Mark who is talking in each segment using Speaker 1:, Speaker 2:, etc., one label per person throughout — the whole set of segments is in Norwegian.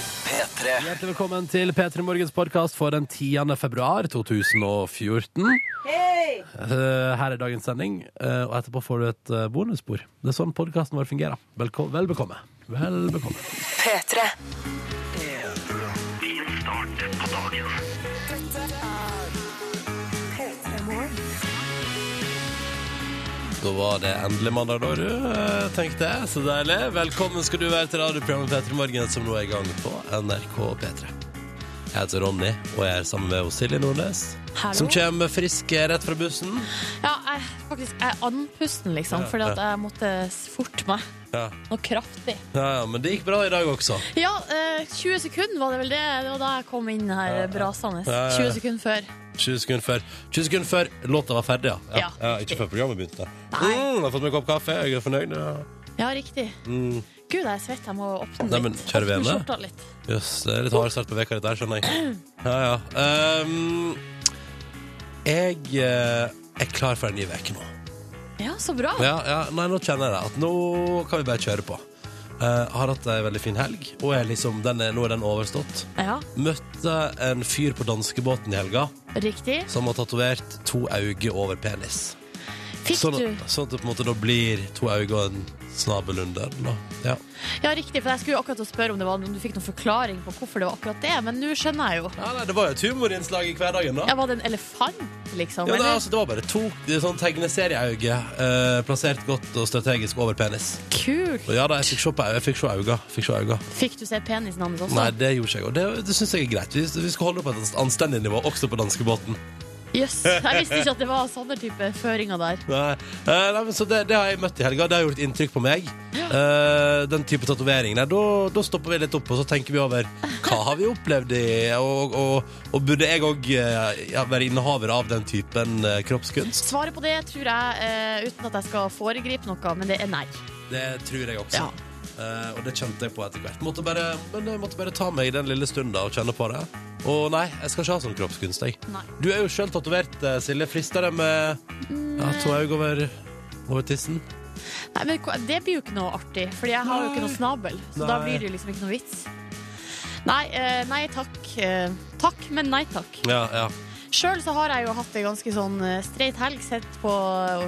Speaker 1: P3.
Speaker 2: Hjertelig velkommen til P3 Morgens podkast for den 10. februar 2014. Eh, Her er dagens sending, eh, og etterpå får du et eh, bonusspor. Det er sånn podkasten vår fungerer. Velko vel bekomme. Vel bekomme.
Speaker 3: P3.
Speaker 2: Da var det endelig mandag, da, du. eh, Tenkte jeg. Så deilig. Velkommen skal du være til radioprogrammet P3 Morgen, som nå er i gang på NRK P3. Jeg heter Ronny, og jeg er sammen med Silje Nordnes,
Speaker 4: Hallo.
Speaker 2: som kommer frisk rett fra bussen.
Speaker 4: Ja, jeg, faktisk, jeg er andpusten, liksom, fordi at jeg måtte s- forte meg
Speaker 2: Ja.
Speaker 4: noe kraftig.
Speaker 2: Ja, ja, men det gikk bra i dag også.
Speaker 4: Ja, eh, 20 sekunder var det vel det. Det var da jeg kom inn her brasende.
Speaker 2: Ja, ja.
Speaker 4: 20 sekunder før.
Speaker 2: 20 sekunder før, 20 sekunder før låta var ferdig, ja.
Speaker 4: Ja,
Speaker 2: ikke
Speaker 4: riktig.
Speaker 2: før programmet begynte.
Speaker 4: Nei.
Speaker 2: Mm, jeg har fått meg en kopp kaffe, jeg er fornøyd. Ja.
Speaker 4: Ja, riktig. Gud, jeg er svett. Jeg må åpne
Speaker 2: Mm.
Speaker 4: litt.
Speaker 2: Nei, men kjører vi
Speaker 4: Åpne
Speaker 2: henne?
Speaker 4: skjorta litt.
Speaker 2: Jøss, det er litt hard start på veka dette her, skjønner jeg. Ja, ja. Um, jeg eh, er klar for en ny veke nå.
Speaker 4: Ja, så bra.
Speaker 2: Ja, ja, nei, nå kjenner jeg det. At nå kan vi bare kjøre på. Eh, har hatt ei veldig fin helg, og er liksom, den er, nå er den overstått.
Speaker 4: Ja,
Speaker 2: Møtte en fyr på danskebåten i helga
Speaker 4: riktig.
Speaker 2: som har tatovert to øyne over penis.
Speaker 4: Fikk
Speaker 2: Sånn,
Speaker 4: du?
Speaker 2: sånn at det på en måte da blir to øyne og en snabel under. Da. Ja.
Speaker 4: Ja, riktig, for jeg skulle jo akkurat å spørre om, det var, om du fikk noen forklaring på hvorfor det var akkurat det, men nå skjønner jeg jo.
Speaker 2: Ja, nei, det var jo et humorinnslag i hverdagen, da.
Speaker 4: Ja, var det en elefant, liksom?
Speaker 2: Ja, det,
Speaker 4: eller?
Speaker 2: altså, det var bare to det er sånn tegneserieøyne eh, plassert godt og strategisk over penis.
Speaker 4: Kult!
Speaker 2: Og ja da, jeg fikk se på øyne. Jeg fikk se øyne. Fikk se øyne.
Speaker 4: Fikk du se penisen hans også?
Speaker 2: Nei, det gjorde ikke jeg. Og det, det syns jeg er greit. Vi, vi skal holde det på et anstendig nivå, også på danskebåten.
Speaker 4: Jøss, jeg visste ikke at det var sånne type føringer der.
Speaker 2: Nei. Eh, nei, men så det, det har jeg møtt i helga. Det har gjort inntrykk på meg. Eh, den type tatovering. Nei, Da da stopper vi litt opp, og så tenker vi over hva har vi opplevd i Og, og, og burde jeg òg ja, være innehaver av den typen eh, kroppskunst?
Speaker 4: Svaret på det tror jeg, eh, uten at jeg skal foregripe noe, men det er nei.
Speaker 2: Det tror jeg også.
Speaker 4: Ja.
Speaker 2: Eh, og det kjente jeg på etter hvert. Måtte bare, men jeg måtte bare ta meg den lille stunden da og kjenne på det. Og nei, jeg skal ikke ha sånn kroppskunst, jeg.
Speaker 4: Nei.
Speaker 2: Du er jo sjøl tatovert, eh, Silje. Frister det med
Speaker 4: Mm.
Speaker 2: ja, to øyne over, over tissen?
Speaker 4: nei men hva- det blir jo ikke noe artig, Fordi jeg har jo ikke noe snabel. Så da
Speaker 2: Nei.
Speaker 4: blir det jo liksom ikke noe vits. Nei, eh, nei takk. Eh, takk, men nei takk.
Speaker 2: Ja, ja.
Speaker 4: Sjøl så har jeg jo hatt ei ganske sånn eh, streit helg, sett på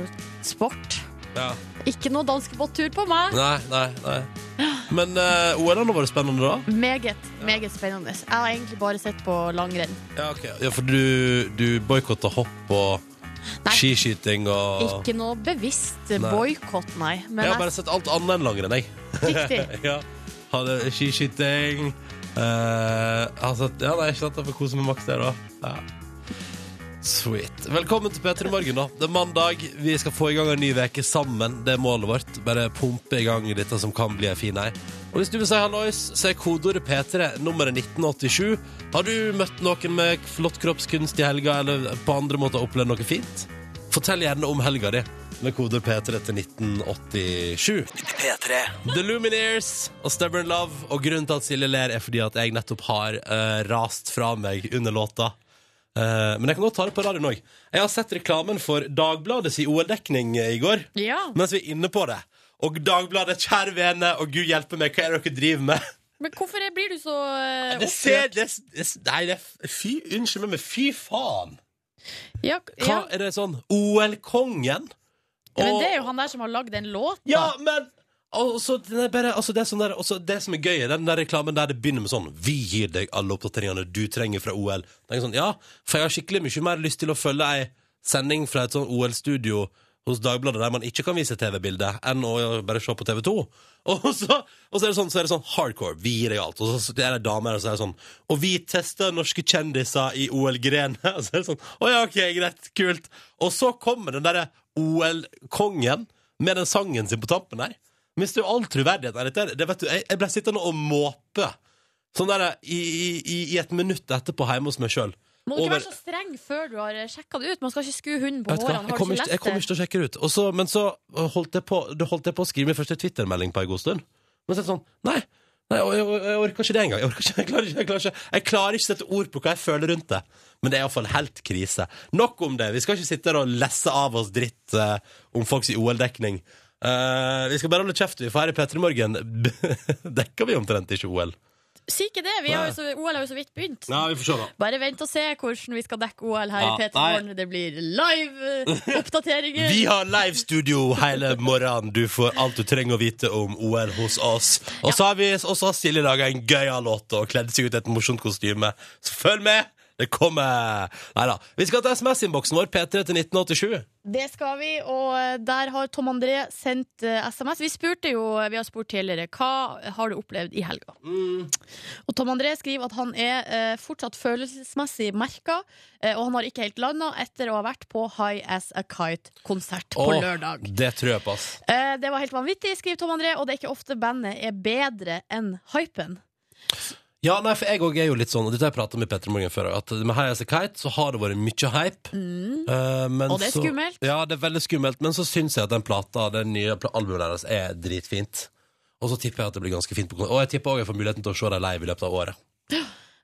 Speaker 4: eh, sport.
Speaker 2: ja.
Speaker 4: Ikke noe danskebåttur på meg.
Speaker 2: Nei, nei, nei. Men uh, OL-ene var det spennende da?
Speaker 4: Meget, meget spennende. Jeg har egentlig bare sett på langrenn.
Speaker 2: Ja, ok. Ja, for du, du boikotta hopp og
Speaker 4: Nei.
Speaker 2: skiskyting og
Speaker 4: Ikke noe bevisst
Speaker 2: Nei.
Speaker 4: boikott, nei. Men
Speaker 2: Jeg har
Speaker 4: jeg,
Speaker 2: bare sett alt annet enn langrenn, jeg.
Speaker 4: riktig.
Speaker 2: ja. Hadde skiskyting eh, altså, Ja, nei, ikke sant. Jeg får kose meg maks der òg. Ja. Sweet. Velkommen til P3 Morgen, da. Det er mandag. Vi skal få i gang en ny uke sammen. Det er målet vårt. Bare pumpe i gang dette som kan bli ei fin ei. Og hvis du vil si hallois, så er kodeordet P3 nummeret 1987. Har du møtt noen med flott kroppskunst i helga, eller på andre måter opplevd noe fint? Fortell gjerne om helga di med kodeord P3 til 1987.
Speaker 1: P3.
Speaker 2: The Lumineers og Stubborn Love. Og grunnen til at Silje ler, er fordi at jeg nettopp har eh, rast fra meg under låta. Eh, men jeg kan godt ta det på radioen òg. Jeg har sett reklamen for Dagbladets OL-dekning i går.
Speaker 4: Ja.
Speaker 2: Mens vi er inne på det. Og Dagbladet, kjære vene, og gud hjelpe meg, hva er det dere driver med?
Speaker 4: Men hvorfor blir du så eh,
Speaker 2: Det ser det, det, Nei, det er Fy, unnskyld meg, men fy faen!
Speaker 4: opp- Ja, k-
Speaker 2: Hva
Speaker 4: ja.
Speaker 2: er det sånn OL-kongen?
Speaker 4: Men
Speaker 2: Og-
Speaker 4: det er jo han der som har lagd den låten.
Speaker 2: Ja, men og så den er bare, altså det, er sånn der, også det som er gøy, er den der reklamen der det begynner med sånn Vi gir deg alle oppdateringene du trenger fra OL. Det er sånn, ja, For jeg har skikkelig mye mer lyst til å følge ei sending fra et sånn OL-studio hos Dagbladet der man ikke kan vise TV-bilde, enn å bare se på TV2. Og så, og så, er, det sånn, så er det sånn hardcore. Vi gir deg alt. Og så er det damer og så er det sånn Og vi tester norske kjendiser i OL-grenet. Og så er det sånn Å ja, OK, greit. Kult. Og så kommer den derre OL-kongen med den sangen sin på tampen der. Mister jo all troverdighet. av dette her. Det vet du, jeg, jeg ble sittende og måpe sånn der, i, i, i et minutt etterpå hjemme hos meg sjøl.
Speaker 4: Må du ikke være så streng før du har sjekka det ut? Man skal ikke skue hunden på
Speaker 2: Jeg, vet hva, jeg
Speaker 4: hårene. Har du
Speaker 2: kommer
Speaker 4: ikke
Speaker 2: ikke, jeg
Speaker 4: lest
Speaker 2: kommer
Speaker 4: det?
Speaker 2: ikke til å sjekke det ut. Og så- men så holdt jeg, på, da holdt jeg på å skrive min første Twitter-melding på en god stund. Men så er det sånn Nei, nei jeg, jeg, jeg orker ikke det engang. Jeg, orker ikke, jeg, klarer ikke- jeg klarer ikke Jeg klarer ikke å sette ord på hva jeg føler rundt det. Men det er iallfall helt krise. Nok om det. Vi skal ikke sitte her og lesse av oss dritt eh, om folks i OL-dekning. Eh, vi skal bare holde kjeft, vi, for her i P3 Morgen dekker vi omtrent ikke OL.
Speaker 4: Si ikke det. Vi har jo så, OL har jo så vidt begynt.
Speaker 2: Ja, vi får se, da.
Speaker 4: Bare vent og se hvordan vi skal dekke OL her
Speaker 2: Ja,
Speaker 4: i P3 Morgen. Det blir live eh, oppdateringer.
Speaker 2: Vi har live studio hele morgenen. Du får alt du trenger å vite om OL hos oss. Og så har, vi- og så har Silje laga en gøyal låt og kledd seg ut i et morsomt kostyme. Så følg med! Det kommer! Nei da. Vi skal til SMS-innboksen vår, P3 til 1987.
Speaker 4: Det skal vi, og eh, der har Tom André sendt eh, SMS. Vi spurte jo, eh, vi har spurt tidligere hva har du opplevd i helga. Og Tom André skriver at han er eh, fortsatt følelsesmessig merka, eh, og han har ikke helt landa etter å ha vært på High As A Kite-konsert på
Speaker 2: Åh,
Speaker 4: lørdag.
Speaker 2: Det tror jeg på, ass.
Speaker 4: Eh, det var helt vanvittig, skriver Tom André, og det er ikke ofte bandet er bedre enn hypen.
Speaker 2: Ja, nei, for jeg òg er jo litt sånn, og dette har jeg prata med Petter Morgen før, at med High As A Kite så har det vært mye hype. eh, men
Speaker 4: Mm. Og det er
Speaker 2: så-
Speaker 4: skummelt.
Speaker 2: Ja, det er veldig skummelt, men så syns jeg at den plata, den nye pla- albumet deres, er dritfint. Og så tipper jeg at det blir ganske fint på konsert. Og jeg tipper òg jeg får muligheten til å se dem live i løpet av året.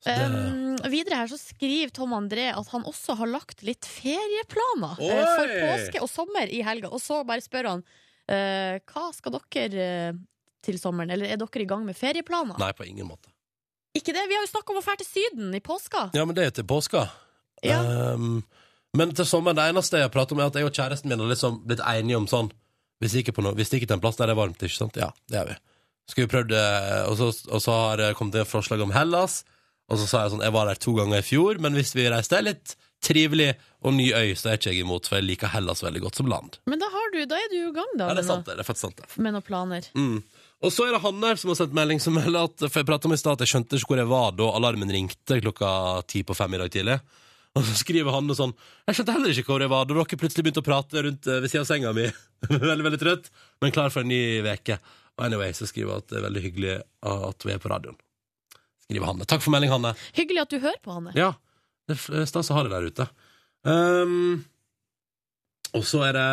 Speaker 2: eh,
Speaker 4: Um, videre her så skriver Tom André at han også har lagt litt ferieplaner eh,
Speaker 2: Oi!
Speaker 4: for påske og sommer i helga. Og så bare spør han eh, hva skal dere eh, til sommeren, eller er dere i gang med ferieplaner?
Speaker 2: Nei, på ingen måte.
Speaker 4: Ikke det, Vi har jo snakka om å dra til Syden i påska.
Speaker 2: Ja, men det er jo til påska.
Speaker 4: Ja.
Speaker 2: Ehm, men til sommeren, det eneste jeg har pratet om, er at jeg og kjæresten min har liksom blitt enige om sånn Vi stikker på noe, vi stikker til en plass der det er varmt, ikke sant? Ja, det gjør vi. Skal vi prøve det og så, og så har det kommet et forslag om Hellas. Og så sa jeg sånn Jeg var der to ganger i fjor, men hvis vi reiser det er litt trivelig og ny øy, så er ikke jeg imot, for jeg liker Hellas veldig godt som land.
Speaker 4: Men da, har du, da er du jo i gang, da.
Speaker 2: Ja, det er
Speaker 4: med
Speaker 2: sant, det. Det er faktisk sant, det.
Speaker 4: noe- Med noen planer.
Speaker 2: Mm. Og så er det han der som har sendt melding som melder at For jeg pratet om i stad at jeg skjønte ikke hvor jeg var da alarmen ringte klokka ti på fem i dag tidlig. Og så skriver han noe sånn Jeg skjønte heller ikke hvor jeg var da dere plutselig begynte å prate rundt eh, ved siden av senga mi. veldig, veldig trøtt, men klar for en ny veke Og anyway, så skriver han at det er veldig hyggelig at vi er på radioen. Skriver Hanne. Takk for melding, Hanne.
Speaker 4: Hyggelig at du hører på, Hanne.
Speaker 2: Ja, det er f- stas å ha det der ute. Ehm, og så er det,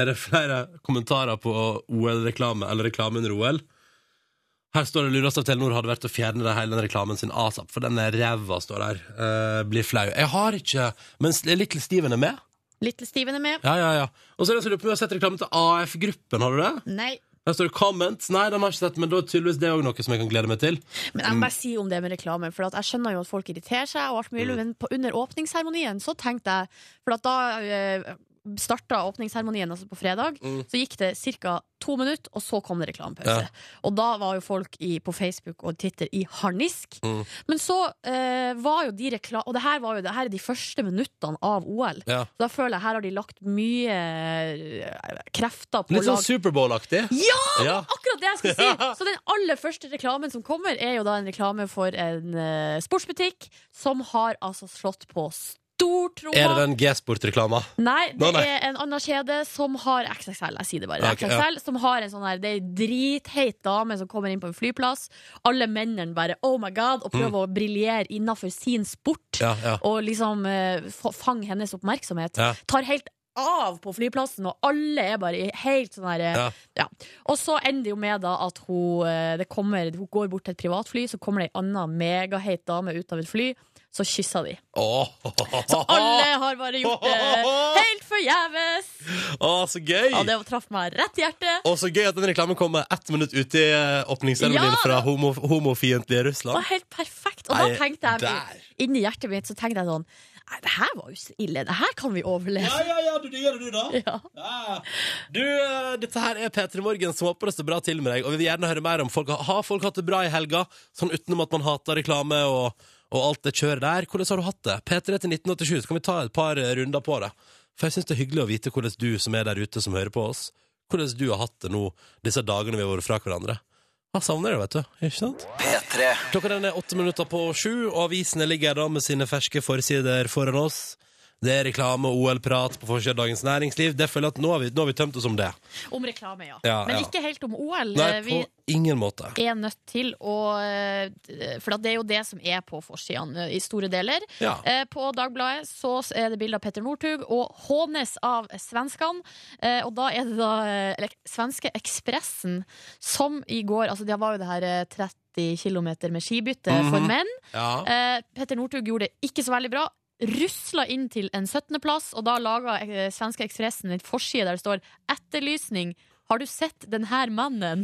Speaker 2: er det flere kommentarer på OL-reklame, eller reklame under OL. Her står det lurest av Telenor hadde vært å fjerne det hele den reklamen sin asap, for den er ræva, står der. Eh, blir flau. Jeg har ikke Men s- Little Steven er med?
Speaker 4: Little Steven er med.
Speaker 2: Ja, ja, ja. Og så er det en som lurer på om jeg har sett reklamen til AF-gruppen, har du det?
Speaker 4: Nei.
Speaker 2: Der står det 'comments'. Nei, den har jeg ikke sett, men da er tydeligvis det òg noe som jeg kan glede meg til.
Speaker 4: Men
Speaker 2: Mm.
Speaker 4: jeg må bare si om det med reklame, for at jeg skjønner jo at folk irriterer seg, og alt
Speaker 2: Mm.
Speaker 4: mulig, men på, under åpningsseremonien så tenkte jeg For at da eh, starta åpningsseremonien altså på fredag, så gikk det ca. to minutter, og så kom det reklamepause.
Speaker 2: Mm. Ja.
Speaker 4: Og da var jo folk i, på Facebook og Twitter i harnisk.
Speaker 2: Mm.
Speaker 4: Men så eh, var jo de rekla... Og det her, var jo, det her er de første minuttene av OL.
Speaker 2: Ja.
Speaker 4: Så da føler jeg her har de lagt mye eh, krefter på
Speaker 2: Litt sånn
Speaker 4: lag-
Speaker 2: Superbowl-aktig.
Speaker 4: Ja!
Speaker 2: Ja.
Speaker 4: Akkurat det jeg skulle si! Så den aller første reklamen som kommer, er jo da en reklame for en eh, sportsbutikk som har altså slått på
Speaker 2: Er det
Speaker 4: stortromma.
Speaker 2: den G-sport-reklama?
Speaker 4: Nei, det
Speaker 2: Nei, nei.
Speaker 4: er en annen kjede som har XXL. Jeg sier det bare.
Speaker 2: Ja, ok, ja.
Speaker 4: XXL, som har en sånn her, Det er ei dritheit dame som kommer inn på en flyplass. Alle mennene bare oh my god, og prøver å briljere innafor sin sport.
Speaker 2: Mm. Ja, ja.
Speaker 4: Og liksom eh, fa- fange hennes oppmerksomhet.
Speaker 2: Ja.
Speaker 4: Tar helt av på flyplassen, og alle er bare i helt sånn her eh,
Speaker 2: Ja.
Speaker 4: ja. Og så ender det jo med da at hun, eh, det kommer, hun går bort til et privatfly, så kommer det ei anna megaheit dame ut av et fly. Så kysser de.
Speaker 2: Åh,
Speaker 4: Så alle har bare gjort det helt forgjeves!
Speaker 2: Åh, så gøy!
Speaker 4: Ja, det traff meg rett i hjertet.
Speaker 2: Og så gøy at den reklamen kommer ett minutt ut i eh, åpningsseremonien
Speaker 4: Ja!
Speaker 2: fra homo homofiendtlige
Speaker 4: Det var
Speaker 2: Russland.
Speaker 4: helt perfekt. Og da
Speaker 2: Nei,
Speaker 4: tenkte
Speaker 2: der.
Speaker 4: jeg inni hjertet mitt så tenkte jeg sånn Nei, det her var jo så ille. Det her kan vi overleve.
Speaker 2: ja, ja, du digger det, du, da.
Speaker 4: Ja.
Speaker 2: Ja. Du, eh, dette her er P3 Morgen som håper det står bra til med deg. Og vi vil gjerne høre mer om folk. Har folk hatt det bra i helga? Sånn utenom at man hater reklame og, og alt det kjøret der. Hvordan har du hatt det? P3 til 1987, så kan vi ta et par eh, runder på det. For jeg syns det er hyggelig å vite hvordan du som er der ute, som hører på oss, hvordan du har hatt det nå disse dagene vi har vært fra hverandre. Jeg savner det, vet du. Ikke sant?
Speaker 1: P3
Speaker 2: Klokka den er åtte minutter på sju, og avisene ligger da med sine ferske forsider foran oss. Det er reklame og OL-prat på forsiden av Dagens Næringsliv. Det føler jeg at nå har vi, nå har vi tømt oss om det.
Speaker 4: Om reklame, ja.
Speaker 2: Ja,
Speaker 4: Men
Speaker 2: ja.
Speaker 4: ikke helt om OL. Eh,
Speaker 2: Nei,
Speaker 4: vi
Speaker 2: på ingen måte.
Speaker 4: er nødt til å eh, For at det er jo det som er på forsidene i store deler.
Speaker 2: Ja.
Speaker 4: Eh, På Dagbladet så er det bilde av Petter Northug og hånes av svenskene. Eh, Og da er det da eh, eller, svenske Ekspressen som i går Altså det var jo det her eh, 30 km med skibytte for
Speaker 2: Mhm.
Speaker 4: menn.
Speaker 2: Ja.
Speaker 4: Eh, Petter Northug gjorde det ikke så veldig bra. Rusla inn til en 17.-plass, og da laga eh, svenske Ekspressen en forside der det står 'Etterlysning'. 'Har du sett den her mannen?'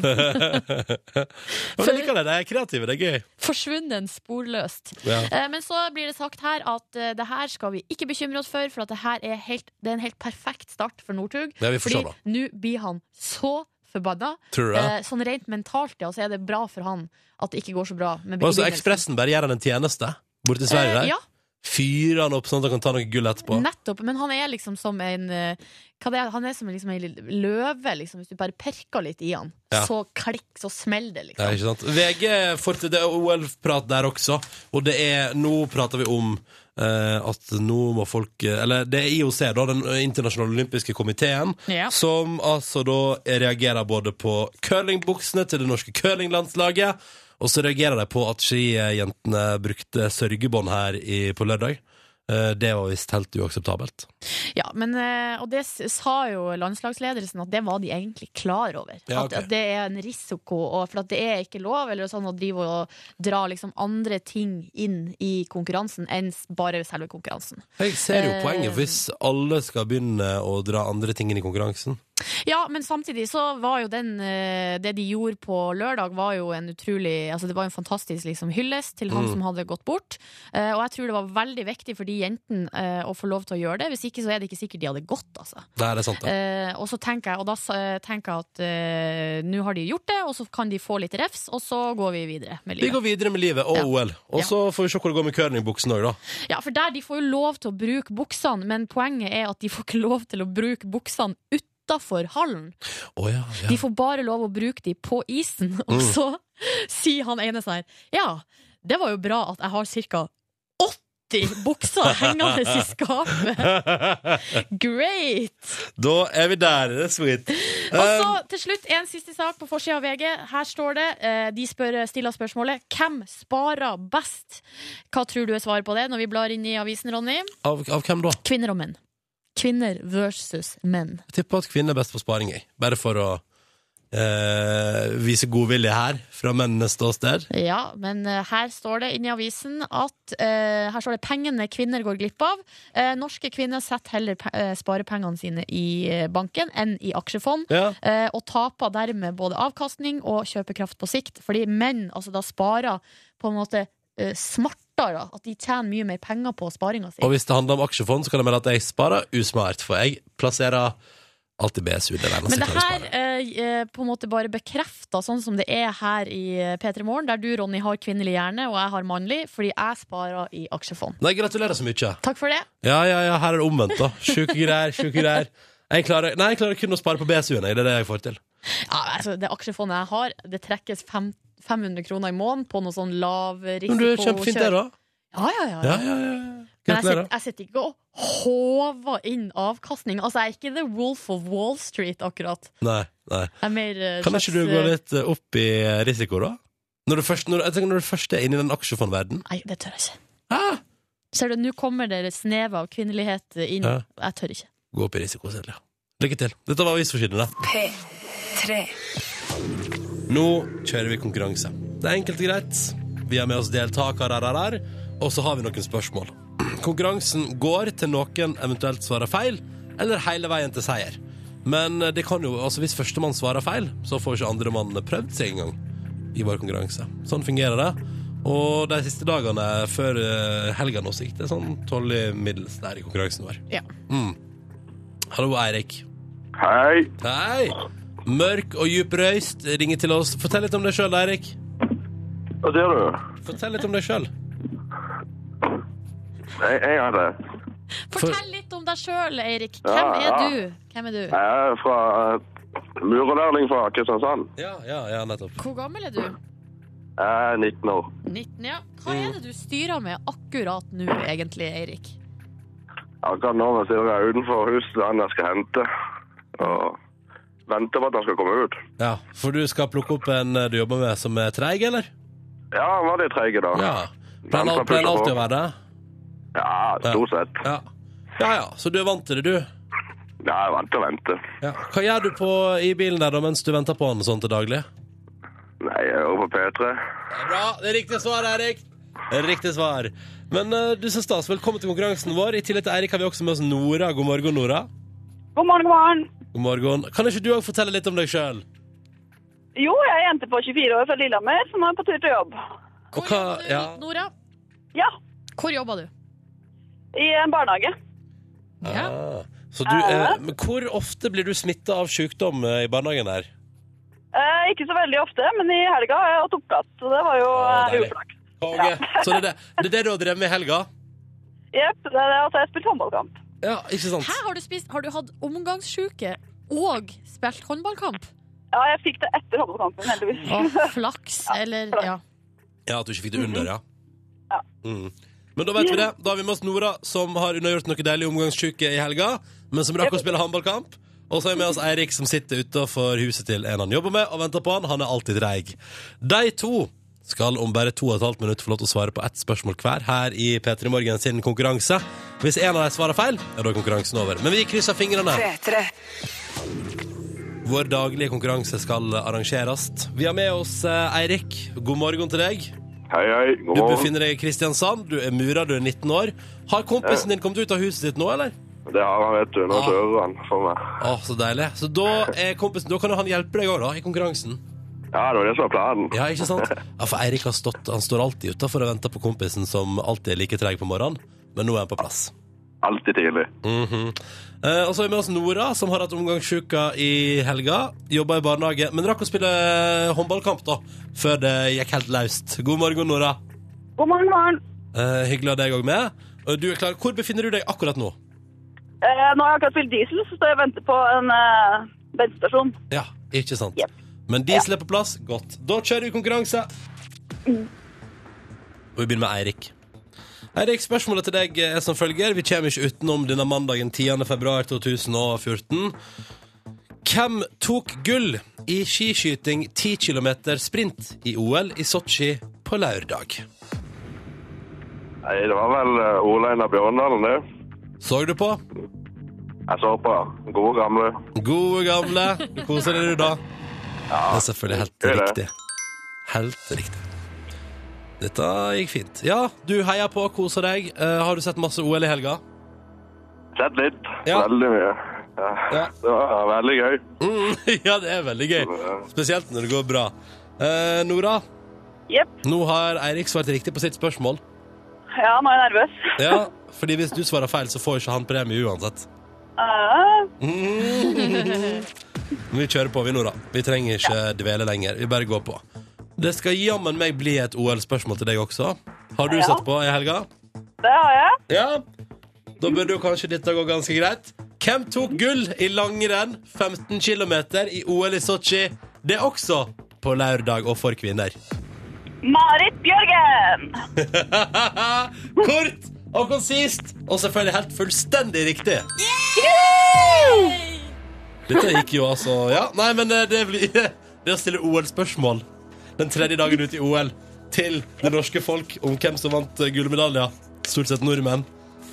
Speaker 2: Men jeg liker det. De er kreative. Det er gøy.
Speaker 4: Forsvunnen sporløst.
Speaker 2: Ja.
Speaker 4: Eh, Men så blir det sagt her at eh, det her skal vi ikke bekymre oss for, for at det her er, helt, det er en helt perfekt start for Northug.
Speaker 2: Ja, vi får se
Speaker 4: Fordi
Speaker 2: da.
Speaker 4: nå blir han så forbanna.
Speaker 2: Tror du det?
Speaker 4: Eh, sånn rent mentalt ja, så er det bra for han at det ikke går så bra. Med
Speaker 2: Men altså,
Speaker 4: begynnelsen.
Speaker 2: Ekspressen bare gjør han en tjeneste borte i Sverige
Speaker 4: Eh,
Speaker 2: der.
Speaker 4: ja, Mm.
Speaker 2: Fyrer han opp sånn at han kan ta noe gull etterpå.
Speaker 4: nettopp. Men han er liksom som en eh, hva det er, Han er som en, liksom en lille løve, liksom, hvis du bare perker litt i han.
Speaker 2: Ja.
Speaker 4: Så klikk, så smeller det,
Speaker 2: Ja,
Speaker 4: liksom.
Speaker 2: ikke sant? VG får til det er OL-prat der også, og det er Nå prater vi om eh, at nå må folk eh, Eller det er IOC, da, den internasjonale olympiske komiteen,
Speaker 4: Ja.
Speaker 2: som altså da reagerer både på curlingbuksene til det norske curlinglandslaget, og så reagerer de på at skijentene brukte sørgebånd her i, på lørdag. Eh, det var visst helt uakseptabelt.
Speaker 4: Ja, men, eh, og det s- sa jo landslagsledelsen at det var de egentlig klar over.
Speaker 2: Ja,
Speaker 4: at,
Speaker 2: ok.
Speaker 4: at det er en risiko, og for at det er ikke lov eller sånn, å drive og dra liksom, andre ting inn i konkurransen enn s- bare selve konkurransen.
Speaker 2: Jeg ser jo
Speaker 4: Eh,
Speaker 2: poenget hvis alle skal begynne å dra andre ting inn i konkurransen.
Speaker 4: Ja, men samtidig så var jo den eh, Det de gjorde på lørdag, var jo en utrolig Altså, det var en fantastisk liksom, hyllest til han
Speaker 2: Mm.
Speaker 4: som hadde gått bort. Eh, og jeg tror det var veldig viktig for de jentene eh, å få lov til å gjøre det. Hvis ikke så er det ikke sikkert de hadde gått, altså.
Speaker 2: Nei, det er sant, det.
Speaker 4: Eh, og så tenker jeg, og da sa- eh, tenker jeg at eh, nå har de gjort det, og så kan de få litt refs, og så går vi videre med
Speaker 2: Vi
Speaker 4: livet.
Speaker 2: går videre med livet og
Speaker 4: Ja.
Speaker 2: OL. Og
Speaker 4: Ja.
Speaker 2: så får vi se hvor det går med curlingbuksen òg, da.
Speaker 4: Ja, for der, De får jo lov til å bruke buksene, men poenget er at de får ikke lov til å bruke buksene utafor hallen.
Speaker 2: Å ja, ja.
Speaker 4: De får bare lov å bruke de på isen. Og
Speaker 2: Mm.
Speaker 4: så sier han ene sånn her Ja, det var jo bra at jeg har ca. 80 bukser hengende i skapet. Great!
Speaker 2: Da er vi der. Det er sweet.
Speaker 4: Og så
Speaker 2: Um,
Speaker 4: til slutt en siste sak på forsida av VG. Her står det, eh, de spør, stiller spørsmålet Hvem sparer best? Hva tror du er svaret på det når vi blar inn i avisen, Ronny?
Speaker 2: av, av hvem da?
Speaker 4: Kvinner og menn. Kvinner versus menn.
Speaker 2: Jeg tipper at kvinner er best på sparing, jeg. Bare for å eh, vise godvilje her, fra mennenes ståsted.
Speaker 4: Ja, men eh, her står det inne i avisen at eh, her står det pengene kvinner går glipp av. Eh, norske kvinner setter heller pe eh, sparepengene sine i eh, banken enn i aksjefond.
Speaker 2: Ja.
Speaker 4: eh, og taper dermed både avkastning og kjøpekraft på sikt. Fordi menn altså da sparer på en måte eh, smartere, at de tjener mye mer penger på sparinga si.
Speaker 2: Og hvis det handler om aksjefond, så kan jeg melde at jeg sparer usmart, for jeg plasserer alltid BSU. Det er det eneste
Speaker 4: Men det
Speaker 2: jeg klarer å
Speaker 4: her
Speaker 2: spare.
Speaker 4: eh, eh, på en måte bare bekrefter sånn som det er her i eh, P3 Morgen, der du, Ronny, har kvinnelig hjerne, og jeg har mannlig, fordi jeg sparer i aksjefond.
Speaker 2: Nei, gratulerer så mye.
Speaker 4: Takk for det.
Speaker 2: Ja, ja, ja, her er det omvendt, da. Sjuke greier, sjuke greier. Jeg klarer, nei, jeg klarer kun å spare på BSU-en, jeg. Det er det jeg får til.
Speaker 4: Ja, altså, det aksjefondet jeg har, det trekkes fem, 500 kroner i måneden på noe sånn lav risiko.
Speaker 2: Men du er kjempefint der, da.
Speaker 4: Ja, ja, ja. ja.
Speaker 2: Ja, ja, ja.
Speaker 4: Men jeg
Speaker 2: Gratulerer.
Speaker 4: sitter, jeg sitter ikke og håver inn avkastning. Altså, jeg er ikke The Wolf of Wall Street, akkurat.
Speaker 2: Nei, nei.
Speaker 4: Jeg er mer eh,
Speaker 2: Kan
Speaker 4: slags,
Speaker 2: ikke du gå
Speaker 4: eh,
Speaker 2: litt eh, opp i risiko, da? Når du først, når, jeg tenker når du først er inne i den aksjefondverdenen.
Speaker 4: Nei, det tør jeg ikke.
Speaker 2: Ah!
Speaker 4: Ser du, Nå kommer det et snev av kvinnelighet inn.
Speaker 2: Ja.
Speaker 4: Jeg tør ikke.
Speaker 2: Gå opp i risiko selv, ja. Lykke til. Dette var avisforsiden, da.
Speaker 1: P3.
Speaker 2: Nå kjører vi konkurranse. Det er enkelt og greit. Vi har med oss deltakere her, her, og så har vi noen spørsmål. Konkurransen går til noen eventuelt svarer feil, eller hele veien til seier. Men det kan jo, altså hvis førstemann svarer feil, så får ikke andremann prøvd seg engang i vår konkurranse. Sånn fungerer det. Og de siste dagene før eh, helga nå så gikk det sånn tolv i middels der i konkurransen vår.
Speaker 4: Ja.
Speaker 2: Mm. Hallo, Eirik.
Speaker 3: Hei.
Speaker 2: Hei! Mørk og djup røyst ringer til oss. Fortell litt om deg sjøl, Eirik.
Speaker 3: Hva sier du?
Speaker 2: Fortell litt om deg sjøl.
Speaker 3: Jeg, jeg er det.
Speaker 2: For-
Speaker 4: Fortell litt om deg sjøl, Eirik.
Speaker 3: Ja,
Speaker 4: Hvem er
Speaker 3: ja.
Speaker 4: du? Hvem er du?
Speaker 3: Jeg er fra eh, murerlærling fra Kristiansand.
Speaker 2: Ja, ja, ja, nettopp.
Speaker 4: Hvor gammel er du?
Speaker 3: Jeg er 19 år.
Speaker 4: 19, ja. Hva er det du styrer med akkurat nå, egentlig, Eirik?
Speaker 3: Akkurat nå sitter jeg utenfor huset han jeg skal hente, og venter på at han skal komme ut.
Speaker 2: Ja, For du skal plukke opp en eh, du jobber med som er treig, eller?
Speaker 3: Ja, han var litt treig i dag.
Speaker 2: Ja.
Speaker 3: Han
Speaker 2: Pleier
Speaker 3: skal
Speaker 2: pleier
Speaker 3: pushe på.
Speaker 2: alltid å være det?
Speaker 3: Ja, stort sett.
Speaker 2: Ja. ja ja, så du er vant til det, du?
Speaker 3: Ja, jeg er vant til å vente.
Speaker 2: Ja. Hva gjør du på, i bilen der da, mens du venter på han sånn til daglig?
Speaker 3: Nei, jeg hører på P3.
Speaker 2: Det er bra. Det er riktig svar, Eirik. Det er Riktig svar. Men eh, du så stas. Velkommen til konkurransen vår. I tillegg til Eirik har vi også med oss Nora. God morgen, Nora.
Speaker 5: God morgen, god morgen.
Speaker 2: God God morgen. Kan ikke du òg fortelle litt om deg sjøl?
Speaker 1: Jo, jeg er jente på 24 år fra Lillehammer som er på tur til jobb.
Speaker 2: Og
Speaker 4: Hvor
Speaker 2: hva-
Speaker 4: jobber du,
Speaker 2: ja.
Speaker 4: Nora?
Speaker 1: Ja,
Speaker 4: Hvor jobber du?
Speaker 1: i en barnehage.
Speaker 4: Ja.
Speaker 2: Ah, så du, eh, men hvor ofte blir du smitta av sykdom eh, i barnehagen der?
Speaker 1: Eh, ikke så veldig ofte, men i helga har jeg hatt oppkast, så det var jo
Speaker 2: Å,
Speaker 1: eh,
Speaker 2: deilig.
Speaker 1: uflaks.
Speaker 2: Konge. Så det er det, det, er det du har drevet med i helga?
Speaker 1: Jepp, det er det at jeg har spilt håndballkamp.
Speaker 2: Ja, ikke sant?
Speaker 4: Hæ, har du, spist, har du hatt omgangssjuke og spilt håndballkamp?
Speaker 1: Ja, jeg fikk det etter håndballkampen, heldigvis.
Speaker 4: Å, flaks, eller ja.
Speaker 2: Ja, at du ikke fikk det under, ja.
Speaker 1: Ja.
Speaker 2: Mm. Men da vet vi det. Da har vi med oss Nora, som har unnagjort noe deilig omgangssjuke i helga, men som rakk å spille håndballkamp. Og så har vi med oss Eirik, som sitter utafor huset til en han jobber med, og venter på han. Han er alltid treig. De to skal om bare to og et halvt minutt få lov til å svare på ett spørsmål hver her i P3 Morgen sin konkurranse. Hvis en av dem svarer feil, ja, da er konkurransen over. Men vi krysser fingrene. Vår daglige konkurranse skal arrangeres. Vi har med oss eh, Eirik. God morgen til deg.
Speaker 3: Hei, hei. God
Speaker 2: Du
Speaker 3: morgen.
Speaker 2: befinner deg i Kristiansand, du er murer, du er 19 år. Har kompisen din kommet ut av huset ditt nå, eller?
Speaker 3: Det har han, vet du. Nå
Speaker 2: Ah.
Speaker 3: dører han for meg.
Speaker 2: Å, så deilig. Så da, er kompisen, da kan jo han hjelpe deg òg, da, i konkurransen.
Speaker 3: Ja, det var det som var planen.
Speaker 2: Ja, ikke sant? Ja, for Eirik har stått, han står alltid utafor og venter på kompisen, som alltid er like treg på morgenen. Men nå er han på plass.
Speaker 3: Alltid tidlig.
Speaker 2: Mhm. Eh, og så er vi med oss Nora, som har hatt omgangssjuka i helga. Jobba i barnehage, men rakk å spille håndballkamp, da, før det gikk helt løst. God morgen, Nora.
Speaker 1: God morgen, morgen.
Speaker 2: Eh, hyggelig å ha deg òg med. Og Du er klar. Hvor befinner du deg akkurat nå?
Speaker 1: Eh, nå har jeg akkurat spilt diesel, så står jeg og venter på en eh, bensinstasjon.
Speaker 2: Ja, ikke sant.
Speaker 1: Yep.
Speaker 2: Men diesel er på plass. Godt. Da kjører vi konkurranse. Og vi begynner med Eirik. Eirik, spørsmålet til deg er som følger. Vi kommer ikke utenom denne mandagen 10. februar 2014. Hvem tok gull i skiskyting 10 km sprint i OL i Sotsji på lørdag?
Speaker 3: Nei, det var vel eh, Ole Einar Bjørndalen, det.
Speaker 2: Så du på?
Speaker 3: Jeg så på. Gode gamle.
Speaker 2: Gode gamle. Du koser deg, du, da. Det er selvfølgelig helt
Speaker 3: det er
Speaker 2: riktig.
Speaker 3: det.
Speaker 2: Helt riktig. Dette gikk fint. Ja, du heier på, koser deg. Eh, har du sett masse OL i helga?
Speaker 3: Sett litt.
Speaker 2: Ja.
Speaker 3: Veldig mye. Ja.
Speaker 2: Ja.
Speaker 3: Det var veldig gøy.
Speaker 2: Mm, ja, det er veldig gøy. Spesielt når det går bra. Eh, Nora,
Speaker 1: Jepp.
Speaker 2: nå har Eirik svart riktig på sitt spørsmål.
Speaker 1: Ja, nå er jeg nervøs.
Speaker 2: Ja, fordi hvis du svarer feil, så får ikke han premie uansett.
Speaker 1: Eh,
Speaker 2: Men vi kjører på, vi, Nora. Vi trenger ikke dvele lenger. Vi bare går på. Det skal jammen meg bli et OL-spørsmål til deg også. Har du
Speaker 1: Ja.
Speaker 2: sett på i helga?
Speaker 1: det har jeg.
Speaker 2: Ja, da burde jo kanskje dette gå ganske greit. Hvem tok gull i langrenn 15 km i OL i Sotsji? Det er også på lørdag og for kvinner.
Speaker 1: Marit Bjørgen!
Speaker 2: Kort og konsist, og selvfølgelig helt fullstendig riktig. Dette gikk jo altså Ja, nei, men eh, det blir Det å stille OL-spørsmål den tredje dagen ut i OL til det norske folk om hvem som vant eh, gullmedaljer, stort sett nordmenn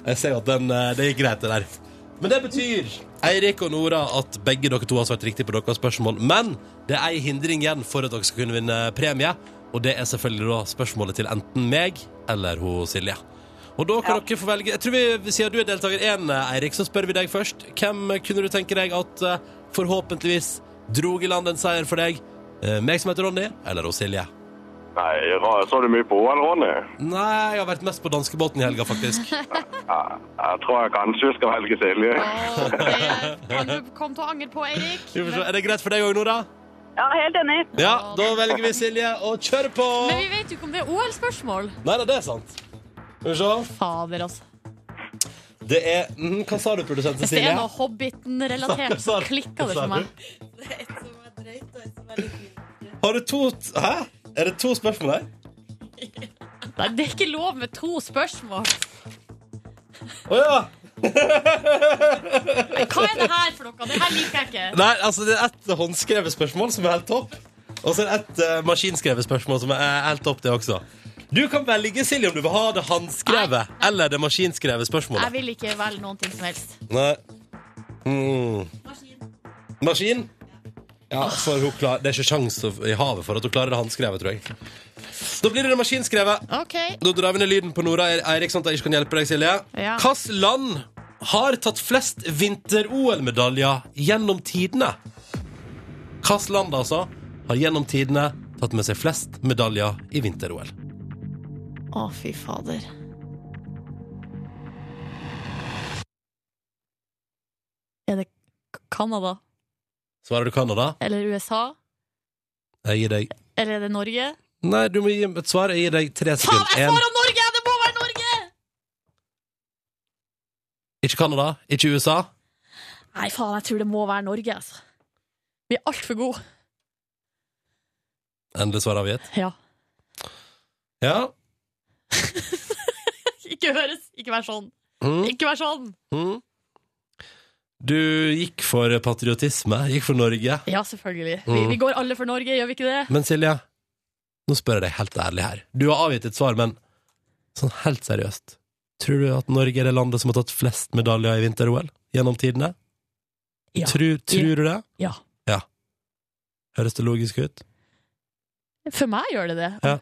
Speaker 2: Jeg ser jo at den, eh, det gikk greit, det der. Men det betyr Eirik og Nora, at begge dere to har svart riktig på deres spørsmål. Men det er ei hindring igjen for at dere skal kunne vinne premie, og det er selvfølgelig da spørsmålet til enten meg eller ho Silje. Og da kan dere få velge Jeg tror vi, Siden du er deltaker én, Eirik, så spør vi deg først. Hvem kunne du tenke deg at eh, forhåpentligvis drog i land en seier for deg? Eh, Meg som heter Ronny, eller ho Silje?
Speaker 3: Nei, ra- så du mye på OL, Ronny?
Speaker 2: Nei, jeg har vært mest på danskebåten i helga, faktisk.
Speaker 3: Ja, jeg tror jeg kanskje skal velge Silje.
Speaker 4: Å, det eh, kan du komme til å angre på, Eirik.
Speaker 2: Vi får se. Er det greit for deg òg, Nora?
Speaker 1: Ja, helt enig.
Speaker 2: Ja, da velger vi Silje og kjører på!
Speaker 4: Men vi vet jo ikke om det er OL-spørsmål.
Speaker 2: Nei, nei, det er sant. Skal vi se.
Speaker 4: Fader, altså.
Speaker 2: Det er mm, Hva sa du, produsent
Speaker 4: Hvis det
Speaker 2: Cecilie?
Speaker 4: er noe Hobbiten-relatert, så
Speaker 2: Sa du-
Speaker 4: klikker det
Speaker 2: sa
Speaker 4: for meg.
Speaker 2: du? Har du to Hæ? Er det to spørsmål her?
Speaker 4: Nei, det er ikke lov med to spørsmål.
Speaker 2: Å ja!
Speaker 4: Hva er det her for noe? Det her liker jeg ikke.
Speaker 2: Nei, altså, det er ett håndskrevet spørsmål som er helt topp. Og så er det ett eh, maskinskrevet spørsmål som er helt topp, det også. Du kan velge, Silje, om du vil ha det håndskrevet eller det maskinskrevet
Speaker 4: Jeg
Speaker 2: spørsmålet.
Speaker 4: vil ikke velge noen ting som helst.
Speaker 2: Nei. Mm. Maskin? Ja, for hun klar, Det er ikke sjans i havet for at hun klarer det håndskrevet, tror jeg. Da blir det det maskinskrevet.
Speaker 4: OK.
Speaker 2: Da drar vi ned lyden på Nora Eirik, sånn at jeg ikke kan hjelpe deg, Silje.
Speaker 4: Ja.
Speaker 2: Hvilket land har tatt flest vinter-OL-medaljer gjennom tidene? Hvilket land, altså, har gjennom tidene tatt med seg flest medaljer i vinter-OL?
Speaker 4: Å, fy fader. Er det Canada?
Speaker 2: Svarer du Canada?
Speaker 4: Eller USA?
Speaker 2: Jeg gir deg
Speaker 4: Eller er det Norge?
Speaker 2: Nei, du må gi meg et svar. Jeg gir deg tre
Speaker 4: Faen,
Speaker 2: sekunder.
Speaker 4: jeg
Speaker 2: En.
Speaker 4: svarer Norge! Det må være Norge!
Speaker 2: Ikke Canada, ikke USA.
Speaker 4: Nei, faen, jeg tror det må være Norge, altså. Vi er altfor gode.
Speaker 2: Endelig svar avgitt.
Speaker 4: Ja.
Speaker 2: Ja.
Speaker 4: Ikke høres. Ikke vær sånn.
Speaker 2: Mm.
Speaker 4: Ikke vær sånn.
Speaker 2: Mm. Du gikk for patriotisme, gikk for Norge.
Speaker 4: Ja, selvfølgelig. Vi,
Speaker 2: Mm.
Speaker 4: vi går alle for Norge, gjør vi ikke det?
Speaker 2: Men Silje, nå spør jeg deg helt ærlig her. Du har avgitt et svar, men sånn helt seriøst. Tror du at Norge er det landet som har tatt flest medaljer i vinter-OL gjennom tidene?
Speaker 4: Ja.
Speaker 2: Tror, tror du det?
Speaker 4: Ja.
Speaker 2: Høres det logisk ut?
Speaker 4: For meg gjør det det.
Speaker 2: Ja.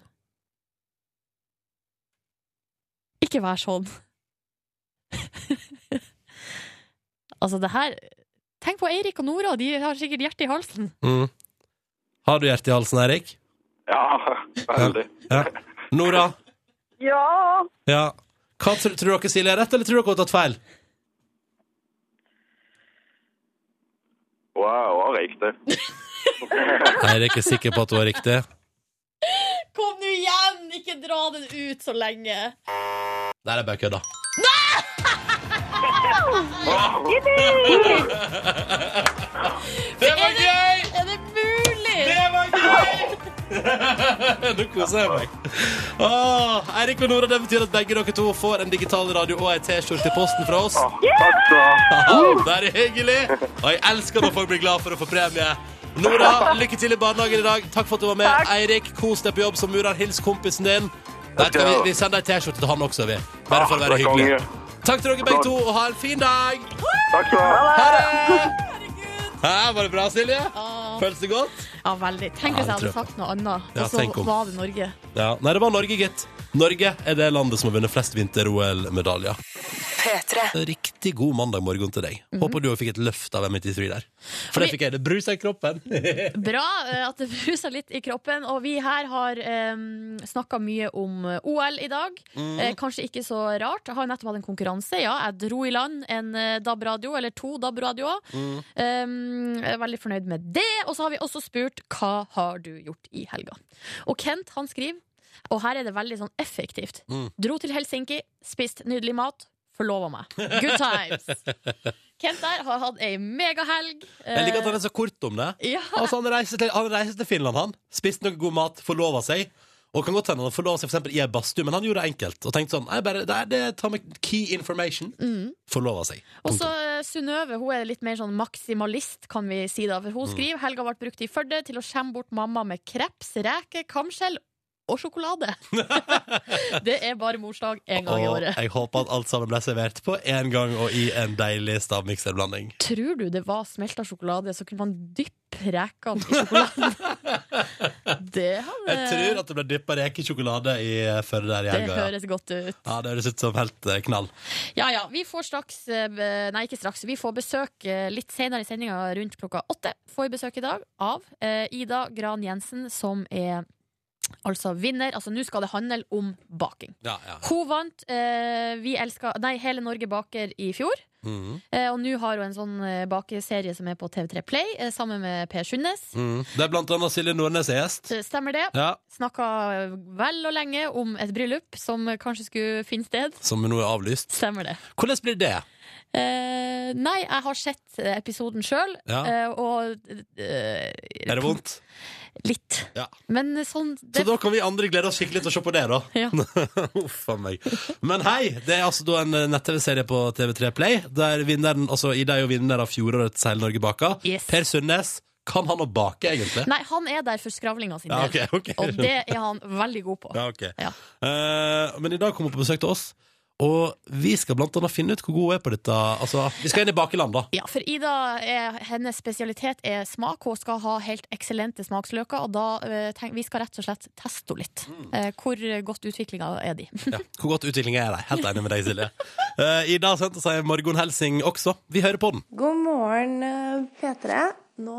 Speaker 4: Ikke vær sånn. altså, det her Tenk på Eirik og Nora, de har sikkert hjertet i halsen.
Speaker 2: Mm. Har du hjertet i halsen, Erik?
Speaker 3: Ja, veldig.
Speaker 2: Ja. Nora?
Speaker 1: Ja,
Speaker 2: Ja. Hva tror, tror dere Silje er rett, eller tror dere hun har tatt feil?
Speaker 3: Wow, var riktig.
Speaker 2: Eirik er sikker på at hun har riktig.
Speaker 4: Kom nå igjen! Ikke dra den ut så lenge.
Speaker 2: Der er bare kødda. Det var gøy!
Speaker 4: Er det mulig?
Speaker 2: Det var gøy! Nå koser jeg meg. Åh, Eirik og Nora, det betyr at begge dere to får en digital radio og ei T-skjorte i posten fra oss.
Speaker 3: Åh, takk skal du ha.
Speaker 2: Haha, Det er hyggelig. Og jeg elsker når folk blir glad for å få premie. Nora, lykke til i barnehagen i dag. Takk for at du var med. Eirik, kos deg på jobb som murer. Hils kompisen din. Der
Speaker 3: skal
Speaker 2: kan vi,
Speaker 3: jeg
Speaker 2: vi sender ei T-skjorte til han også, vi. Bare for å
Speaker 3: Ah,
Speaker 2: være
Speaker 3: det er konge.
Speaker 2: hyggelig. Takk til dere begge to, og ha en fin dag.
Speaker 3: Takk skal du ha.
Speaker 2: Ha det! Hæ, var det bra, Silje? Føles det godt?
Speaker 4: Ja, veldig. Tenk
Speaker 2: Ja, det
Speaker 4: hvis jeg hadde
Speaker 2: tror jeg
Speaker 4: sagt noe annet,
Speaker 2: Ja,
Speaker 4: og så
Speaker 2: tenk om.
Speaker 4: var det Norge.
Speaker 2: Ja, Nei, det var Norge, gitt. Norge er det landet som har vunnet flest vinter-OL-medaljer. Riktig god mandag morgen til deg. Håper du fikk et løft av M93 der. For det
Speaker 4: Mhm. Vi-
Speaker 2: fikk jeg. Det bruser i kroppen.
Speaker 4: Bra eh, at det bruser litt i kroppen. Og vi her har eh, snakka mye om eh, OL i dag.
Speaker 2: Mhm.
Speaker 4: Eh, kanskje ikke så rart. Jeg har nettopp hatt en konkurranse. Ja, jeg dro i land en eh, DAB-radio, eller to DAB-radioer.
Speaker 2: Mhm.
Speaker 4: Um, jeg er veldig fornøyd med det. Og så har vi også spurt hva har du gjort i helga. Og Kent han skriver, og her er det veldig sånn effektivt.
Speaker 2: Mm.
Speaker 4: Dro til Helsinki, spist nydelig mat, forlova meg. Good times. Kent der har hatt ei megahelg. eh,
Speaker 2: Jeg liker at han er så kort om det.
Speaker 4: Ja,
Speaker 2: Altså, han reiser til, han reiser til Finland, han. Spiste noe god mat, forlova seg. Og kan godt hende han forlova seg for eksempel, i ei badstue, men han gjorde det enkelt. Og tenkte sånn Nei, bare, det, er- det tar meg key information. Forlova seg.
Speaker 4: Mhm. Og så eh, Synnøve hun er litt mer sånn maksimalist, kan vi si. da For hun
Speaker 2: Mm.
Speaker 4: skriver helga ble brukt i Førde til å skjemme bort mamma med kreps, reker, kamskjell og sjokolade. det er bare morsdag én gang i
Speaker 2: Og
Speaker 4: året.
Speaker 2: jeg håper at alt sammen ble servert på én gang og i en deilig stavmikserblanding.
Speaker 4: Tror du det var smelta sjokolade, så kunne man dyppe rekene i sjokoladen? det hadde
Speaker 2: Jeg tror at det ble dyppa rekesjokolade i Førde der i
Speaker 4: Eh, det
Speaker 2: helga. ja.
Speaker 4: høres godt ut.
Speaker 2: Ja, det høres ut som helt eh, knall.
Speaker 4: Ja, ja. Vi får straks eh, be- Nei, ikke straks. Vi får besøk eh, litt senere i sendinga, rundt klokka åtte, får vi besøk i dag av eh, Ida Gran Jensen, som er altså vinner. Altså, nå skal det handle om baking.
Speaker 2: Ja, ja.
Speaker 4: Hun vant eh, Vi elsker Nei, Hele Norge baker i fjor.
Speaker 2: Mhm.
Speaker 4: Eh, og nå har hun en sånn eh, bakeserie som er på TV3 Play, eh, sammen med Per Sundnes.
Speaker 2: Mhm. Det er blant annet Silje Nordnes er gjest.
Speaker 4: Eh, Stemmer det?
Speaker 2: Ja,
Speaker 4: Snakka vel og lenge om et bryllup som eh, kanskje skulle finne sted.
Speaker 2: som nå er avlyst.
Speaker 4: Stemmer det.
Speaker 2: Hvordan blir det?
Speaker 4: Eh, nei, jeg har sett eh, episoden sjøl,
Speaker 2: Ja.
Speaker 4: eh, og eh,
Speaker 2: Er det vondt?
Speaker 4: Litt.
Speaker 2: Ja.
Speaker 4: Men sånn
Speaker 2: Så
Speaker 4: det,
Speaker 2: da kan vi andre glede oss skikkelig til å se på det, da.
Speaker 4: Ja.
Speaker 2: Uff a meg. Men hei, det er altså da en eh, nett-TV-serie på TV3 Play, der vinneren, altså Ida er jo vinner av fjorårets Hele Norge baka.
Speaker 4: Yes.
Speaker 2: Per Sundnes, kan han å bake, egentlig?
Speaker 4: Nei, han er der for skravlinga sin
Speaker 2: Ja,
Speaker 4: del,
Speaker 2: ok, ok.
Speaker 4: og det er han veldig god på.
Speaker 2: Ja, ok.
Speaker 4: Ja.
Speaker 2: Eh, men i dag kom hun på besøk til oss, Og vi skal blant annet finne ut hvor god hun er på dette. Altså, vi skal inn i bakeland, da.
Speaker 4: Ja, for Ida, er, hennes spesialitet er smak. Hun skal ha helt eksellente smaksløker. Og da, eh, tenk, vi skal rett og slett teste henne litt.
Speaker 2: Mm.
Speaker 4: Eh, Hvor godt utvikla er de?
Speaker 2: Ja, hvor godt utviklinga er de. Helt enig med deg, Silje. Eh, Ida har sendt oss ei morgenhelsing også. Vi hører på den.
Speaker 5: God morgen, eh, P3. Nå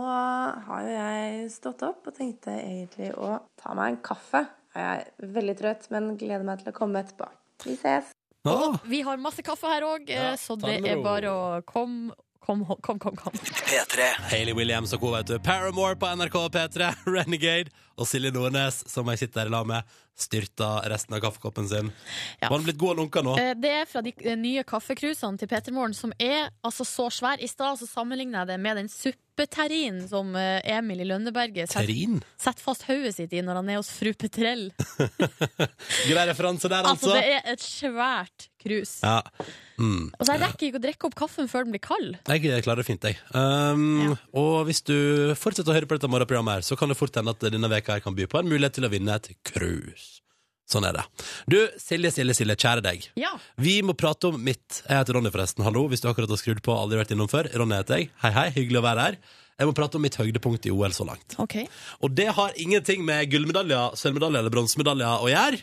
Speaker 5: har jo jeg stått opp og tenkte egentlig å ta meg en kaffe. Jeg er veldig trøtt, men gleder meg til å komme etterpå. Vi ses.
Speaker 2: Ah.
Speaker 4: Vi har masse kaffe her òg,
Speaker 2: Ja,
Speaker 4: så
Speaker 2: ta det
Speaker 4: det
Speaker 2: med
Speaker 4: er
Speaker 2: ro.
Speaker 4: bare å kom, kom, kom, kom, kom.
Speaker 2: Hayley Williams og hun, vet du. Paramore på NRK P3, Renegade og Silje Nordnes, som jeg sitter her i lag med, styrta resten av kaffekoppen sin.
Speaker 4: Ja.
Speaker 2: Var den blitt god og lunka nå?
Speaker 4: Eh, Det er fra de eh, nye kaffekrusene til Peter Morgen, som er altså så svær. I stad så sammenligna jeg det med den suppeterrinen som eh, Emil i Lønneberget setter
Speaker 2: Terin?
Speaker 4: setter fast hodet sitt i når han er hos fru Petrell.
Speaker 2: Grei referanse der,
Speaker 4: Altså,
Speaker 2: altså.
Speaker 4: det er et svært krus.
Speaker 2: Ja.
Speaker 4: Og så jeg rekker ikke å drikke opp kaffen før den blir kald.
Speaker 2: Jeg klarer det fint, jeg. Um,
Speaker 4: Ja.
Speaker 2: Og hvis du fortsetter å høre på dette morgenprogrammet, her, så kan det fort hende at denne veka her kan by på en mulighet til å vinne et cruise. Sånn er det. Du, Silje, Silje, Silje, kjære deg.
Speaker 4: Ja.
Speaker 2: Vi må prate om mitt. Jeg heter Ronny, forresten. Hallo, hvis du akkurat har skrudd på og aldri vært innom før. Ronny heter jeg. Hei, hei. Hyggelig å være her. Jeg må prate om mitt høydepunkt i OL så langt.
Speaker 4: Ok.
Speaker 2: Og det har ingenting med gullmedaljer, sølvmedaljer eller bronsemedaljer å gjøre.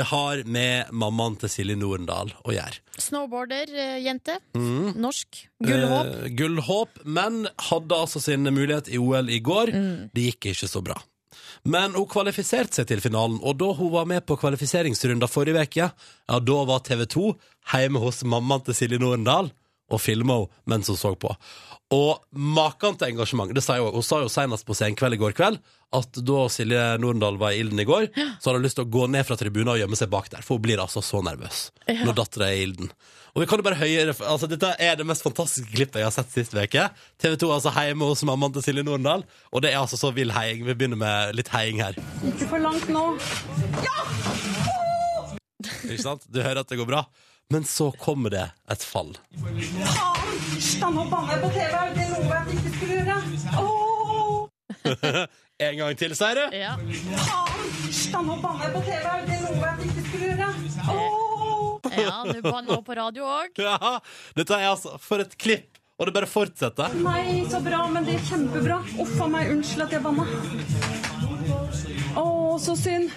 Speaker 2: Det har med mammaen til Silje Norendal å gjøre.
Speaker 4: Snowboarder-jente. eh,
Speaker 2: Mm.
Speaker 4: Norsk. Gullhåp.
Speaker 2: Eh, gullhåp, men hadde altså sin mulighet i OL i går. Det gikk ikke så bra. Men hun kvalifiserte seg til finalen, og da hun var med på kvalifiseringsrunda forrige uke, ja, da var TV 2 hjemme hos mammaen til Silje Nordendal og filma henne mens hun så på. Og maken til engasjement. Det sa jeg også. Hun sa jo senest på Senkveld i går kveld at da Silje Nordendal Eh, var i ilden i går, så hadde hun lyst til å gå ned fra tribunen og gjemme seg bak der, for hun blir altså så nervøs når dattera er i ilden. Og vi kan jo bare høyere, altså Dette er det mest fantastiske klippet jeg har sett sist uke. TV 2 er altså hjemme hos mammaen til Silje Nordendal, og det er altså så vill heiing. Vi begynner med litt heiing her. Ikke sant? Du hører at det går bra. Men så kommer det et fall.
Speaker 6: Faen, nå banner jeg på TV. Er det noe jeg ikke skulle gjøre? Åh,
Speaker 2: En gang til, sier du?
Speaker 4: Ja.
Speaker 6: faen. Faen, nå banner jeg på TV. Er det noe jeg ikke skulle gjøre? Åh.
Speaker 4: ja, nå banner hun på radio òg.
Speaker 2: Ja. Dette er altså For et klipp! Og det bare fortsetter.
Speaker 6: Nei, så bra, men det er kjempebra. Uff a meg, unnskyld at jeg banna. Å, så synd.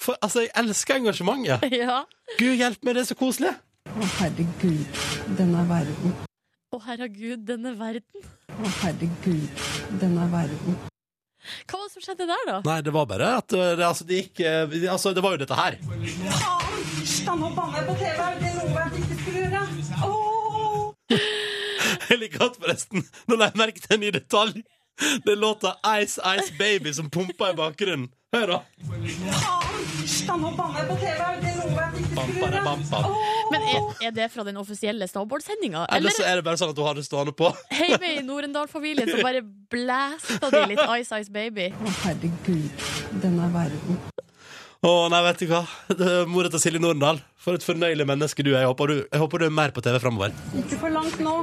Speaker 2: For, altså, jeg elsker engasjementet.
Speaker 4: Ja.
Speaker 2: Gud hjelpe meg, det er så koselig!
Speaker 7: Å, herregud, denne verden.
Speaker 4: Å, herregud, denne verden.
Speaker 7: Å, herregud, denne verden.
Speaker 4: Hva var det som skjedde der, da?
Speaker 2: Nei, det var bare at uh, det, altså, det gikk uh, Altså, det var jo dette her.
Speaker 6: Faen, faen, nå banner jeg på TV. Er det noe jeg ikke skulle gjøre? Åh.
Speaker 2: Jeg liker at forresten Nå la jeg merke til en ny detalj Det er låta Ice Ice Baby som pumper i bakgrunnen Hør da
Speaker 6: Faen, faen, nå banner jeg på TV. Er det noe jeg ikke
Speaker 2: Bam,
Speaker 6: skulle
Speaker 2: bare,
Speaker 6: gjøre?
Speaker 2: bam, bam.
Speaker 4: Men er, er det fra den offisielle snowboardsendinga?
Speaker 2: Eller
Speaker 4: Eller
Speaker 2: så er det bare sånn at hun har det stående på
Speaker 4: hjemme i Norendal-familien så bare blæsta de litt Ice Ice Baby?
Speaker 7: Å, herregud, denne verden.
Speaker 2: Å nei, vet du hva Moret til Silje Nordendal For et fornøyelig menneske du er Jeg håper du, jeg håper du er mer på TV fremover
Speaker 6: Ikke for langt nå.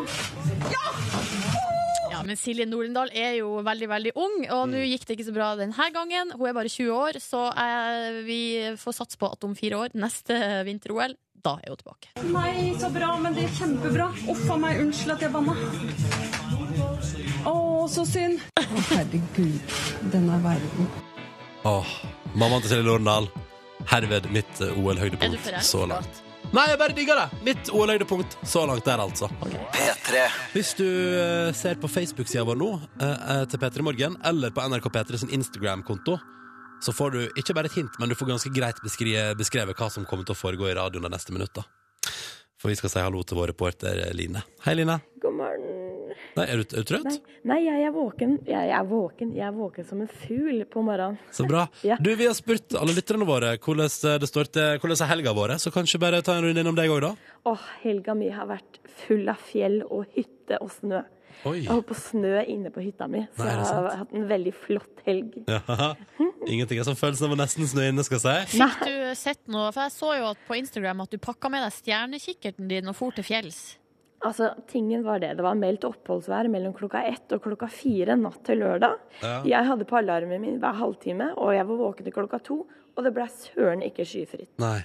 Speaker 4: Ja, men Silje Nordendal er jo veldig, veldig ung, og nå
Speaker 2: Mm.
Speaker 4: gikk det ikke så bra denne gangen. Hun er bare 20 år, så eh, vi får satse på at om fire år, neste vinter-OL, da er hun tilbake.
Speaker 6: Nei, så bra, men det er kjempebra. Uff a meg, unnskyld at jeg banna. Å, så synd.
Speaker 7: Å, herregud, denne verden.
Speaker 2: Åh, mammaen til Silje Nordendal Herved mitt eh,
Speaker 4: Er du
Speaker 2: OL-høydepunkt
Speaker 4: forelsket?
Speaker 2: så langt Nei, jeg bare digger det Mitt OL-høydepunkt så langt der altså Hvis du eh, ser på Facebook-sida vår nå, eh, eh, til P3 Morgen, eller på NRK P3 sin Instagram-konto, så får du ikke bare et hint, men du får ganske greit beskri beskrevet hva som kommer til å foregå i radioen de neste minutta. For vi skal si hallo til vår reporter eh, Line. Hei, Line.
Speaker 8: God morgen.
Speaker 2: Nei, er, du, er du trøtt?
Speaker 8: Nei, nei jeg er våken. Jeg er våken. Jeg er våken som en fugl på morgenen.
Speaker 2: Så bra.
Speaker 8: Ja.
Speaker 2: Du, Vi har spurt alle lytterne våre hvordan eh, det står til hvordan er helga vår, så kanskje bare ta en runde innom deg òg, da?
Speaker 8: Åh, helga mi har vært full av fjell og hytte og snø.
Speaker 2: Oi.
Speaker 8: Jeg holdt på å snø inne på hytta mi, så
Speaker 2: Nei, er det
Speaker 8: jeg har
Speaker 2: sant?
Speaker 8: hatt en veldig flott helg.
Speaker 2: Ja. Ingenting er som følelsen av å nesten snø inne, skal jeg si.
Speaker 4: Fikk du sett noe? For jeg så jo at på Instagram at du pakka med deg stjernekikkerten din og for til fjells.
Speaker 8: Altså, tingen var det. Det var meldt oppholdsvær mellom klokka ett og klokka fire natt til lørdag.
Speaker 2: Ja.
Speaker 8: Jeg hadde på alarmen min hver halvtime, og jeg var våken til klokka to, og det ble søren ikke skyfritt.
Speaker 2: Nei.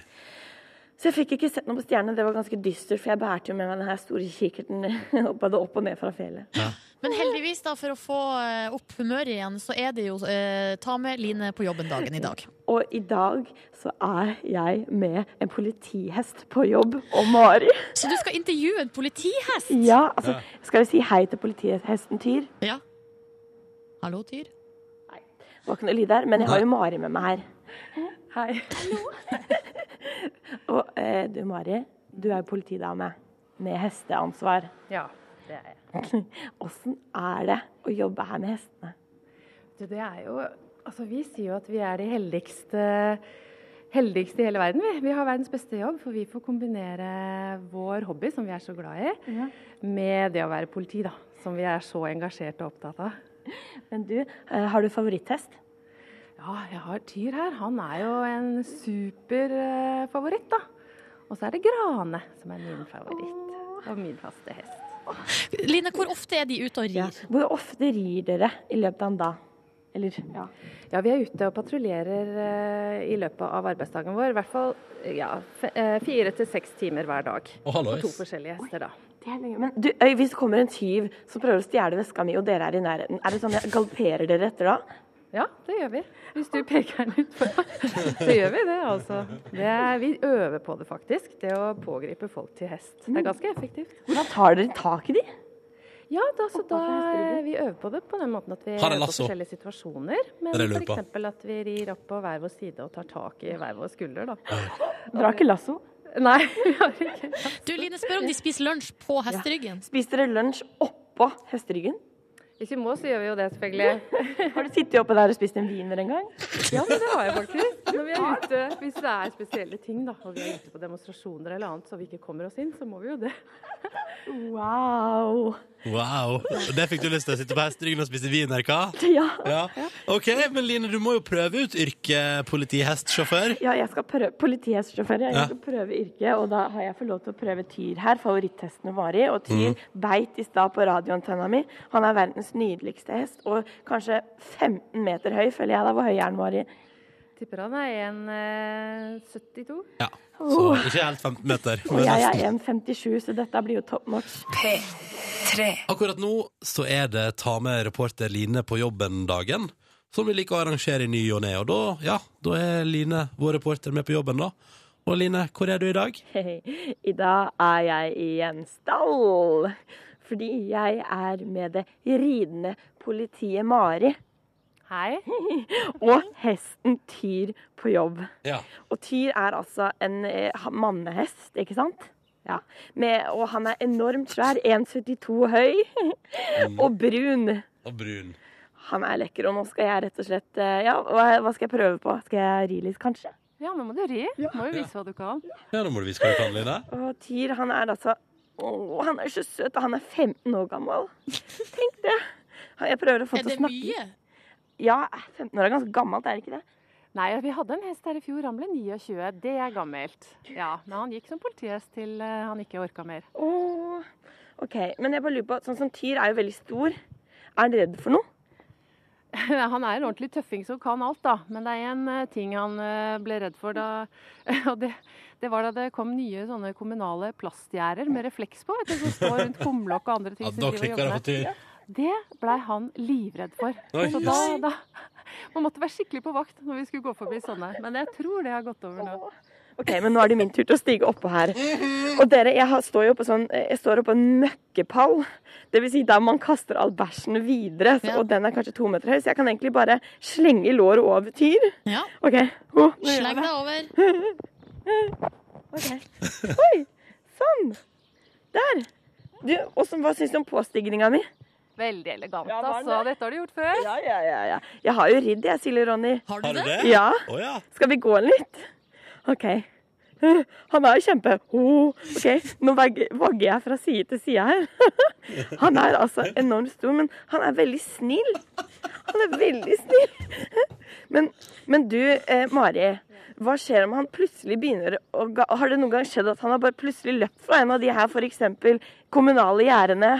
Speaker 9: Så jeg fikk ikke sett noe på stjernene. Det var ganske dystert, for jeg bærte jo med meg den her store kikkerten opp, både opp og ned fra fjellet.
Speaker 4: Men heldigvis, da, for å få eh, opp humøret igjen, så er det jo eh, ta med Line på jobben dagen i dag.
Speaker 9: Og i dag så er jeg med en politihest på jobb og Mari.
Speaker 4: Så du skal intervjue en politihest?
Speaker 9: Ja, altså, skal vi si hei til politihesten Tyr?
Speaker 4: Ja. Hallo, Tyr.
Speaker 9: Det var ikke noe lyd der, men jeg har jo Mari med meg her. Hei. og eh, du, Mari, du er jo politidame med hesteansvar.
Speaker 10: Ja, det er jeg.
Speaker 9: Åssen er det å jobbe her med hestene?
Speaker 10: Du, det er jo Altså, vi sier jo at vi er de heldigste heldigste i hele verden. Vi, vi har verdens beste jobb, for vi får kombinere vår hobby, som vi er så glad i, med det å være politi, da. Som vi er så engasjert og opptatt av.
Speaker 9: Men du, eh, har du favoritthest?
Speaker 10: Ja, jeg har Tyr her. Han er jo en superfavoritt, da. Og så er det Grane, som er min favoritt. Og min faste hest.
Speaker 4: Line, hvor ofte er de ute og rir?
Speaker 9: Hvor ofte rir dere i løpet av en dag? Eller ja.
Speaker 10: Ja, vi er ute og patruljerer eh, i løpet av arbeidsdagen vår. I hvert fall ja, fe- eh, fire til seks timer hver dag.
Speaker 2: Å, hallois.
Speaker 10: På to forskjellige hester, da.
Speaker 9: Det er lenge. Men du, øy, hvis det kommer en tyv som prøver å stjele veska mi, og dere er i nærheten, er det sånn at galopperer dere etter da?
Speaker 10: Ja, det gjør vi. Hvis du peker den ut på så gjør vi det, altså. Det er, vi øver på det faktisk, det å pågripe folk til hest. Det er ganske effektivt.
Speaker 9: Mm. Hvordan tar dere tak i de?
Speaker 10: Ja, da, så da vi øver på det på den måten at vi
Speaker 2: Har
Speaker 10: øver
Speaker 2: en
Speaker 10: på
Speaker 2: lasso.
Speaker 10: forskjellige situasjoner. Men
Speaker 2: Det er det jeg lurer på.
Speaker 10: f.eks. at vi rir opp på hver vår side og tar tak i hver vår skulder, da.
Speaker 9: Dere har ikke lasso?
Speaker 10: Nei, vi har ikke
Speaker 4: Du, Line, spør om de spiser lunsj på hesteryggen.
Speaker 9: Spiser dere lunsj oppå hesteryggen?
Speaker 10: Hvis vi må, så gjør vi jo det, selvfølgelig.
Speaker 9: Har du sittet oppe der og spist en wiener en gang?
Speaker 10: Ja, men det har jeg faktisk. Når vi er ute, hvis det er spesielle ting, da, og vi er ute på demonstrasjoner eller annet, så vi ikke kommer oss inn, så må vi jo det.
Speaker 9: Wow.
Speaker 2: Wow. Det fikk du lyst til å sitte på hesteryggen og spise vin her, hva?
Speaker 9: Ja.
Speaker 2: Ja. OK, men Line, du må jo prøve ut yrket politihestsjåfør.
Speaker 9: ja, jeg skal prøve politihestsjåfør. Jeg
Speaker 2: Ja.
Speaker 9: skal prøve yrket, og da har jeg fått lov til å prøve Tyr her. Favoritthesten Mari. Og Tyr beit i stad på radioantenna mi. Han er verdens nydeligste hest, og kanskje 15 meter høy, føler jeg da. Hvor høy er han, Mari?
Speaker 10: Tipper han er 1,72.
Speaker 2: Ja. Så ikke helt 15 meter.
Speaker 9: Og
Speaker 2: men
Speaker 9: jeg
Speaker 2: nesten.
Speaker 9: er 1,57, så dette blir jo top notch.
Speaker 2: Akkurat nå så er det ta med reporter Line på jobben-dagen, som vi liker å arrangere i ny og ne. Og da, ja, da er Line, vår reporter, med på jobben, da. Og Line, hvor er du i dag?
Speaker 9: I dag er jeg i en stall. Fordi jeg er med det ridende politiet Mari
Speaker 10: Hei.
Speaker 9: og hesten Tyr på jobb.
Speaker 2: Ja.
Speaker 9: Og Tyr er altså en eh, ha- mannehest, ikke sant? Ja. Med, og han er enormt svær, 1,72 høy og brun.
Speaker 2: Og brun.
Speaker 9: Han er lekker, og nå skal jeg rett og slett eh, Ja, hva, hva skal jeg prøve på? Skal jeg ri litt, kanskje?
Speaker 10: Ja, nå må du ri. Må jo vise hva du kan.
Speaker 2: Ja, nå må du vise hva du kan, Line.
Speaker 9: Og Tyr, han er altså Å, han er så søt, og han er 15 år gammel. Tenk det. Han- Jeg prøver å få
Speaker 4: Er
Speaker 9: til å
Speaker 4: det
Speaker 9: snakke
Speaker 4: mye?
Speaker 9: Ja, 15 år er ganske gammelt, er det ikke det?
Speaker 10: Nei, vi hadde en hest her i fjor. Han ble 29. Det er gammelt. Ja, Men han gikk som politihest til eh, han ikke orka mer.
Speaker 9: Åh. OK. Men jeg bare lurer på, sånn som Tyr er jo veldig stor. Er han redd for noe?
Speaker 10: Han er en ordentlig tøffing som kan alt, da. Men det er en eh, ting han eh, ble redd for da Og det, det var da det kom nye sånne kommunale plastgjerder med refleks på, vet du, som står rundt kumlokk og andre ting.
Speaker 2: Ja,
Speaker 10: som
Speaker 2: da
Speaker 10: driver og
Speaker 2: klikker det
Speaker 10: jobber
Speaker 2: på Tyr.
Speaker 10: med. Det blei han livredd for.
Speaker 2: Oi,
Speaker 10: Så da,
Speaker 2: jøss.
Speaker 10: da Man måtte være skikkelig på vakt når vi skulle gå forbi sånne. Men jeg tror det har gått over nå.
Speaker 9: OK, men nå er det min tur til å stige oppå her. Og dere, jeg har- står jo på sånn Jeg står oppå en møkkepall. Det vil si der man kaster all bæsjen videre, så,
Speaker 4: Ja.
Speaker 9: og den er kanskje to meter høy, så jeg kan egentlig bare slenge låret over Tyr.
Speaker 4: Ja.
Speaker 9: OK. Åh, nå gjør jeg
Speaker 4: Sleng
Speaker 9: det.
Speaker 4: deg over.
Speaker 9: Oi! Sånn! Der! Du, åssen- hva syns du om påstigninga mi?
Speaker 10: Veldig elegant,
Speaker 9: Ja, var det?
Speaker 10: altså. Dette har du gjort før.
Speaker 9: Ja, ja, ja, ja. Jeg har jo ridd, jeg, Silje Ronny.
Speaker 4: Har
Speaker 2: Har
Speaker 4: du
Speaker 2: du
Speaker 4: det?
Speaker 2: det?
Speaker 9: Ja.
Speaker 2: Å ja.
Speaker 9: Skal vi gå en litt? OK. Eh, Han er jo kjempe... Oh, OK, nå vagg- vagger jeg fra side til side her. Han er altså enormt stor, men han er veldig snill. Han er veldig snill. Men, men du, eh, Mari. Hva skjer om han plutselig begynner å ga Har det noen gang skjedd at han har bare plutselig løpt fra en av de her f.eks. kommunale gjerdene?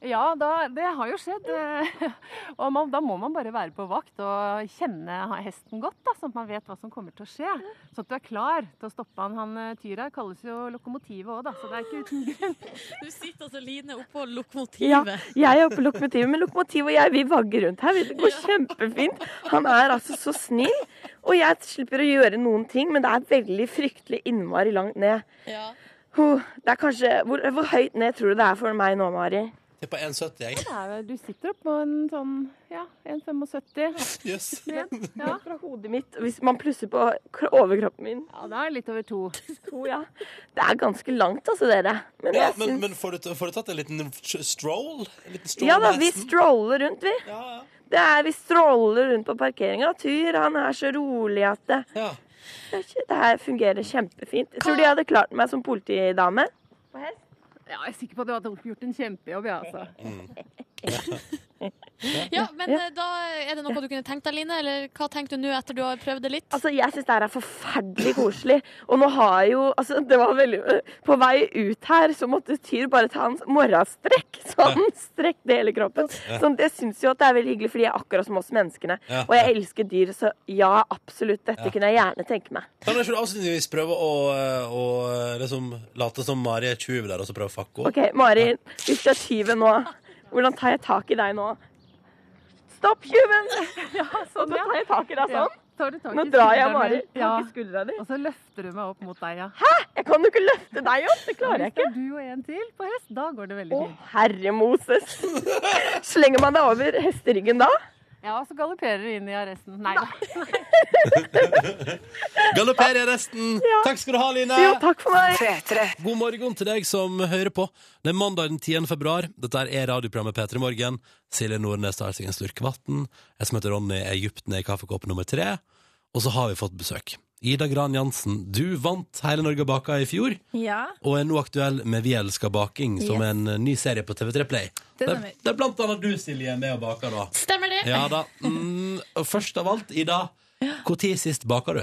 Speaker 10: Ja, da, det har jo skjedd. eh, Og man, da må man bare være på vakt og kjenne ha- hesten godt, da, sånn at man vet hva som kommer til å skje. Sånn at du er klar til å stoppe han. han eh, tyra kalles jo lokomotivet òg, da, så det er ikke uten grunn.
Speaker 4: Du sitter altså, Line, oppå
Speaker 9: Ja,
Speaker 4: lokomotivet.
Speaker 9: jeg er oppe i lokomotivet, men lokomotivet og jeg vi vagger rundt her. Det går kjempefint. Han er altså så snill. Og jeg slipper å gjøre noen ting, men det er veldig fryktelig innmari langt ned.
Speaker 4: Ja.
Speaker 9: Huh, Det er kanskje, hvor, hvor høyt ned tror du det er for meg nå, Mari?
Speaker 2: Det er på 1,70, jeg.
Speaker 10: Det er jo- Du sitter oppå en sånn ja, 1,75
Speaker 2: Jøss.
Speaker 10: ned. Ja.
Speaker 9: Fra hodet mitt, og hvis man plusser på kro- overkroppen min.
Speaker 10: ja, da er det litt over to.
Speaker 9: To, ja. Det er ganske langt, altså, dere. Men
Speaker 2: Ja,
Speaker 9: jeg
Speaker 2: men,
Speaker 9: syns
Speaker 2: men får, du, får du tatt en liten stroll? En liten stroll
Speaker 9: Ja da,
Speaker 2: med
Speaker 9: vi
Speaker 2: hesten?
Speaker 9: stroller rundt, vi.
Speaker 2: Ja, ja.
Speaker 9: Det er, vi stroller rundt på parkeringa. Tyr, han er så rolig at det
Speaker 2: ja.
Speaker 9: Det er ikke- det her fungerer kjempefint. Jeg tror de hadde klart meg som politidame.
Speaker 10: Ja, jeg er sikker på at du hadde gjort en kjempejobb, ja, altså.
Speaker 4: Ja, men eh, da er det noe du kunne tenkt deg, Line? Eller hva tenkte du nå etter du har prøvd det litt?
Speaker 9: Altså, Jeg syns det her er forferdelig koselig. Og nå har jeg jo altså, det var veldig, På vei ut her så måtte Tyr bare ta en morgenstrekk. Så han strekte hele kroppen. Så jeg syns jo at det er veldig hyggelig, for de er akkurat som oss menneskene.
Speaker 2: Ja.
Speaker 9: Og jeg elsker dyr, så ja, absolutt. Dette kunne jeg gjerne tenke meg.
Speaker 2: Kan du ikke avslutningsvis prøve å, eh, å liksom, late som Mari er 20 der, og så prøve å fucke henne?
Speaker 9: OK, Mari. Hvis du er tyven nå, hvordan tar jeg tak i deg nå? Stopp tjuven! Ja, sånn, Nå tar jeg tak i deg sånn.
Speaker 10: Tar du tak i
Speaker 9: Nå drar jeg,
Speaker 10: skuldrene?
Speaker 9: Mari. Tak
Speaker 10: Ja.
Speaker 9: i skuldra di.
Speaker 10: Og så løfter du meg opp mot deg, ja.
Speaker 9: Jeg kan jo ikke løfte deg opp! Det klarer jeg
Speaker 10: Hvis det
Speaker 9: ikke.
Speaker 10: er du og en til på hest, da går det veldig
Speaker 9: Å,
Speaker 10: fint.
Speaker 9: herre Moses. Slenger man deg over hesteryggen da?
Speaker 10: Ja, og så galopperer du inn i arresten. Nei da.
Speaker 2: Galopper i resten! Takk skal du ha, Line!
Speaker 9: Jo, takk for meg.
Speaker 2: God morgen til deg som hører på. Det er mandag den 10. februar. Dette er radioprogrammet P3 Morgen. Silje Nordnes tar seg en slurk vann. Jeg som heter Ronny, er dypt ned i kaffekopp nummer tre. Og så har vi fått besøk. Ida Gran Jansen, du vant Hele Norge baka i fjor,
Speaker 11: Ja,
Speaker 2: og er nå aktuell med Vi elsker baking, som
Speaker 11: Yes.
Speaker 2: er en ny serie på TV3 Play.
Speaker 11: Det
Speaker 2: Der,
Speaker 11: stemmer.
Speaker 2: der blant annet du, Silje, er med og baker, da.
Speaker 4: Stemmer det?
Speaker 2: Ja da. Mm, og først av alt, Ida, når sist baka du?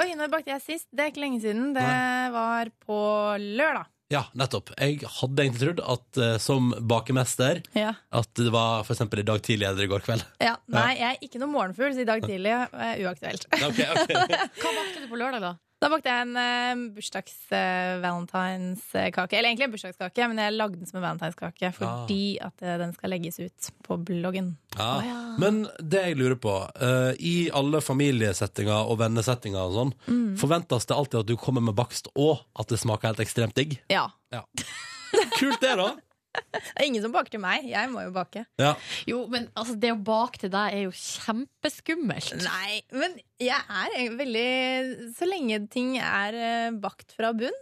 Speaker 11: Oi, når bakte jeg sist? Det er ikke lenge siden. Det var på lørdag.
Speaker 2: Ja, nettopp. Jeg hadde egentlig trodd at eh, som bakemester
Speaker 11: Ja.
Speaker 2: At det var for eksempel i dag tidlig eller i går kveld.
Speaker 11: ja. Nei, jeg er ikke noen morgenfugl, så i dag tidlig er uaktuelt.
Speaker 2: Ok, ok.
Speaker 4: Hva bakte du på lørdag, da?
Speaker 11: Da bakte jeg en eh, bursdags-valentinskake. Eller egentlig en bursdagskake, men jeg lagde den som en valentinskake fordi at eh, den skal legges ut på bloggen.
Speaker 2: Ja. Men det jeg lurer på, eh, i alle familiesettinger og vennesettinger og sånn,
Speaker 11: Mm.
Speaker 2: forventes det alltid at du kommer med bakst og at det smaker helt ekstremt digg?
Speaker 11: Ja.
Speaker 2: Ja. Kult det, da!
Speaker 11: Det er ingen som baker til meg. Jeg må jo bake.
Speaker 2: Ja.
Speaker 4: Jo, men altså, det å bake til deg er jo kjempeskummelt.
Speaker 11: Nei, men jeg er en veldig Så lenge ting er eh, bakt fra bunn,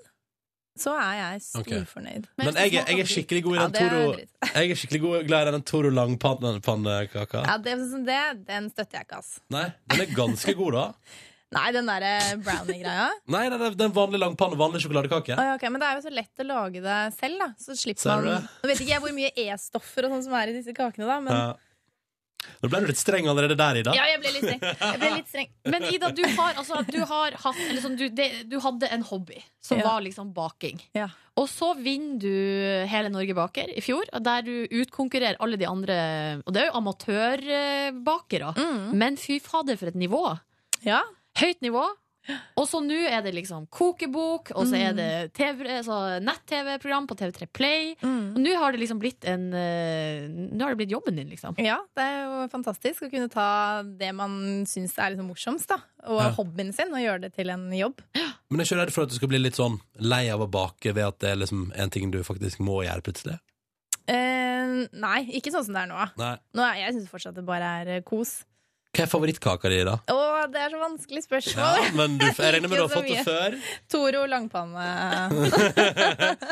Speaker 11: så er jeg
Speaker 2: Ok.
Speaker 11: storfornøyd.
Speaker 2: Men jeg, er- jeg er skikkelig god i
Speaker 11: Ja,
Speaker 2: den
Speaker 11: det er
Speaker 2: Toro
Speaker 11: dritt.
Speaker 2: Jeg er skikkelig god, glad i den Toro Langpannekaka.
Speaker 11: Ja, det, det, den støtter jeg ikke, ass.
Speaker 2: Nei, den er ganske god, da.
Speaker 11: Nei, den derre brownie-greia.
Speaker 2: Nei, den, er- den vanlige langpanne, vanlig sjokoladekake.
Speaker 11: Å ja, ok, men det er jo så lett å lage det selv, da. Så slipper
Speaker 2: Ser du
Speaker 11: man
Speaker 2: det?
Speaker 11: Nå vet ikke jeg hvor mye E-stoffer og sånn som er i disse kakene, da, men
Speaker 2: Ja. Nå ble du litt streng allerede der, Ida.
Speaker 11: Ja, jeg ble litt streng. Jeg ble litt streng.
Speaker 4: Men Ida, du har, altså, du har hatt eller sånn, du, det, du hadde en hobby som
Speaker 11: Ja.
Speaker 4: var liksom baking.
Speaker 11: Ja.
Speaker 4: Og så vinner du Hele Norge baker i fjor, og der du utkonkurrerer alle de andre Og det er jo amatørbakere.
Speaker 11: Mm.
Speaker 4: Men fy fader, for et nivå!
Speaker 11: Ja.
Speaker 4: Høyt nivå. Og så nå er det liksom kokebok, og så
Speaker 11: Mm.
Speaker 4: er det TV altså nett-TV-program på TV3 Play.
Speaker 11: Mm.
Speaker 4: Og nå har det liksom blitt en eh, Nå har det blitt jobben din, liksom.
Speaker 11: ja, det er jo fantastisk å kunne ta det man syns er liksom morsomst, da, og
Speaker 2: Ja.
Speaker 11: hobbyen sin, og gjøre det til en jobb.
Speaker 2: Men jeg er ikke redd for at du skal bli litt sånn lei av å bake ved at det er liksom en ting du faktisk må gjøre plutselig?
Speaker 11: Eh, nei, ikke sånn som det er nå. da.
Speaker 2: Nei.
Speaker 11: nå er, jeg syns fortsatt det bare er eh, kos.
Speaker 2: Hva er favorittkaka di, da?
Speaker 11: Å, det er så vanskelig
Speaker 2: Ja,
Speaker 11: spørsmål!
Speaker 2: men du, jeg regner med du har
Speaker 11: Ikke så
Speaker 2: fått det før.
Speaker 11: Toro langpanne.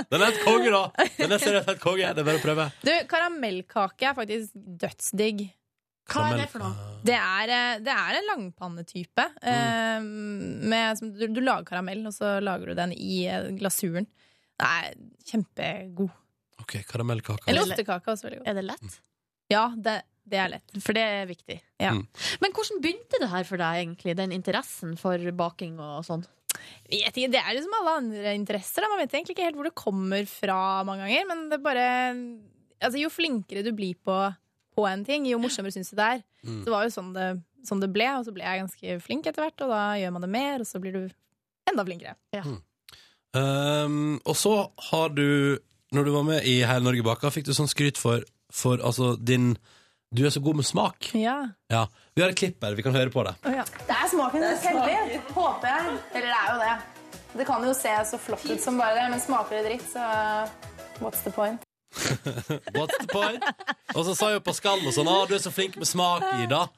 Speaker 2: Den er et konge, da! Den er seriøst helt konge. Det er bare å prøve.
Speaker 11: Du, karamellkake er faktisk dødsdigg.
Speaker 4: Hva er det for noe?
Speaker 2: Ah,
Speaker 11: Det er, eh, det er en langpannetype.
Speaker 9: Mm.
Speaker 11: eh, med, som, du, du lager karamell, og så lager du den i eh, glasuren. Den er kjempegod.
Speaker 2: Ok, karamellkake.
Speaker 11: Eller
Speaker 2: altså.
Speaker 11: ostekake er også veldig god.
Speaker 4: Er det lett?
Speaker 11: Ja, det, det er lett.
Speaker 4: For det er viktig.
Speaker 11: Ja.
Speaker 2: Mm.
Speaker 4: Men hvordan begynte det her for deg, egentlig? Den interessen for baking og sånn?
Speaker 11: Jeg vet ikke, det er liksom alle andre interesser. Da. Man vet egentlig ikke helt hvor det kommer fra mange ganger, men det bare altså, jo flinkere du blir på, på en ting, jo morsommere syns du det er.
Speaker 2: Mm.
Speaker 11: Så det var jo sånn det, sånn det ble, og så ble jeg ganske flink etter hvert, og da gjør man det mer, og så blir du enda flinkere.
Speaker 2: Um, og så har du, når du var med i Hele Norge baka, fikk du sånn skryt for, for altså, din Du er så god med smak.
Speaker 11: Ja.
Speaker 2: Ja. Vi har et klipp her, vi kan høre på det.
Speaker 12: Det er smaken det teller, håper jeg. Eller det er jo det. Det kan jo se så flott ut som bare det, men smaker det dritt, så what's the point?
Speaker 2: What's the point? Og så sa jo Pascal og sånn 'Å, du er så flink med smak, Ida'.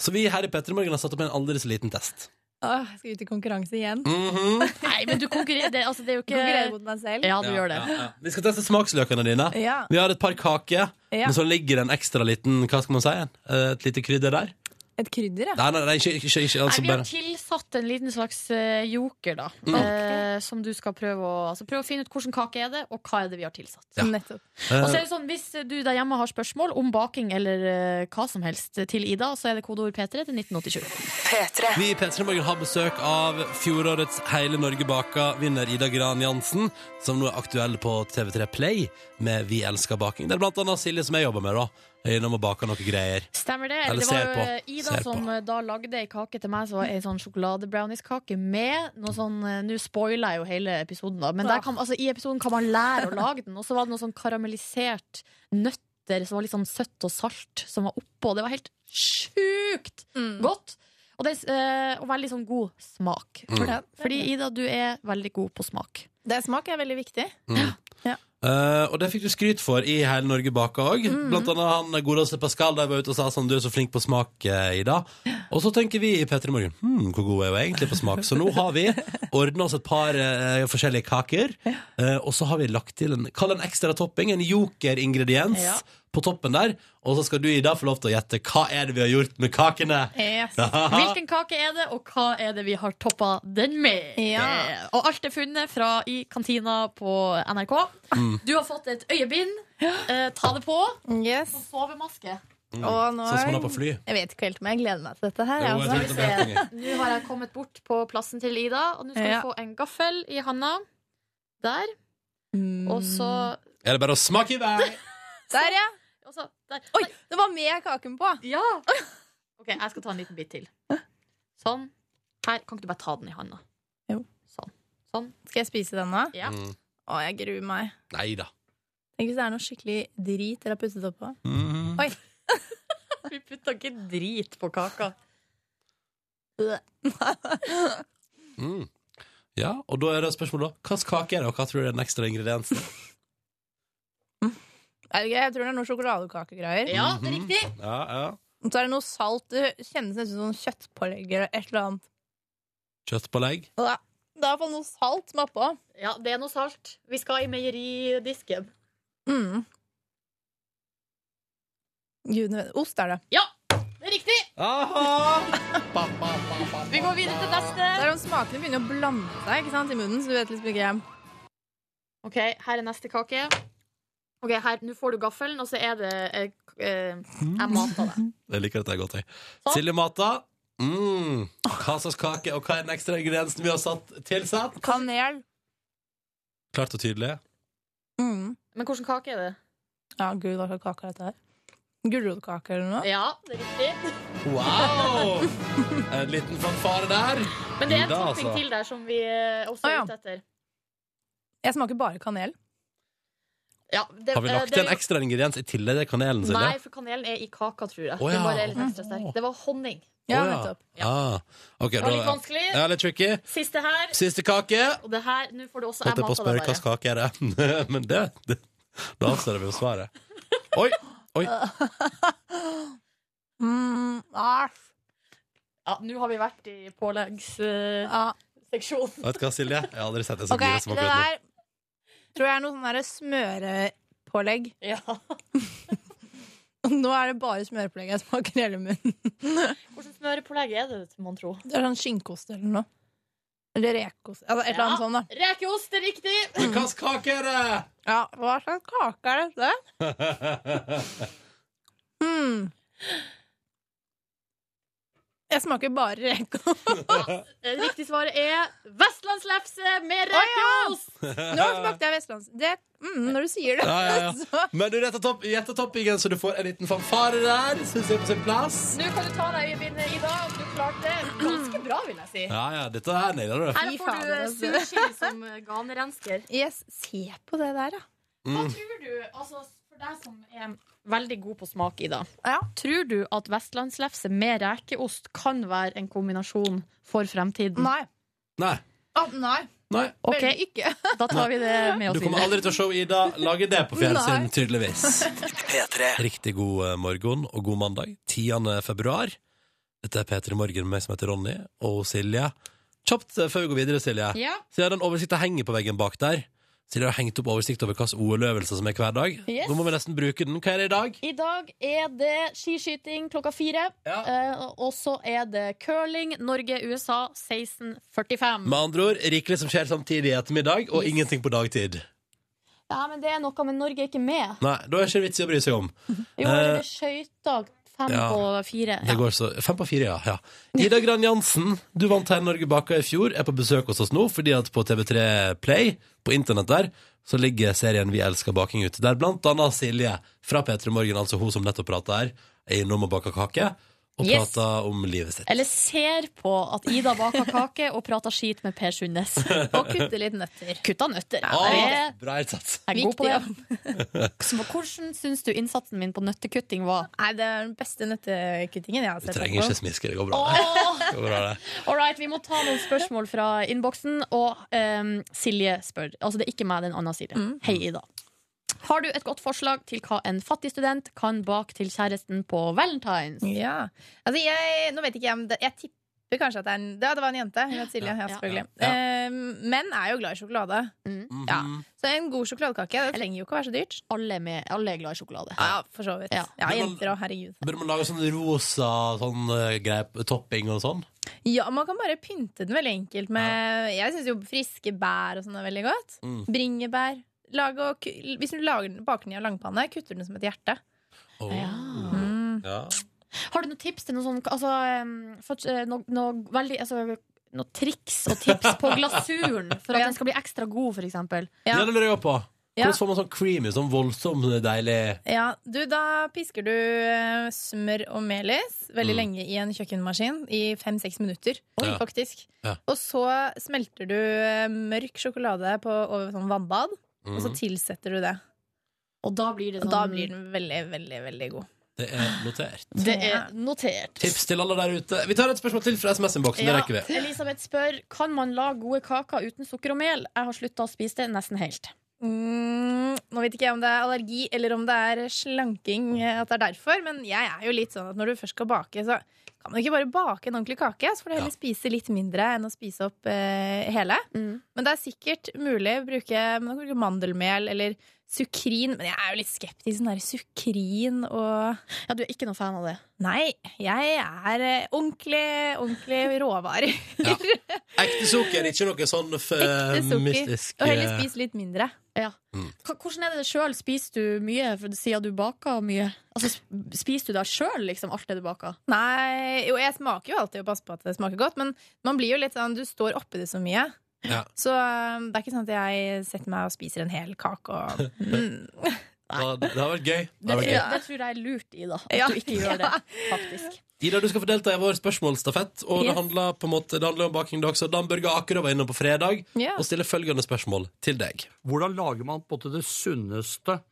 Speaker 2: Så vi her i Petter i Morgen har satt opp en aldeles liten test.
Speaker 11: Åh, jeg skal ut i konkurranse igjen.
Speaker 2: Mhm.
Speaker 11: Nei, men du konkurrerer det, er jo
Speaker 4: ikke-
Speaker 11: Konkurrerer mot meg selv.
Speaker 2: ja, ja. Vi skal teste smaksløkene dine.
Speaker 11: Ja.
Speaker 2: Vi har et par kaker,
Speaker 11: Ja.
Speaker 2: men så ligger det en ekstra liten Hva skal man si? Et lite krydder der.
Speaker 11: Et krydder, ja.
Speaker 2: Nei, nei, nei ikke, ikke, ikke
Speaker 4: Nei,
Speaker 2: altså
Speaker 4: vi har
Speaker 2: bare
Speaker 4: tilsatt en liten slags eh, joker, da.
Speaker 2: Mm.
Speaker 4: Eh, som du skal prøve å altså, Prøve å finne ut hvilken kake er det, og hva er det vi har tilsatt.
Speaker 2: Ja. Eh.
Speaker 11: Nettopp.
Speaker 4: Og så er det sånn, Hvis du der hjemme har spørsmål om baking eller eh, hva som helst til Ida, så er det kodeord P3 til 1987.
Speaker 2: Vi i P3 Morgen har besøk av fjorårets Hele Norge baka vinner Ida Gran Jansen, som nå er aktuell på TV3 Play med Vi elsker baking. Det er blant annet Silje som jeg jobber med, da. er Innom og baker noen greier.
Speaker 4: Stemmer det?
Speaker 2: Eller
Speaker 4: Eller det var jo
Speaker 2: ser på.
Speaker 4: eh, Ida
Speaker 2: Ser på.
Speaker 4: som eh, da lagde ei kake til meg som var ei sånn sjokoladebrownies-kake med noe sånn eh, Nå spoiler jeg jo hele episoden, da, men der kan, altså, i episoden kan man lære å lage den. Og så var det noe sånn karamellisert nøtter som var litt sånn søtt og salt, som var oppå. Det var helt sjukt
Speaker 11: Mm.
Speaker 4: godt! Og, det, eh, og veldig sånn god smak.
Speaker 2: Mm. Ja,
Speaker 4: Fordi Ida, du er veldig god på smak.
Speaker 11: Det smak er veldig viktig.
Speaker 2: Mm.
Speaker 11: Ja.
Speaker 2: Eh, og det fikk du skryt for i Hele Norge baka òg.
Speaker 11: Mhm.
Speaker 2: Blant annet han godeste Pascal der var ute og sa sånn, du er så flink på smak, eh, Ida. Og så tenker vi i P3 Morgen hm, hvor god er hun egentlig på smak? Så nå har vi ordna oss et par eh, forskjellige kaker. eh, og så har vi lagt til en, kall det en ekstra topping, en jokeringrediens
Speaker 11: Ja.
Speaker 2: på toppen der. Og så skal du, Ida, få lov til å gjette hva er det vi har gjort med kakene.
Speaker 4: Yes. Hvilken kake er det, og hva er det vi har toppa den med?
Speaker 11: Ja.
Speaker 4: Og alt er funnet fra i kantina på NRK.
Speaker 2: Mm.
Speaker 4: Du har fått et øyebind. Eh, ta det på.
Speaker 11: Yes.
Speaker 4: Og sovemaske.
Speaker 2: Mm. Sånn som man har på fly.
Speaker 11: Jeg vet ikke helt om jeg gleder meg til dette her.
Speaker 2: Jo,
Speaker 11: altså.
Speaker 2: jeg tror det blir helt konge.
Speaker 4: Nå har jeg kommet bort på plassen til Ida, og nå skal
Speaker 11: Ja.
Speaker 4: du få en gaffel i handa. Der. Og så
Speaker 2: Er det bare å smake i vei?
Speaker 11: Mm. Der, ja.
Speaker 4: og så- der.
Speaker 11: Oi, det var med kaken på.
Speaker 4: Ja! OK, jeg skal ta en liten bit til. Sånn. Her. Kan ikke du bare ta den i handa?
Speaker 11: Jo.
Speaker 4: Sånn. Sånn.
Speaker 11: Skal jeg spise den nå?
Speaker 4: Ja.
Speaker 2: Mm.
Speaker 11: Å, jeg gruer meg.
Speaker 2: Nei da.
Speaker 11: Tenk hvis det er noe skikkelig drit dere har puttet oppå.
Speaker 2: Mm.
Speaker 11: Oi.
Speaker 4: Vi putta ikke drit på kaka.
Speaker 2: Mm. Ja, og da er det spørsmålet da Hvilken kake er det, og hva tror du er den ekstra ingrediensen?
Speaker 11: Er det gøy? Jeg tror det er noe sjokoladekakegreier.
Speaker 4: Ja, det er riktig.
Speaker 2: Ja, ja
Speaker 11: Og så er det noe salt. Det kjennes nesten som sånn kjøttpålegg eller et eller annet.
Speaker 2: Kjøttpålegg?
Speaker 11: Og da- Det er iallfall noe salt som er oppå.
Speaker 4: Ja, det er noe salt. Vi skal i meieridisken.
Speaker 11: Mm. Gudene vet- Ost er det.
Speaker 4: Det er riktig! Vi går videre til neste.
Speaker 11: Det er om Smakene begynner å blande seg ikke sant, i munnen, så du vet liksom ikke
Speaker 4: Ok, her er neste kake. Ok, her, Nå får du gaffelen, og så er det eh, k- eh, Jeg mata deg.
Speaker 2: Jeg liker dette godt, jeg.
Speaker 4: Sånn.
Speaker 2: Silje Mata. Mm. Hva slags kake, og hva er den ekstra ingrediensen vi har satt tilsatt?
Speaker 11: Kanel.
Speaker 2: Klart og tydelig.
Speaker 11: Mm.
Speaker 4: Men hvilken kake er det?
Speaker 11: Ja, gud, hva slags kake er dette her? Gulrotkake eller noe?
Speaker 4: Ja, det er riktig.
Speaker 2: Wow! En liten fanfare der.
Speaker 4: Men det er en
Speaker 2: Ida,
Speaker 4: topping
Speaker 2: altså.
Speaker 4: til der som vi eh, også
Speaker 11: Å,
Speaker 4: er
Speaker 11: ja.
Speaker 4: ute etter.
Speaker 11: Jeg smaker bare kanel.
Speaker 4: Ja, det,
Speaker 2: Har vi lagt
Speaker 4: eh, det-
Speaker 2: en ekstra ingrediens i tillegg til kanelen,
Speaker 4: Nei,
Speaker 2: Silje?
Speaker 4: for kanelen er i kaka, tror jeg.
Speaker 2: Å, ja.
Speaker 4: Den bare er litt ekstra sterk. Det var honning.
Speaker 11: Ja,
Speaker 2: Å,
Speaker 11: nettopp.
Speaker 2: Ah, ok,
Speaker 4: Det
Speaker 2: da,
Speaker 4: var litt vanskelig.
Speaker 2: ja, litt tricky.
Speaker 4: Siste her.
Speaker 2: Siste kake.
Speaker 4: Og det her, nå får du også
Speaker 2: Holdt jeg på
Speaker 4: Jeg
Speaker 2: å
Speaker 4: mata
Speaker 2: spørre
Speaker 4: deg
Speaker 2: hvilken
Speaker 4: bare.
Speaker 2: kake er det Men det, det Da avslører vi jo svaret. Oi! Oi.
Speaker 11: Mm, æsj.
Speaker 4: Ja, nå har vi vært i påleggsseksjonen.
Speaker 11: Ja.
Speaker 2: Vet du hva, Silje? Jeg har aldri sett en så
Speaker 11: Ok,
Speaker 2: okay,
Speaker 11: det
Speaker 2: som akkurat nå.
Speaker 11: der tror jeg er noe sånn derre smørepålegg.
Speaker 4: Ja.
Speaker 11: Nå er det bare smørpålegg jeg smaker i hele munnen.
Speaker 4: Hvordan smørepålegg er det, mon tro?
Speaker 11: Det er sånn skinkeost eller noe. Eller rekeost. Altså, et eller annet
Speaker 4: Ja.
Speaker 11: sånt, da.
Speaker 4: Rekeost er riktig!
Speaker 2: Men hva slags kake er
Speaker 11: Ja, hva slags kake er dette?
Speaker 2: det?
Speaker 11: Hmm. Jeg smaker bare rekeost.
Speaker 4: Det riktige svaret er vestlandslefse med rekeost!
Speaker 11: Nå smakte jeg vestlands... Det, mm, når du sier det.
Speaker 2: Ja, ja, ja. Men du gjetta topp, gjetta toppingen, så du får en liten fanfare der. Syns jeg er på sin plass.
Speaker 11: Nå kan du ta deg i vinner i dag. Du klarte det ganske bra, vil jeg si.
Speaker 2: Ja, ja, dette her nailer du.
Speaker 11: Her får du
Speaker 4: eh,
Speaker 11: sushi som ganerensker. altså. Yes, se på det der, da.
Speaker 2: Mm.
Speaker 4: Hva tror du, altså for deg som er veldig god på smak, Ida, tror du at vestlandslefse med rekeost kan være en kombinasjon for fremtiden?
Speaker 11: Nei.
Speaker 2: Nei.
Speaker 11: nei.
Speaker 2: Nei.
Speaker 4: Ok, da tar vi det med oss
Speaker 2: Du kommer aldri til å se Ida lage det på fjernsyn, tydeligvis. Riktig god eh, morgen og god mandag. 10. februar. Dette er P3 Morgen med meg som heter Ronny, og Silje. Kjapt eh, før vi går videre, Silje.
Speaker 4: Ja.
Speaker 2: Silje, den oversikten henger på veggen bak der. Silje har hengt opp oversikt over hvilke OL-øvelser som er hver dag.
Speaker 4: Yes.
Speaker 2: Nå må vi nesten bruke den. Hva er det i dag?
Speaker 4: I dag er det skiskyting klokka fire. Eh, og så er det curling Norge-USA 16.45.
Speaker 2: Med andre ord, rikelig som skjer samtidig i ettermiddag, og ingenting på dagtid.
Speaker 4: Ja, men det er noe med Norge er ikke med.
Speaker 2: Nei, da er det ikke vits i å bry seg om.
Speaker 4: Jo,
Speaker 2: Eh,
Speaker 4: det er skøyter fem
Speaker 2: ja.
Speaker 4: på fire.
Speaker 2: Det går så Fem på fire, ja. ja. Ida Gran Jansen, du vant her Norge baka i fjor, er på besøk hos oss nå fordi at på TV3 Play, på internett der, så ligger serien Vi elsker baking ute. Der blant annet Silje fra P3 Morgen, altså hun som nettopp prata her, er innom og baker kake, og
Speaker 4: Yes.
Speaker 2: prater om livet sitt.
Speaker 4: Eller ser på at Ida baker kake og prater skit med Per Sundnes.
Speaker 2: Og kutter
Speaker 4: litt nøtter. Kutta nøtter.
Speaker 2: Ah,
Speaker 4: Jeg er-
Speaker 2: bra innsats.
Speaker 4: jeg er god på det. Så Hvordan syns du innsatsen min på nøttekutting var?
Speaker 11: Nei, det er den beste nøttekuttingen jeg har
Speaker 2: Du
Speaker 11: sett.
Speaker 2: trenger ikke smiske, det går bra.
Speaker 4: Åh!
Speaker 2: Det går bra det.
Speaker 4: All right, vi må ta noen spørsmål fra innboksen, og ehm, Silje spør. Altså, det er ikke meg, det er en annen Silje. Hei, Ida. Har du et godt forslag til hva en fattig student kan bake til kjæresten på valentines?
Speaker 11: Ja. Altså, jeg, nå vet ikke jeg om det Jeg tipper kanskje at det er en Ja, det var en jente. Hun het Silje. Ja, selvfølgelig.
Speaker 4: Ja.
Speaker 11: Eh, menn er jo glad i sjokolade. Ja.
Speaker 2: Mhm.
Speaker 11: Så en god sjokoladekake det trenger jo ikke å være så dyrt.
Speaker 4: Alle, er glad i sjokolade.
Speaker 11: Ja, for så vidt. Ja, jenter òg. Herregud.
Speaker 2: Burde man lage sånn rosa sånn, eh, greie, topping og sånn?
Speaker 11: Ja, man kan bare pynte den veldig enkelt med Jeg syns jo friske bær og sånn er veldig godt.
Speaker 2: Mm.
Speaker 11: Bringebær. Lag og, ku- hvis du lager den, baker den i langpanne, kutter du den som et hjerte.
Speaker 2: Ja.
Speaker 4: Har du noen tips til noe sånn altså, ehm, for- eh, noe, noe veldig altså, noen triks og tips på glasuren for at den skal bli ekstra god, for eksempel?
Speaker 2: Ja. det lurer jeg på.
Speaker 11: Ja.
Speaker 2: Hvordan får man sånn creamy, sånn voldsom, deilig
Speaker 11: Ja, du, da pisker du eh, smør og melis veldig
Speaker 2: Mm.
Speaker 11: lenge i en kjøkkenmaskin. I fem-seks minutter,
Speaker 2: Oi.
Speaker 11: faktisk.
Speaker 2: Ja.
Speaker 11: Og så smelter du eh, mørk sjokolade på, over sånn vannbad, og så
Speaker 2: Mhm.
Speaker 11: tilsetter du det.
Speaker 4: Og da blir, sånn
Speaker 11: da
Speaker 2: Sånn-
Speaker 11: blir den veldig, veldig, veldig god.
Speaker 2: Det er notert.
Speaker 4: Det er notert.
Speaker 2: Tips til alle der ute. Vi tar et spørsmål til fra SMS-innboksen. Det rekker vi.
Speaker 4: Elisabeth spør Kan man lage gode kaker uten sukker og mel. Jeg har slutta å spise det nesten helt.
Speaker 11: Mm, nå vet ikke jeg om det er allergi eller om det er slanking eh, at det er derfor, men jeg er jo litt sånn at når du først skal bake, så kan man ikke bare bake en ordentlig kake, så får du heller spise litt mindre enn å spise opp eh, hele. Men det er sikkert mulig å bruke, man kan bruke mandelmel eller sukrin, men jeg er jo litt skeptisk sånn der sukrin og
Speaker 4: Ja, du er ikke noen fan av det?
Speaker 11: Nei, jeg er eh, ordentlig, ordentlig råvarer.
Speaker 2: Ekte sukker, ikke noe sånn
Speaker 11: Det er
Speaker 2: f-
Speaker 11: sukker.
Speaker 2: mystisk
Speaker 11: Og heller
Speaker 2: eh,
Speaker 11: spise litt mindre.
Speaker 2: Mm.
Speaker 4: K- Hvordan er det sjøl? Spiser du mye for- siden du baker mye? Altså, sp- spiser du deg sjøl, liksom, alt det du baker?
Speaker 11: Nei, jo, jeg smaker jo alltid og passer på at det smaker godt, men man blir jo litt sånn, du står oppi det så mye.
Speaker 2: Ja.
Speaker 11: Så um, det er ikke sånn at jeg setter meg og spiser en hel kake og
Speaker 2: ja, Det har vært gøy. Det
Speaker 4: Det,
Speaker 2: har vært gøy.
Speaker 4: det tror jeg er lurt, Ida. At
Speaker 11: Ja.
Speaker 4: du ikke gjør det, faktisk.
Speaker 2: Ida, du skal få delta i vår spørsmålsstafett. Og det
Speaker 4: Yes.
Speaker 2: handler på en måte Det handler om baking dag, så Dan Børge Akerø var innom på fredag
Speaker 13: Ja.
Speaker 2: og stiller følgende spørsmål til deg.
Speaker 13: Hvordan lager man på en måte det sunneste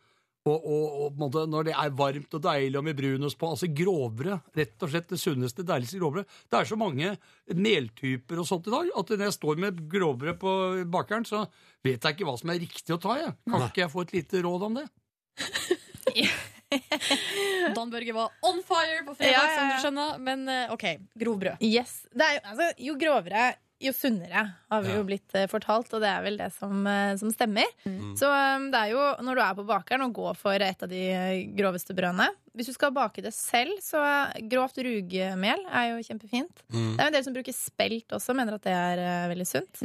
Speaker 13: og, og, og på en måte når det er varmt og deilig og med brunost på? Altså grovbrød. Rett og slett det sunneste, deiligste grovbrød. Det er så mange meltyper og sånt i dag at når jeg står med grovbrød på bakeren, så vet jeg ikke hva som er riktig å ta, jeg. Kan ikke jeg få et lite råd om det?
Speaker 4: Dan Børge var on fire på fredag,
Speaker 11: Ja, ja, ja.
Speaker 4: som du skjønner. Men eh, OK, grovbrød.
Speaker 11: Yes. Det er, jo- altså, jo grovere, jo sunnere, har vi
Speaker 4: Ja.
Speaker 11: jo blitt eh, fortalt, og det er vel det som, eh, som stemmer.
Speaker 4: Mm.
Speaker 11: Så um, det er jo når du er på bakeren og går for et av de eh, groveste brødene Hvis du skal bake det selv, så eh, grovt rugemel er jo kjempefint.
Speaker 14: Mm.
Speaker 11: Det er jo en del som bruker spelt også, mener at det er eh, veldig sunt.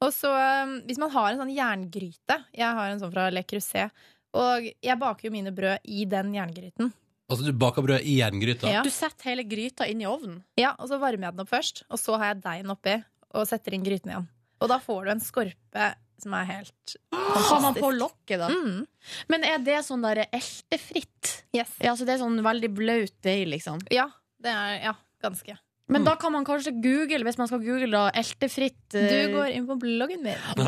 Speaker 11: Og så um, hvis man har en sånn jerngryte Jeg har en sånn fra Le Creuset. Og jeg baker jo mine brød i den jerngryten.
Speaker 2: Altså, du baker brødet i jerngryta?
Speaker 11: Du setter hele gryta inn i ovnen? Ja, og så varmer jeg den opp først. Og så har jeg deigen oppi, og setter inn gryten igjen. Og da får du en skorpe som er helt fantastisk.
Speaker 4: Har man på lokket, da?
Speaker 11: Mm.
Speaker 4: Men er det sånn der eltefritt? Ja, så det er sånn veldig blaut deig, liksom?
Speaker 11: Ja, det er ja, ganske.
Speaker 4: Men da kan man kanskje google, hvis man skal google da, eltefritt eh,
Speaker 11: Du går inn på bloggen min.
Speaker 4: Åh,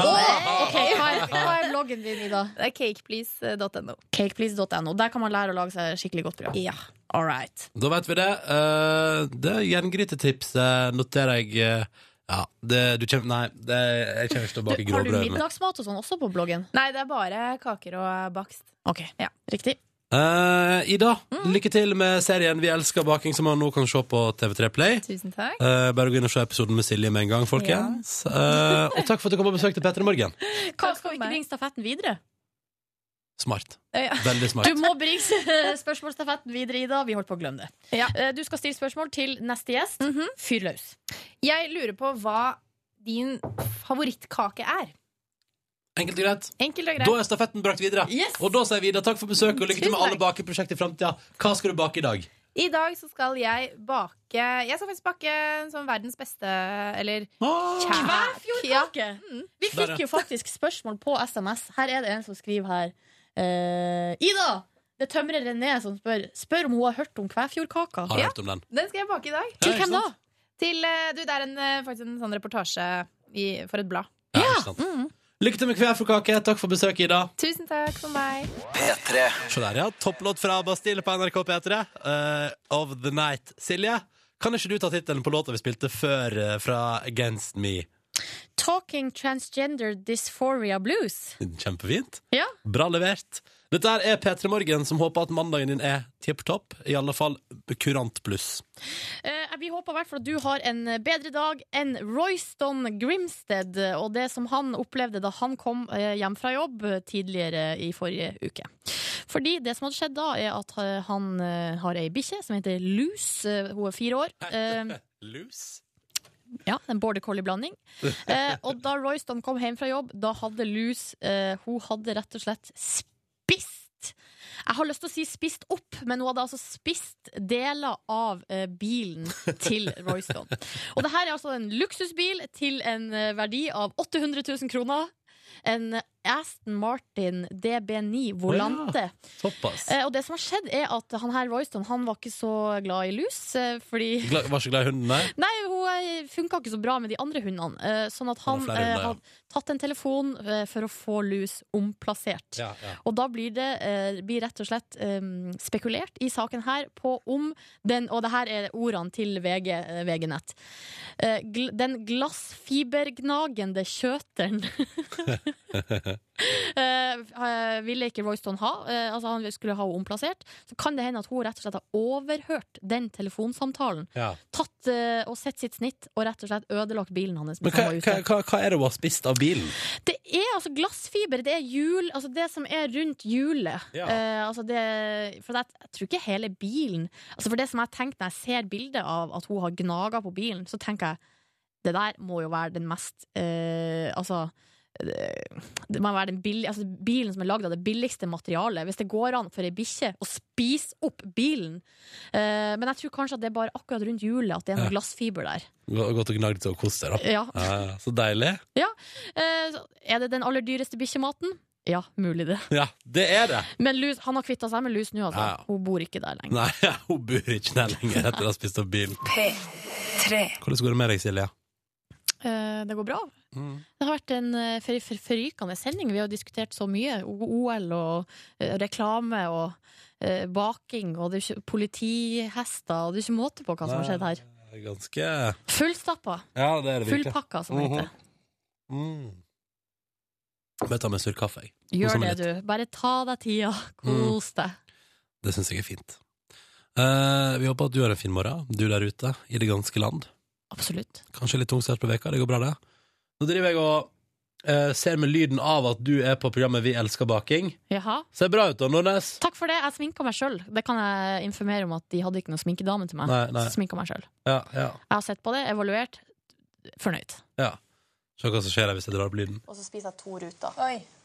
Speaker 4: ok, hva er- hva er bloggen din, Ida?
Speaker 11: Det er eh, cakeplease.no.
Speaker 4: Cakeplease.no. Der kan man lære å lage seg skikkelig godt brød.
Speaker 11: Ja.
Speaker 4: All right.
Speaker 2: Da vet vi det. Eh, det jerngrytetipset noterer jeg eh, Ja, det, du kommer Nei, det, jeg kommer ikke til å bake
Speaker 4: Har du
Speaker 2: gråbrød. men-
Speaker 4: middagsmat og sånn også på bloggen?
Speaker 11: Nei, det er bare kaker og bakst.
Speaker 4: Ok, riktig.
Speaker 2: Eh, Ida, lykke til med serien Vi elsker baking, som man nå kan se på TV3 Play.
Speaker 11: Tusen takk.
Speaker 2: Eh, bare gå inn og se episoden med Silje med en gang, folkens. Eh, og takk for at du kom på besøk til Petter i morgen.
Speaker 4: Hva skal vi ikke bringe stafetten videre?
Speaker 2: Smart.
Speaker 4: Ja.
Speaker 2: Veldig smart.
Speaker 4: Du må bringe s- spørsmålsstafetten videre, Ida. Vi holdt på å glemme det. Eh, Du skal stille spørsmål til neste gjest. Fyr løs.
Speaker 11: Jeg lurer på hva din favorittkake er.
Speaker 2: Enkelt og greit.
Speaker 11: Enkelt og greit.
Speaker 2: Da er stafetten brakt videre.
Speaker 11: Yes.
Speaker 2: Og da sier vi Ida takk for besøket og lykke til med
Speaker 11: Tusen
Speaker 2: alle bakeprosjekt i framtida. Hva skal du bake i dag?
Speaker 11: I dag så skal jeg bake Jeg skal faktisk bake en sånn verdens beste Eller kjæ-
Speaker 4: Kvæfjordkake! Mm. Vi
Speaker 11: Der, ja.
Speaker 4: fikk jo faktisk spørsmål på SMS. Her er det en som skriver her. eh, Ida! Det er tømrer René som spør Spør om hun har hørt om Kvæfjordkaka.
Speaker 2: Har du hørt om den?
Speaker 11: Den skal jeg bake i dag.
Speaker 2: Til Ja, ikke hvem da? sant?
Speaker 11: Til, eh, du, det er en, eh, faktisk en sånn reportasje i, for et blad.
Speaker 2: Ja, Mm. ikke sant. Lykke til med kveferkake. Takk for besøket, Ida.
Speaker 11: Tusen takk for meg.
Speaker 2: P3. Se der, ja. Topplåt fra Bastille på NRK P3. eh, of the Night. Silje, kan ikke du ta tittelen på låta vi spilte før eh, fra Against Me?
Speaker 4: Talking Transgender Dysphoria Blues.
Speaker 2: Kjempefint.
Speaker 4: Ja.
Speaker 2: Bra levert. Dette her er P3 Morgen, som håper at mandagen din er tipp topp. I alle fall kurant pluss.
Speaker 4: Eh, vi håper i hvert fall at du har en bedre dag enn Royston Grimsted og det som han opplevde da han kom eh, hjem fra jobb tidligere i forrige uke. Fordi det som hadde skjedd da, er at eh, han eh, har ei bikkje som heter Lus. Eh, Hun er fire år.
Speaker 2: Mm.
Speaker 4: Eh,
Speaker 2: Lus?
Speaker 4: ja, en border collie-blanding. Eh, og da Royston kom hjem fra jobb, da hadde Lus eh, Hun hadde rett og slett spist Jeg har lyst til å si spist opp, men hun hadde altså spist deler av eh, bilen til Royston. Og det her er altså en luksusbil til en eh, verdi av 800 000 kroner. En Aston Martin DB9 Volante.
Speaker 2: Såpass.
Speaker 4: Eh, og det som har skjedd, er at han her Royston han var ikke så glad i lus, eh, fordi
Speaker 2: Gla- Var ikke glad i hunden, nei?
Speaker 4: Nei, hun funka ikke så bra med de andre hundene. eh, Sånn at han
Speaker 2: Hun har flere
Speaker 4: eh,
Speaker 2: hunder, ja.
Speaker 4: hadde tatt en telefon eh, for å få lus omplassert.
Speaker 2: Ja, ja.
Speaker 4: Og da blir det eh, blir rett og slett eh, spekulert i saken her på om den Og det her er ordene til VG, eh, VG-nett. Eh, gl den glassfibergnagende kjøteren Eh, eh, ville ikke Royston ha. Eh, altså Han skulle ha henne omplassert. Så kan det hende at hun rett og slett har overhørt den telefonsamtalen.
Speaker 2: Ja.
Speaker 4: Tatt eh, og sett sitt snitt og rett og slett ødelagt bilen hans.
Speaker 2: Men
Speaker 4: mens
Speaker 2: hva,
Speaker 4: han var
Speaker 2: hva,
Speaker 4: ute.
Speaker 2: hva, hva er det hun har spist av bilen?
Speaker 4: Det er altså glassfiber. Det er hjul, altså det som er rundt hjulet.
Speaker 2: Ja.
Speaker 4: Eh, altså det, for det, jeg tror ikke hele bilen altså For det som jeg tenkte når jeg ser bildet av at hun har gnaga på bilen, så tenker jeg det der må jo være den mest eh, Altså eh, det må være den billig, altså bilen som er lagd av det billigste materialet. Hvis det går an for ei bikkje å spise opp bilen. Eh, men jeg tror kanskje at det er bare akkurat rundt hjulet at det er noe
Speaker 2: Ja.
Speaker 4: glassfiber der.
Speaker 2: Gå- Gått og gnagd og kost deg, da.
Speaker 4: Ja.
Speaker 2: ja. Så deilig.
Speaker 4: Ja, eh, så Er det den aller dyreste bikkjematen? Ja, mulig det.
Speaker 2: Ja, det er det.
Speaker 4: Men lus, han har kvitta seg med lus nå, altså.
Speaker 2: Ja, ja.
Speaker 4: Hun bor ikke der lenger.
Speaker 2: Nei, hun bor ikke der lenger etter å ha spist opp bilen.
Speaker 4: P3
Speaker 2: Hvordan går det med deg, Silje?
Speaker 4: Eh, Det går bra.
Speaker 2: Mm.
Speaker 4: Det har vært en eh, fer- fer- forrykende sending. Vi har diskutert så mye. O- OL og eh, reklame og eh, baking og det er ikke, politihester og det er ikke måte på hva som har skjedd her.
Speaker 2: Det er Ganske
Speaker 4: Fullstappa.
Speaker 2: Ja, det er det virkelig.
Speaker 4: Fullpakka, som det
Speaker 2: Mhm.
Speaker 4: heter.
Speaker 2: Mm. Bare ta med en sur kaffe, jeg. Kose
Speaker 4: Gjør
Speaker 2: meg
Speaker 4: det,
Speaker 2: litt. Mm.
Speaker 4: du. Bare ta deg tida. Kos deg.
Speaker 2: Det syns jeg er fint. Eh, vi håper at du har en fin morgen, du der ute i det ganske land.
Speaker 4: Absolutt.
Speaker 2: Kanskje litt tung start på veka, det går bra, det. Nå driver jeg og eh, ser med lyden av at du er på programmet Vi elsker baking.
Speaker 4: Jaha.
Speaker 2: Ser bra ut da, Nordnes.
Speaker 4: Takk for det. Jeg sminka meg sjøl. Det kan jeg informere om at de hadde ikke noen sminkedame til meg.
Speaker 2: Nei, nei.
Speaker 4: Så sminka meg selv.
Speaker 2: Ja, ja,
Speaker 4: Jeg har sett på det, evaluert. Fornøyd.
Speaker 2: ja. Se hva som skjer her hvis jeg drar opp lyden.
Speaker 12: Og så spiser jeg to ruter.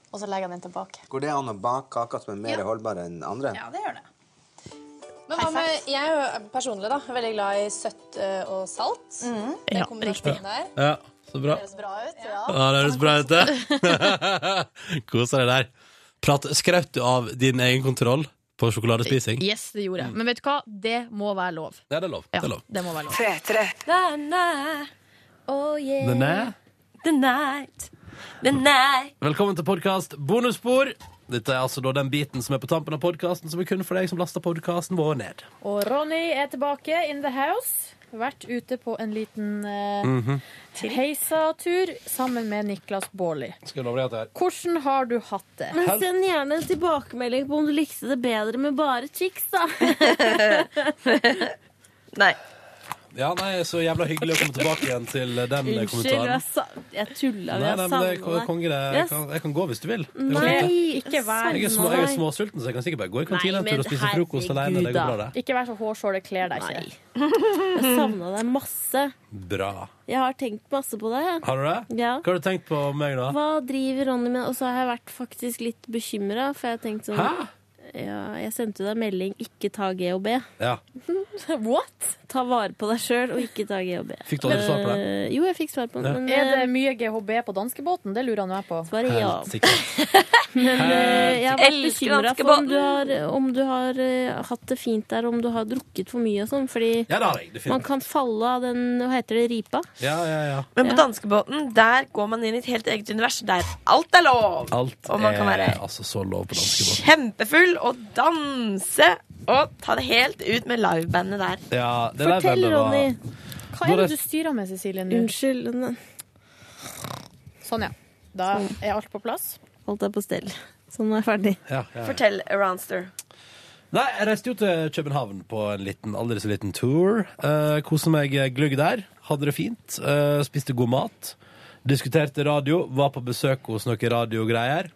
Speaker 12: Og så legger jeg den tilbake.
Speaker 14: Går det an å bake kaker som er mer holdbare enn andre?
Speaker 12: Ja, det gjør det. Men hva med, jeg er jo personlig da, veldig glad i søtt ø, og salt.
Speaker 11: Mm.
Speaker 12: Den
Speaker 2: Ja,
Speaker 12: kombinasjonen der.
Speaker 2: Ja, så bra.
Speaker 12: Det høres bra ut. Ja.
Speaker 2: Ja, det høres bra ut, det. Kos deg der. Prat, skraut du av din egen kontroll på sjokoladespising?
Speaker 4: Yes, det gjorde jeg. Men vet du hva? Det må være lov.
Speaker 2: Ja, Mm. det er lov. Det
Speaker 4: Ja,
Speaker 2: er lov.
Speaker 4: det må være lov.
Speaker 14: Denne. Oh yeah.
Speaker 2: Den er-
Speaker 14: The night. The night.
Speaker 2: Velkommen til podkast Bonusspor. Dette er altså da den biten som er på tampen av podkasten, som er kun for deg som laster podkasten vår ned.
Speaker 15: Og Ronny er tilbake in the house. Vært ute på en liten eh,
Speaker 2: Mhm.
Speaker 15: heisatur sammen med Niklas Baarli.
Speaker 2: Skal jeg love deg at det er
Speaker 15: Hvordan har du hatt det?
Speaker 14: Men send gjerne en tilbakemelding på om du likte det bedre med bare chicks, da. Nei.
Speaker 2: Ja, nei, så jævla hyggelig å komme tilbake igjen til eh, den eh,
Speaker 14: Unnskyld,
Speaker 2: kommentaren.
Speaker 14: jeg, sa jeg tulla.
Speaker 2: Nei,
Speaker 14: Vi
Speaker 2: nei, men
Speaker 14: har
Speaker 2: det er
Speaker 14: savna
Speaker 2: ko- konge, det. Jeg kan, jeg kan gå hvis du vil. Det går
Speaker 14: Nei,
Speaker 2: fint, det.
Speaker 14: ikke vær
Speaker 2: Jeg er, små, jeg er småsulten, så jeg kan sikkert bare gå i kantina en tur og spise frokost alene. Det går bra, det.
Speaker 15: Ikke vær så hårsår, det kler deg ikke.
Speaker 14: Jeg savna deg masse.
Speaker 2: Bra.
Speaker 14: Jeg har tenkt masse på deg.
Speaker 2: Har du det?
Speaker 14: Ja.
Speaker 2: Hva har du tenkt på om meg, da?
Speaker 14: Hva driver Ronny med? Og så har jeg vært faktisk litt bekymra, for jeg har tenkt sånn
Speaker 2: Hæ?
Speaker 14: ja, Jeg sendte deg melding 'ikke ta G og B'.
Speaker 2: Ja.
Speaker 14: What? Ta vare på deg sjøl og ikke ta G og B.
Speaker 2: Fikk du aldri svar på det?
Speaker 14: Eh, Jo, jeg fikk svar på det.
Speaker 2: Ja.
Speaker 14: Men,
Speaker 15: Er det mye GHB på danskebåten? Det lurer nå jeg på.
Speaker 14: Svaret ja. Helt
Speaker 15: Men,
Speaker 14: eh, jeg har vært
Speaker 15: Elsker
Speaker 14: bekymra for om
Speaker 15: danskebåten.
Speaker 14: du har, om du har eh, hatt det fint der, om du har drukket for mye og sånn. Fordi
Speaker 2: Ja, det har jeg, definitivt.
Speaker 14: man kan falle av den Hva heter det? Ripa?
Speaker 2: Ja, ja, ja.
Speaker 14: Men
Speaker 2: på
Speaker 14: danskebåten, der
Speaker 9: går man inn i et helt eget univers der alt er lov.
Speaker 2: Alt
Speaker 9: Og man kan
Speaker 2: er
Speaker 9: være-
Speaker 2: altså så lov på danskebåten.
Speaker 9: Kjempefull og danse og ta det helt ut med livebandet der.
Speaker 2: Ja, det der
Speaker 15: Fortell,
Speaker 2: bandet var-
Speaker 15: Ronny. Hva er
Speaker 2: Bare-
Speaker 15: det du styrer med, Cecilie? nå?
Speaker 14: Unnskyld. den-
Speaker 15: Sånn, ja. Da er alt på plass.
Speaker 14: Alt er på stell. Sånn er jeg ferdig.
Speaker 2: Ja, ja, ja.
Speaker 9: Fortell, Aroundster.
Speaker 2: Nei, jeg reiste jo til København på en liten, aldri så liten tour. Uh, Koste meg gløgg der. Hadde det fint. eh, spiste god mat. Diskuterte radio. Var på besøk hos noen radiogreier.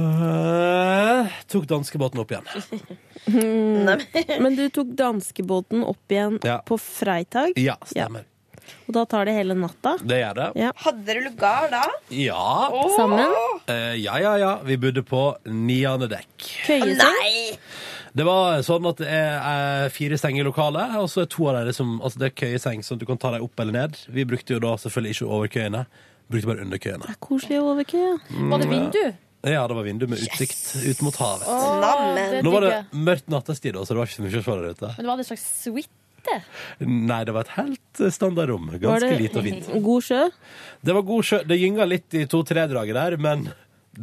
Speaker 2: Eh, tok danskebåten opp igjen.
Speaker 14: Men du tok danskebåten opp igjen på freitag?
Speaker 2: Ja, stemmer.
Speaker 14: Og da tar det hele natta?
Speaker 2: Det gjør det.
Speaker 14: Hadde dere lugar da?
Speaker 2: Ja.
Speaker 14: Åh! Sammen?
Speaker 2: Eh, ja, ja, ja. Vi bodde på niende dekk.
Speaker 14: Køyeseng?
Speaker 2: Det var sånn at det er eh, fire senger i lokalet, og så er to av dem liksom, altså det er køyeseng, så du kan ta dem opp eller ned. Vi brukte jo da selvfølgelig ikke over køyene, brukte bare under køyene.
Speaker 14: Koselig å overkø.
Speaker 2: Mm,
Speaker 14: Var det
Speaker 2: vindu? Ja, det var vindu med utsikt ut mot havet.
Speaker 15: Åh, Snammen. det
Speaker 2: Nå var det
Speaker 15: digger
Speaker 2: mørkt nattestid, også, så det var ikke så mye å se der ute.
Speaker 15: Men det var det en slags suite.
Speaker 2: Nei, det var et helt standard rom.
Speaker 14: Var
Speaker 2: Ganske
Speaker 14: det
Speaker 2: lite og fint.
Speaker 14: God sjø?
Speaker 2: Det var god sjø. Det gynga litt i to-tre draget der, men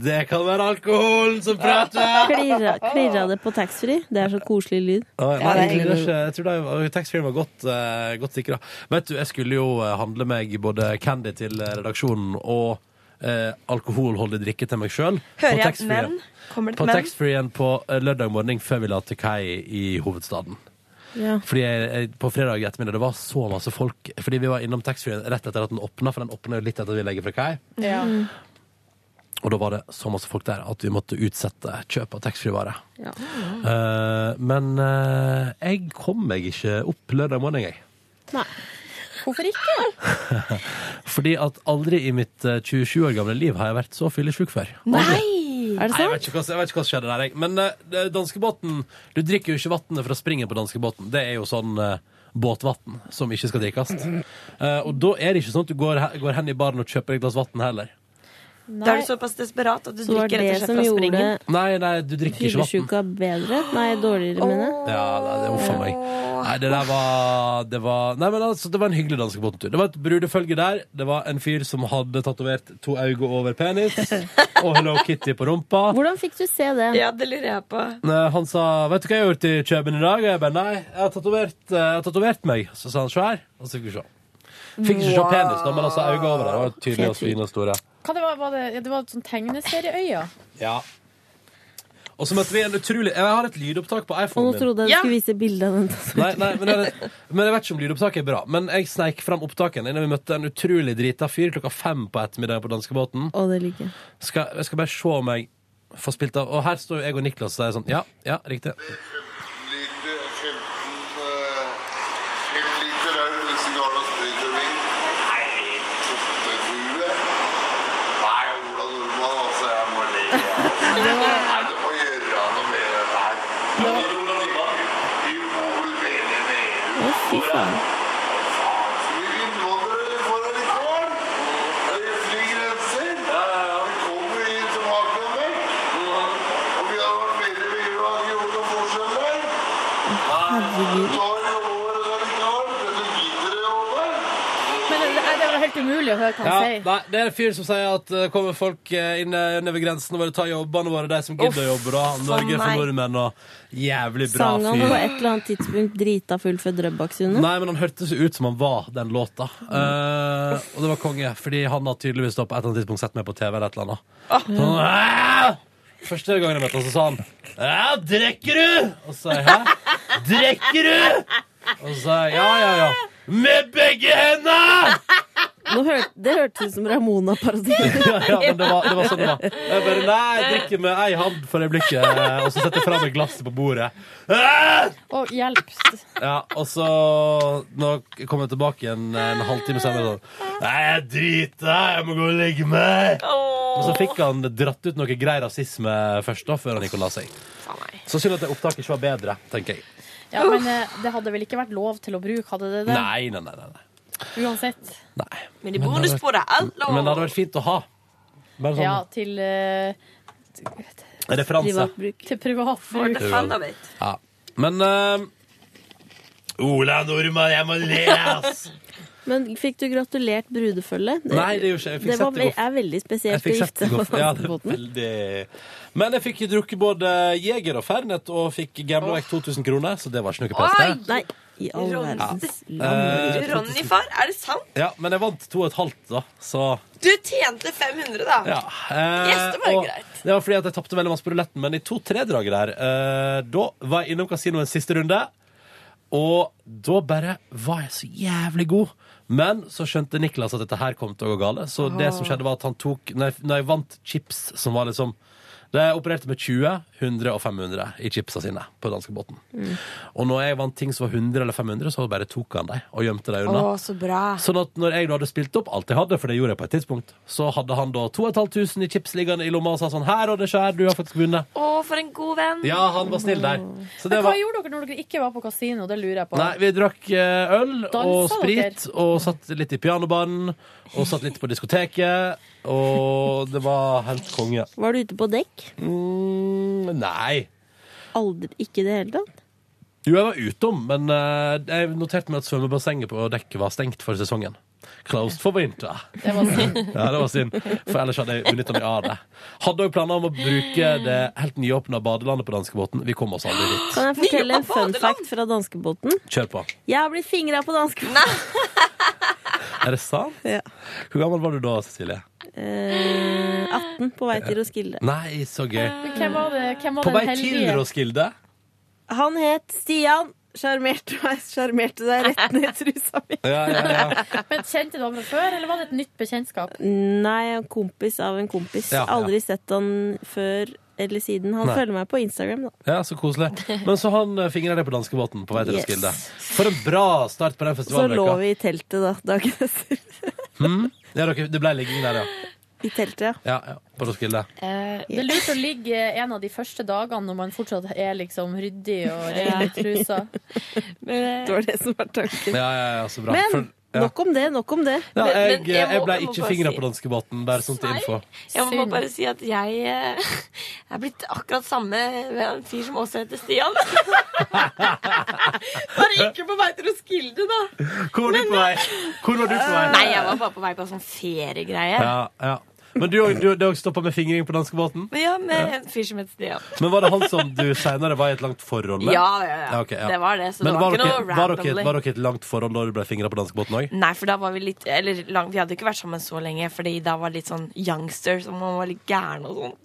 Speaker 2: det kan være alkoholen som prater!
Speaker 14: Klirra, klirra det på taxfree? Det er så koselig lyd.
Speaker 2: Ja, nei, jeg, tror det ikke, jeg tror det var- taxfree-en var godt, uh, godt sikra. Vet du, jeg skulle jo eh, handle meg både candy til eh, redaksjonen og eh, alkoholholdig drikke til meg sjøl.
Speaker 9: Hører jeg menn? Kommer det
Speaker 2: På
Speaker 9: et menn?
Speaker 2: taxfree-en på eh, lørdag morgen før vi la til kai i hovedstaden.
Speaker 14: Ja.
Speaker 2: Fordi jeg, jeg, På fredag ettermiddag det var så masse folk. Fordi vi var innom taxfree-en rett etter at den åpna, for den åpna jo litt etter at vi legger fra kai.
Speaker 14: Mhm.
Speaker 15: Ja.
Speaker 2: Og da var det så masse folk der at vi måtte utsette kjøp av taxfree-vare.
Speaker 14: Ja.
Speaker 2: Eh, men eh, jeg kom meg ikke opp lørdag morgen, jeg.
Speaker 14: Nei.
Speaker 15: Hvorfor ikke?
Speaker 2: Fordi at aldri i mitt eh, 27 år gamle liv har jeg vært så fyllesyk før.
Speaker 14: Nei! Er det
Speaker 2: Nei, jeg,
Speaker 14: sant?
Speaker 2: vet ikke hva, jeg vet ikke hva som skjedde der, jeg. Men eh, det- danskebåten Du drikker jo ikke vannet fra springen på danskebåten. Det er jo sånn uh, båtvann som ikke skal drikkes. Eh, og da er det ikke sånn at du går, he- går hen i baren og kjøper et glass vann heller.
Speaker 9: Da er du såpass desperat at du
Speaker 14: Så var
Speaker 9: drikker rett og
Speaker 14: det
Speaker 9: slett
Speaker 14: som
Speaker 9: fra
Speaker 14: gjorde
Speaker 9: springen.
Speaker 2: Nei, nei, du drikker ikke vann.
Speaker 14: Fyllesyka bedre? Nei, dårligere, mener jeg.
Speaker 2: Ja, nei, det uff a meg. Nei, det der var Det var, nei, men altså, det var en hyggelig danskebåttur. Det var et brudefølge der. Det var en fyr som hadde tatovert to øyne over penis og Hello Kitty på rumpa.
Speaker 14: Hvordan fikk du se det?
Speaker 9: Ja, det lurer jeg på.
Speaker 2: Nei, Han sa 'Vet du hva jeg har gjort i Kjøben i dag?' Og jeg bare 'Nei, jeg har tatovert, eh, jeg har tatovert meg'. Så sa han 'Se her', og så fikk vi se. Fikk ikke se
Speaker 15: Wow.
Speaker 2: penis, da, men altså øynene over der var tydelige og fine og store.
Speaker 15: Hva det var, var det, ja, det var sånn tegneserieøya.
Speaker 2: Ja. Og så møtte vi en utrolig Jeg har et lydopptak på
Speaker 14: Og
Speaker 2: iPhonen
Speaker 14: nå
Speaker 2: min.
Speaker 14: trodde jeg du skulle vise bilde av den tatoveringen.
Speaker 2: Nei, nei men, jeg, men jeg vet ikke om lydopptaket er bra. Men jeg sneik fram opptakene da vi møtte en utrolig drita fyr klokka fem på ettermiddagen på danskebåten.
Speaker 14: Å, det liker jeg.
Speaker 2: Skal, jeg skal bare se om jeg får spilt av. Og her står jo jeg og Niklas og sier sånn Ja, ja, riktig.
Speaker 3: altså, Altså,
Speaker 16: Det må gjøre noe med det her.
Speaker 15: eh, helt umulig å høre hva
Speaker 2: Ja,
Speaker 15: han sier.
Speaker 2: nei, det er en fyr som sier at eh, kommer folk eh, inn eh, nedover grensen og vil ta jobbene våre, de som gidder å
Speaker 14: Uff,
Speaker 2: jobbe, da. Norge
Speaker 14: å
Speaker 2: for
Speaker 14: nei.
Speaker 2: nordmenn og jævlig bra
Speaker 14: Sang han
Speaker 2: fyr.
Speaker 14: på et eller annet tidspunkt drita full for Drøbaksundet?
Speaker 2: Nei, men han hørtes ut som han var den låta. Eh, og det var konge, fordi han har tydeligvis da på et eller annet tidspunkt sett meg på TV eller et eller annet. Så han, "Æ!" Første gangen jeg møtte han, så sa han Ja, drikker du? Og så sa jeg hæ? Drikker du? Og så sa jeg ja, ja, ja. Med begge hendene!
Speaker 14: Nå hørte, det hørtes ut som Ramona-parodi.
Speaker 2: Ja, ja, men det var, det var sånn det var. Jeg bare nei, jeg drikker med ei hand for øyeblikket, eh, og så setter jeg fra meg glasset på bordet. Æ!
Speaker 15: Å, hjelp.
Speaker 2: Ja, og så Nå kom jeg tilbake igjen en halvtime senere sånn Nei, jeg driter, jeg må gå og legge meg. Men så fikk han dratt ut noe grei rasisme først, da, før han gikk og la seg. Så synd at det opptaket ikke var bedre, tenker jeg.
Speaker 15: Ja, men eh, det hadde vel ikke vært lov til å bruke, hadde det det?
Speaker 2: Nei, nei, nei. nei, nei.
Speaker 15: Uansett.
Speaker 9: Men de
Speaker 2: Men det hadde
Speaker 9: bonussporer alt lov.
Speaker 2: Men det hadde vært fint å ha. Bare sånn
Speaker 15: Ja, til eh,
Speaker 2: referanse.
Speaker 15: Til privat bruk.
Speaker 2: Ja. Men eh, Ola Nordmann, jeg må le, ass!
Speaker 14: Men fikk du gratulert brudefølget?
Speaker 2: Nei, det gjorde ikke jeg. Jeg fikk
Speaker 14: det var,
Speaker 2: sett det gå-
Speaker 14: er veldig
Speaker 2: Jeg
Speaker 14: spesielt å
Speaker 2: fikk
Speaker 14: gifte
Speaker 2: kjeft
Speaker 14: seg
Speaker 2: i går. Ja, det er veldig... Men jeg fikk drukket både Jeger og Fernet og fikk gambla vekk 2000 kroner, så det var ikke noe pes, det.
Speaker 14: Nei, i all
Speaker 9: Ronny.
Speaker 14: verdens
Speaker 2: Eh,
Speaker 14: land.
Speaker 9: Ronny, far, er det sant?
Speaker 2: Ja, men jeg vant 2,5, da, så
Speaker 9: Du tjente 500, da.
Speaker 2: ja. eh,
Speaker 9: Yes, det var jo
Speaker 2: og
Speaker 9: greit.
Speaker 2: Det var fordi at jeg tapte veldig masse på ruletten, men i to-tre drager der eh, Da var jeg innom kasinoen siste runde, og da bare var jeg så jævlig god. Men så skjønte Niklas at dette her kom til å gå gale, så det som skjedde, var at han tok Når jeg, når jeg vant chips, som var liksom Da jeg opererte med 20, 100 og 500 i chipsa sine på danskebåten.
Speaker 9: Mm.
Speaker 2: Og når jeg vant ting som var 100 eller 500, så bare tok han dem og gjemte dem unna.
Speaker 9: så bra.
Speaker 2: Sånn at når jeg da hadde spilt opp alt jeg hadde, for det gjorde jeg på et tidspunkt, så hadde han da 2500 i chips liggende i lomma og sa sånn Her og det skjer, du har faktisk vunnet.
Speaker 9: Å, for en god venn.
Speaker 2: Ja, han var snill der. Så det
Speaker 15: Men hva
Speaker 2: var
Speaker 15: gjorde dere når dere ikke var på kasino? Det lurer jeg på.
Speaker 2: Nei, vi drakk eh, øl og
Speaker 15: Dansa
Speaker 2: sprit og satt litt i pianobaren og satt litt på diskoteket, og det var helt konge.
Speaker 14: Var du ute på dekk?
Speaker 2: Mm, nei.
Speaker 14: Aldri, ikke i det hele tatt?
Speaker 2: Jo, jeg var utom, men eh, jeg noterte meg at svømmebassenget på dekket var stengt for sesongen. Closed for winter.
Speaker 15: Det var synd.
Speaker 2: Ja, det var synd, for ellers hadde jeg benytta meg av det. Hadde òg planer om å bruke det helt nyåpna badelandet på danskebåten. Vi kom oss aldri dit.
Speaker 14: Kan jeg fortelle en fun fact fra danskebåten?
Speaker 2: Kjør på.
Speaker 14: Jeg har blitt fingra på danskebåten!
Speaker 2: Er det sant? Hvor gammel var du da, Cecilie?
Speaker 14: Eh, 18 på vei til Roskilde.
Speaker 2: Nei, så gøy.
Speaker 14: Hvem var, det, hvem
Speaker 2: På vei til Roskilde?
Speaker 14: Han het Stian. Sjarmerte meg. Sjarmerte deg rett ned i trusa mi.
Speaker 2: Ja, ja, ja.
Speaker 15: Men Kjente du ham fra før, eller var det et nytt bekjentskap?
Speaker 14: Nei, en kompis av en kompis.
Speaker 2: Ja, ja.
Speaker 14: Aldri sett han før eller siden. Han
Speaker 2: Nei.
Speaker 14: følger meg på Instagram, da.
Speaker 2: Ja, Så koselig. Men så han eh, fingra det på danskebåten på vei til
Speaker 14: Yes.
Speaker 2: Roskilde. For en bra start på den
Speaker 14: Så lå
Speaker 2: festivalveka.
Speaker 14: vi i teltet da, dagen etter.
Speaker 2: Hmm? Ja, dere- det ble ligging der, ja.
Speaker 14: I teltet, ja.
Speaker 2: Ja, ja. På Roskilde.
Speaker 15: Eh, det er lurt å ligge en av de første dagene når man fortsatt er liksom ryddig og ren i trusa.
Speaker 14: Det var det som var tanken.
Speaker 2: Ja, ja, ja, så bra.
Speaker 14: Men
Speaker 2: For- ja.
Speaker 14: nok om det, nok om det.
Speaker 2: Ja, jeg, jeg,
Speaker 9: jeg må-
Speaker 2: ble
Speaker 9: jeg må
Speaker 2: ikke
Speaker 9: bare
Speaker 2: fingra
Speaker 9: si-
Speaker 2: på danskebåten, bare sånn til info.
Speaker 9: Jeg må
Speaker 14: Synd.
Speaker 9: bare si at jeg eh, er blitt akkurat samme med en fyr som også heter Stian. bare ikke på vei til Roskilde, da.
Speaker 2: Hvor var du på vei? Hvor var du på vei?
Speaker 9: Nei, jeg var bare på vei på en sånn feriegreie.
Speaker 2: Ja, ja. Men du, du, du stoppa med fingring på danskebåten?
Speaker 9: Men ja, med en fyr som het Stian.
Speaker 2: Men var det han som du seinere var i et langt forhold med?
Speaker 9: Ja, ja, ja.
Speaker 2: ok,
Speaker 9: Det var det, så
Speaker 2: Men
Speaker 9: det var
Speaker 2: var,
Speaker 9: ikke
Speaker 2: dere,
Speaker 9: noe
Speaker 2: var, dere,
Speaker 9: randomly.
Speaker 2: var dere i et langt forhold da du ble fingra på danskebåten òg?
Speaker 9: Nei, for da var vi litt Eller lang, vi hadde ikke vært sammen så lenge, fordi da var det litt sånn youngster, så man var litt gæren og sånn.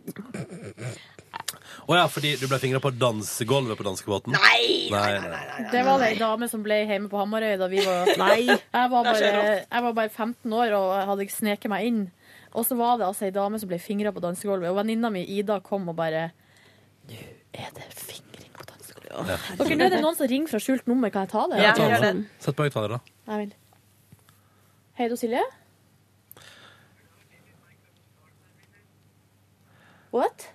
Speaker 2: Å ja, fordi du ble fingra på dansegulvet på danskebåten?
Speaker 9: Nei,
Speaker 2: nei, nei, nei.
Speaker 15: Det var det ei dame som ble hjemme på Hamarøy da vi var
Speaker 14: Nei.
Speaker 15: Jeg var
Speaker 14: Det er
Speaker 15: bare,
Speaker 14: så rått.
Speaker 15: jeg var bare 15 år og hadde sneket meg inn. Og så var det altså ei dame som ble fingra på dansegulvet, og venninna mi Ida kom og bare
Speaker 2: Ja.
Speaker 15: Ok, nå er det noen som ringer fra skjult nummer, kan jeg ta det?
Speaker 2: Ja, ta den. Sett på høyttaler, da.
Speaker 15: Jeg vil. Hei, da, Silje. What?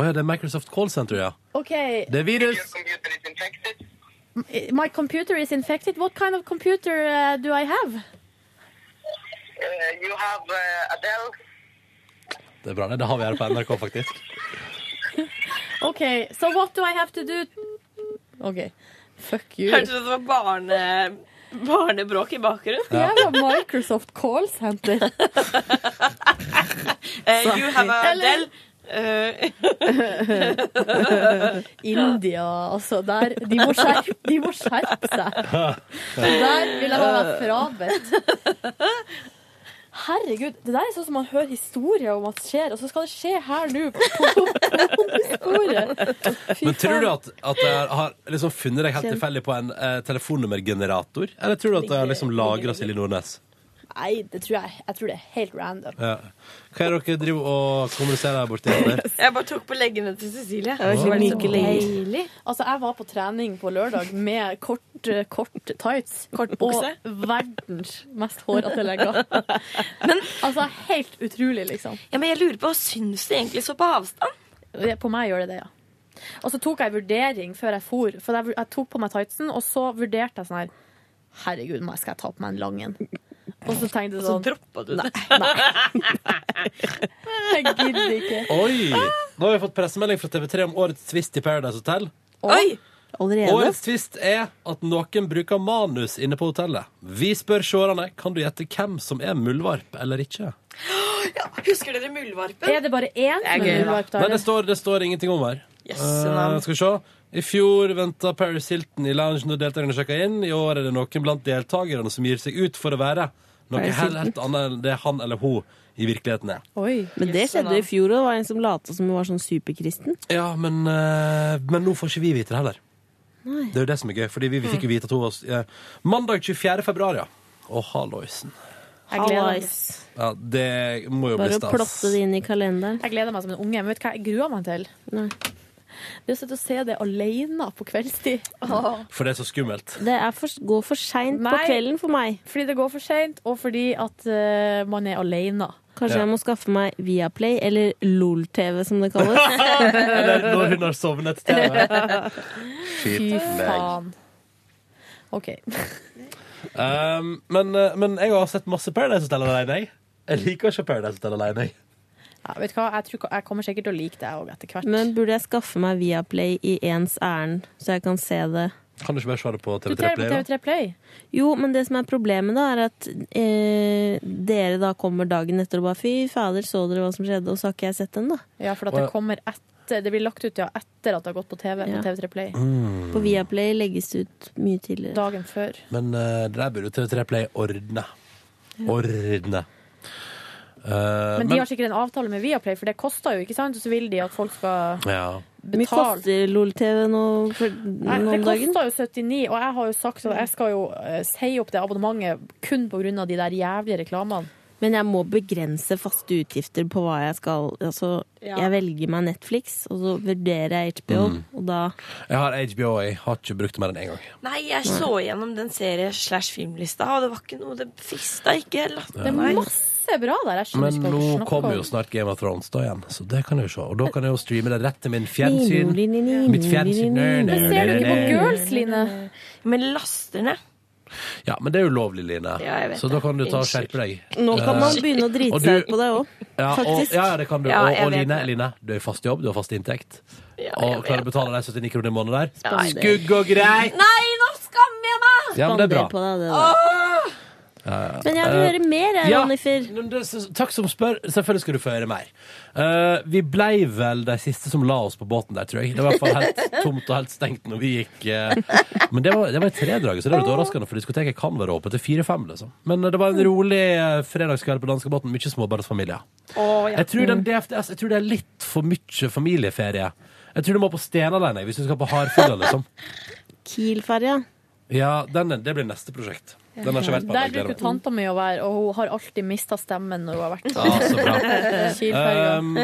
Speaker 2: Å ja, det er Microsoft Call Center, ja.
Speaker 15: OK.
Speaker 2: Det er virus.
Speaker 15: My computer is infected. What kind of computer uh, do I have?
Speaker 16: you have uh, Adele.
Speaker 2: Det er bra, det. Det har vi her på NRK, faktisk.
Speaker 15: OK, so what do I have to do? OK. Fuck you.
Speaker 9: Hørtes ut som en barne... barnebråk i bakgrunnen.
Speaker 4: Jævla Microsoft Call Center.
Speaker 9: Eh, you have a del.
Speaker 4: Eller-
Speaker 9: Eh,
Speaker 4: India, altså. Der, de, må skjerpe, de må skjerpe seg. Der vil jeg ha meg frabedt. Herregud, det der er sånn som man hører historier om at skjer, og så skal det skje her nå. På, på,
Speaker 2: Men tror du at, at jeg har liksom funnet deg helt tilfeldig på en eh, telefonnummergenerator? Eller tror du at jeg har liksom lagra Silje Nordnes?
Speaker 4: Nei, det tror jeg. Jeg tror det er helt random.
Speaker 2: Ja. Hva er det dere driver og kommuniserer her borte? Jenter?
Speaker 9: jeg bare tok på leggene til Cecilie.
Speaker 4: Det var ikke
Speaker 9: Åh.
Speaker 4: myke
Speaker 9: så
Speaker 4: legger.
Speaker 9: deilig.
Speaker 4: Altså, jeg var på trening på lørdag med kort, eh, kort tights.
Speaker 9: bukse.
Speaker 4: Og verdens mest hårete legger. Men altså, helt utrolig, liksom.
Speaker 9: Ja, men jeg lurer på, syns det egentlig så på avstand?
Speaker 4: På meg gjør det det, ja. Og så tok jeg vurdering før jeg for. For jeg, jeg tok på meg tightsen, og så vurderte jeg sånn her Herregud, må jeg- skal jeg ta på meg en lang en? Og så tenkte jeg sånn
Speaker 9: Og så droppa du det.
Speaker 4: Nei. nei. Jeg gidder ikke.
Speaker 2: Oi! Nå har vi fått pressemelding fra TV3 om årets twist i Paradise Hotel.
Speaker 9: Oi!
Speaker 2: Årets twist er at noen bruker manus inne på hotellet. Vi spør seerne kan du gjette hvem som er muldvarp eller ikke.
Speaker 9: Ja, husker dere muldvarpen?
Speaker 4: Er det bare én
Speaker 9: som er muldvarp?
Speaker 2: Nei, det står, det står ingenting om her.
Speaker 9: Yes,
Speaker 2: Eh,
Speaker 9: navn.
Speaker 2: skal vi se. I fjor venta Paris Hilton i loungen når deltakerne sjekka inn. I år er det noen blant deltakerne som gir seg ut for å være noe
Speaker 14: Paris
Speaker 2: helt,
Speaker 14: Hilton.
Speaker 2: helt annet enn det han eller hun i virkeligheten er.
Speaker 14: Men det skjedde i fjor, og det var en som lot som hun var sånn superkristen.
Speaker 2: Ja, men, eh, men nå får ikke vi vite det heller.
Speaker 14: Nei.
Speaker 2: Det er jo det som er gøy, fordi vi, vi fikk jo vite at hun var eh, Mandag 24. februar, ja. Å, halloisen.
Speaker 4: Jeg gleder meg.
Speaker 14: Hallais.
Speaker 2: Ja, det må jo bli
Speaker 14: Bare å
Speaker 2: stas.
Speaker 14: plotte det inn i kalenderen.
Speaker 4: Jeg gleder meg som en unge, men vet du hva jeg gruer meg til? Det å sitte og se det alene på kveldstid.
Speaker 2: For det er så skummelt.
Speaker 4: Det går for seint
Speaker 14: på kvelden
Speaker 4: for meg. Fordi det går for seint, og fordi at eh, man er alene.
Speaker 14: Kanskje
Speaker 2: Ja.
Speaker 14: jeg må skaffe meg Viaplay, eller LOL-TV som det kalles.
Speaker 2: Eller når hun har sovnet til TV.
Speaker 4: Fy faen. OK.
Speaker 2: Um, men, eh, men jeg har sett masse Paradise Hotel alene. jeg. Jeg liker ikke Paradise Hotel alene. jeg.
Speaker 4: Ja, vet du hva? Jeg, tror, jeg kommer sikkert til å like deg òg etter hvert.
Speaker 14: Men burde jeg skaffe meg Viaplay i ens ærend, så jeg kan se det?
Speaker 2: Kan du ikke bare se det på
Speaker 14: Du
Speaker 2: TV3
Speaker 14: ser det på
Speaker 2: Play? da?
Speaker 14: TV3. Jo, men det som er problemet da, er at eh, dere da kommer dagen etter og bare fy fader, så dere hva som skjedde, og så har ikke jeg sett den, da.
Speaker 4: Ja, for at
Speaker 14: Og
Speaker 4: det
Speaker 14: jeg-
Speaker 4: kommer etter Det blir lagt ut ja, etter at det har gått på TV på TV3 Play.
Speaker 2: Mm.
Speaker 14: På Viaplay legges det ut mye tidligere.
Speaker 4: Dagen før.
Speaker 2: Men eh, det der burde jo TV3 Play ordne. Ordne. Eh,
Speaker 4: Men de har sikkert en avtale med Viaplay, for det koster jo, ikke sant? Og så vil de at folk skal
Speaker 2: Ja.
Speaker 14: Mye koster LOL-TV nå for
Speaker 4: Nei,
Speaker 14: nå
Speaker 4: det
Speaker 14: om dagen?
Speaker 4: koster jo 79, og jeg har jo sagt at jeg skal jo eh, si opp det abonnementet kun pga. de der jævlige reklamene.
Speaker 14: Men jeg må begrense faste utgifter på hva jeg skal Altså,
Speaker 4: Ja.
Speaker 14: jeg velger meg Netflix, og så vurderer jeg HBO,
Speaker 2: Mm.
Speaker 14: og da
Speaker 2: Jeg har HBO, jeg har ikke brukt det mer enn én gang.
Speaker 9: Nei, jeg så gjennom den serie- slash filmlista, og det var ikke noe Det frista ikke. Latt
Speaker 2: Det er
Speaker 9: meg.
Speaker 4: masse bra der.
Speaker 2: Men nå kommer jo snart Game of Thrones da igjen, så det kan jeg jo se. Og da kan jeg jo streame det rett til min fjernsyn. Mitt fjernsyn.
Speaker 9: Men ser du ikke på Girls,
Speaker 4: Line?
Speaker 9: Men laster ned.
Speaker 2: Ja, men det er ulovlig, Line.
Speaker 9: Ja, jeg vet
Speaker 2: så da
Speaker 9: det.
Speaker 2: kan du ta og skjerpe deg.
Speaker 14: Nå kan
Speaker 2: Eh,
Speaker 14: man begynne å drite
Speaker 2: og
Speaker 14: seg
Speaker 2: du-
Speaker 14: ut på det òg,
Speaker 2: ja, og,
Speaker 14: faktisk.
Speaker 2: ja, ja, det kan du.
Speaker 14: Ja,
Speaker 2: og
Speaker 14: jeg
Speaker 2: og
Speaker 14: vet
Speaker 2: Line,
Speaker 14: det.
Speaker 2: Line, du har fast jobb, du har fast inntekt.
Speaker 9: Ja,
Speaker 2: og klarer å betale de 79 kroner i måneden der.
Speaker 9: Ja, det-
Speaker 2: Skugg og
Speaker 9: Nei,
Speaker 2: grei!
Speaker 9: nå skammer jeg meg!
Speaker 2: Ja, men det er bra.
Speaker 14: Spander på deg, det da.
Speaker 9: Åh!
Speaker 14: Men jeg vil høre mer, jeg,
Speaker 2: ja.
Speaker 14: Jonnifer.
Speaker 2: Men det- s- Takk som spør. Selvfølgelig skal du få høre mer. Eh, vi blei vel de siste som la oss på båten der, tror jeg. Det var i hvert fall helt tomt og helt stengt når vi gikk. eh. Men det var, det var i tredraget, så det er litt overraskende, for diskoteket kan være åpent til fire-fem. Liksom. Men eh, det var en rolig eh, fredagskveld på danskebåten. Mye småbarnsfamilier. Jeg tror, den DFDS, jeg tror det er litt for mye familieferie. Jeg tror du må på Stenaleine hvis du skal på Hardfjella, liksom.
Speaker 14: Kiel-ferja.
Speaker 2: Ja, den, er- det blir neste prosjekt. Den har ikke vært på
Speaker 4: Der
Speaker 2: jeg gleder
Speaker 4: bruker
Speaker 2: meg.
Speaker 4: jo tanta mi å være, og hun har alltid mista stemmen når hun har vært
Speaker 2: Ja, så bra.
Speaker 4: Kielferga.
Speaker 2: Um,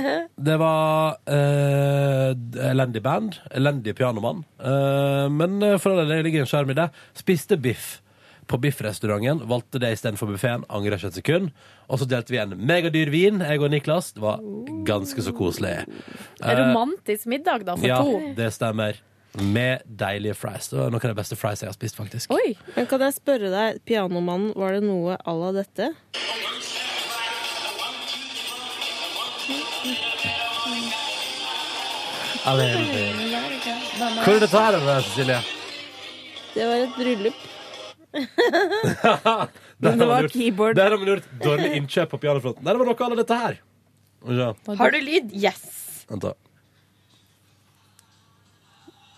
Speaker 2: det var eh, elendig band, elendig pianomann. Eh, men eh, for alle det ligger en skjerm i det. Spiste biff på biffrestauranten. Valgte det istedenfor buffeen. Angrer ikke et sekund. Og så delte vi en megadyr vin, jeg og Niklas. Det var ganske så koselig.
Speaker 4: En romantisk middag, da, for
Speaker 2: eh, ja,
Speaker 4: to.
Speaker 2: det stemmer. Med deilige fries. Det var noen av de beste fries jeg har spist, faktisk.
Speaker 14: Men kan jeg spørre deg, pianomannen, var det noe à la dette?
Speaker 2: Elendig. Hvor er dette her, Cecilie?
Speaker 14: Det var et bryllup.
Speaker 2: Der
Speaker 9: Men det
Speaker 2: har man
Speaker 9: var
Speaker 2: gjort-
Speaker 9: keyboard.
Speaker 2: Der har man gjort dårlig innkjøp på pianofronten. Nei, det var noe av dette her. Ja.
Speaker 9: Har du lyd? Yes.
Speaker 2: Vent, da.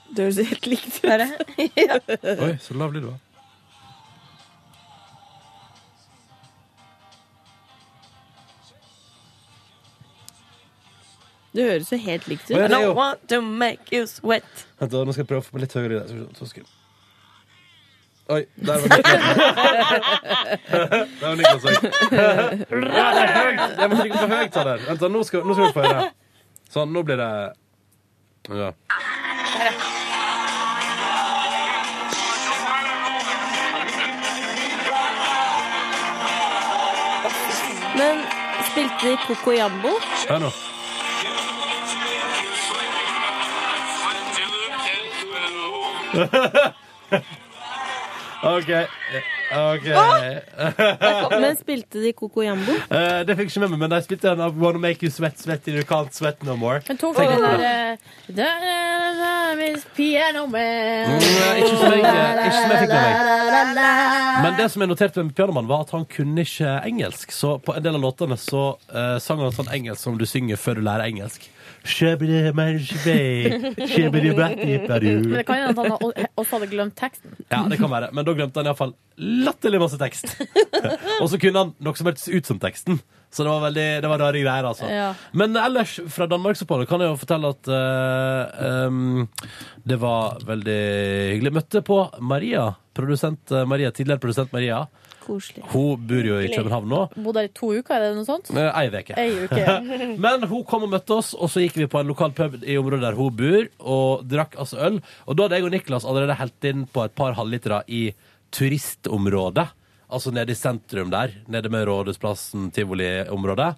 Speaker 9: Det høres helt likt ut. ja.
Speaker 2: Oi, så lav lyd det var.
Speaker 14: Du høres jo helt likt ut.
Speaker 2: Men det er jo- I don't
Speaker 14: want to make you sweat.
Speaker 2: Vent, da. Nå skal jeg prøve å få på litt høyere lyd. her. Skal vi se, to sekunder. Oi, der var Niklas. Der var Niklas òg. Ja, det er høyt! Jeg må trykke på høyttaler. Vent, da. Nå skal, nå skal du få høre. Sånn, nå blir det Ja.
Speaker 14: Men spilte de Coco Jambo?
Speaker 2: Hør nå. OK. OK.
Speaker 14: Men spilte de Coco Jambo?
Speaker 2: Eh, det fikk jeg ikke med meg, men de spilte den av Wanna Make You Sweat, Sweat Till You Can't Sweat No More.
Speaker 15: Men tok
Speaker 2: Tenk
Speaker 15: den
Speaker 2: på
Speaker 15: der
Speaker 2: det.
Speaker 15: eh, da, da, da, da, Miss Piano Man.
Speaker 2: Nei, Mm, eh, ikke som jeg, ikke som jeg fikk med meg. Men det som jeg noterte med Pianoman, var at han kunne ikke engelsk. Så på en del av låtene så eh, sang han sånn engelsk som du synger før du lærer engelsk.
Speaker 15: Men det
Speaker 2: Ja,
Speaker 15: kan hende at han har- også hadde glemt teksten.
Speaker 2: det kan være. Men da glemte han iallfall latterlig masse tekst. Og så kunne han noe som hørtes ut som teksten. Så det var veldig, det var rare greier, altså.
Speaker 15: Ja.
Speaker 2: Men ellers, fra Danmarksoppholdet, kan jeg jo fortelle at eh, em, det var veldig hyggelig. Møtte på Maria, produsent eh, Maria, tidligere produsent Maria.
Speaker 14: Koselig.
Speaker 2: Hun bor jo i København nå.
Speaker 15: Bodde der i to uker, er det noe sånt?
Speaker 2: Eh, Ei veke.
Speaker 15: Ei uke, ja.
Speaker 2: Men hun kom og møtte oss, og så gikk vi på en lokal pub i området der hun bor, og drakk altså øl. Og da hadde jeg og Niklas allerede helt inn på et par halvlitere i turistområdet. Altså nede i sentrum der, nede med Rådhusplassen, tivoliområdet.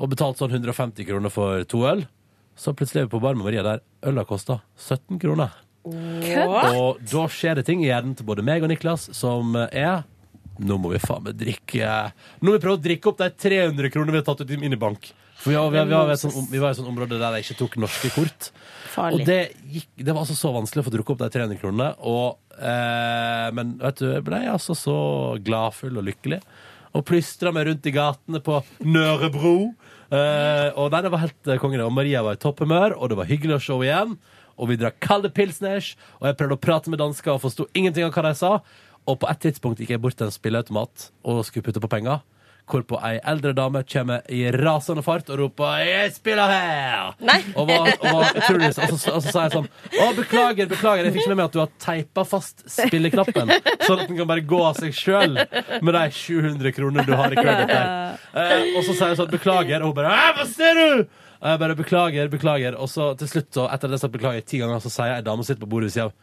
Speaker 2: Og betalte sånn 150 kroner for to øl. Så plutselig er vi på bar med Maria der øla kosta 17 kroner.
Speaker 15: Kødd?
Speaker 2: Og da skjer det ting i hjernen til både meg og Niklas som er Nå må vi faen meg drikke Nå må vi prøve å drikke opp de 300 kronene vi har tatt ut inn i bank. For vi var, vi var, vi var, i et sånt- vi var i et sånt område der de ikke tok norske kort.
Speaker 14: Farlig.
Speaker 2: Og det, gikk, det var altså så vanskelig å få drukket opp de 300 kronene. Og, eh, men vet du, jeg ble altså så gladfull og lykkelig. Og plystra meg rundt i gatene på Nørebro. Eh, og nei, det var helt eh, konge. det. Og Maria var i topphumør, og det var hyggelig å se henne igjen. Og vi drakk kalde pilsners, og jeg prøvde å prate med dansker og forsto ingenting av hva de sa. Og på et tidspunkt gikk jeg bort til en spilleautomat og skulle putte på penger. Hvorpå ei eldre dame kommer i rasende fart og roper 'Jeg spiller her!' Og, var, og, var utrolig, og, så, og så sa jeg sånn Å, beklager, beklager, jeg fikk ikke med meg at du har teipa fast spilleknappen, sånn at den kan bare gå av seg sjøl med de 700 kronene du har i credit der. Eh, og så sier jeg sånn Beklager, og hun bare «Æ, Hva ser du?! Og jeg bare beklager, beklager. Og så til slutt, så, etter at jeg sa beklager ti ganger, så sier ei dame som sitter på bordet ved siden av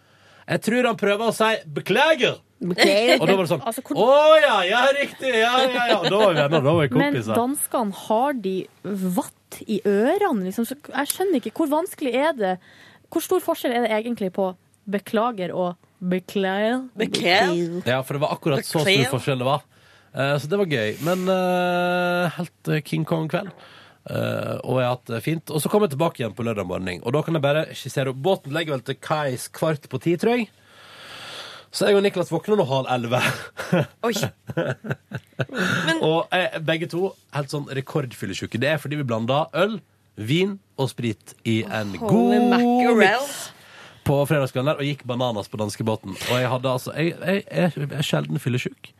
Speaker 2: Jeg tror han prøver å si beklager!
Speaker 15: Beklager.
Speaker 2: Og da var det sånn Å
Speaker 15: Altså, hvor-
Speaker 2: ja, ja, riktig! Ja, ja, ja. Og Da var vi venner, da var vi
Speaker 15: Men
Speaker 2: kompiser.
Speaker 15: danskene, har de vatt i ørene? Liksom? Så jeg skjønner ikke. Hvor vanskelig er det? Hvor stor forskjell er det egentlig på beklager og beklager?
Speaker 9: Beklager.
Speaker 2: Ja, for det var akkurat så stor
Speaker 15: Beklager.
Speaker 2: forskjell det var. Eh, så det var gøy. Men eh, helt eh, King Kong-kveld. Eh, og jeg har hatt det fint. Og så kom jeg tilbake igjen på lørdag morgen. Og da kan jeg bare skissere opp. Båten legger vel til kais kvart på ti, tror jeg. Så jeg og Niklas våkner nå halv elleve. og eh, begge to helt sånn rekordfyllesyke. Det er fordi vi blanda øl, vin og sprit i en
Speaker 9: Holy
Speaker 2: god
Speaker 9: mackerel.
Speaker 2: miks på fredagskvelden der, og gikk bananas på danskebåten. Og jeg hadde altså Jeg, jeg, jeg er sjelden fyllesyk.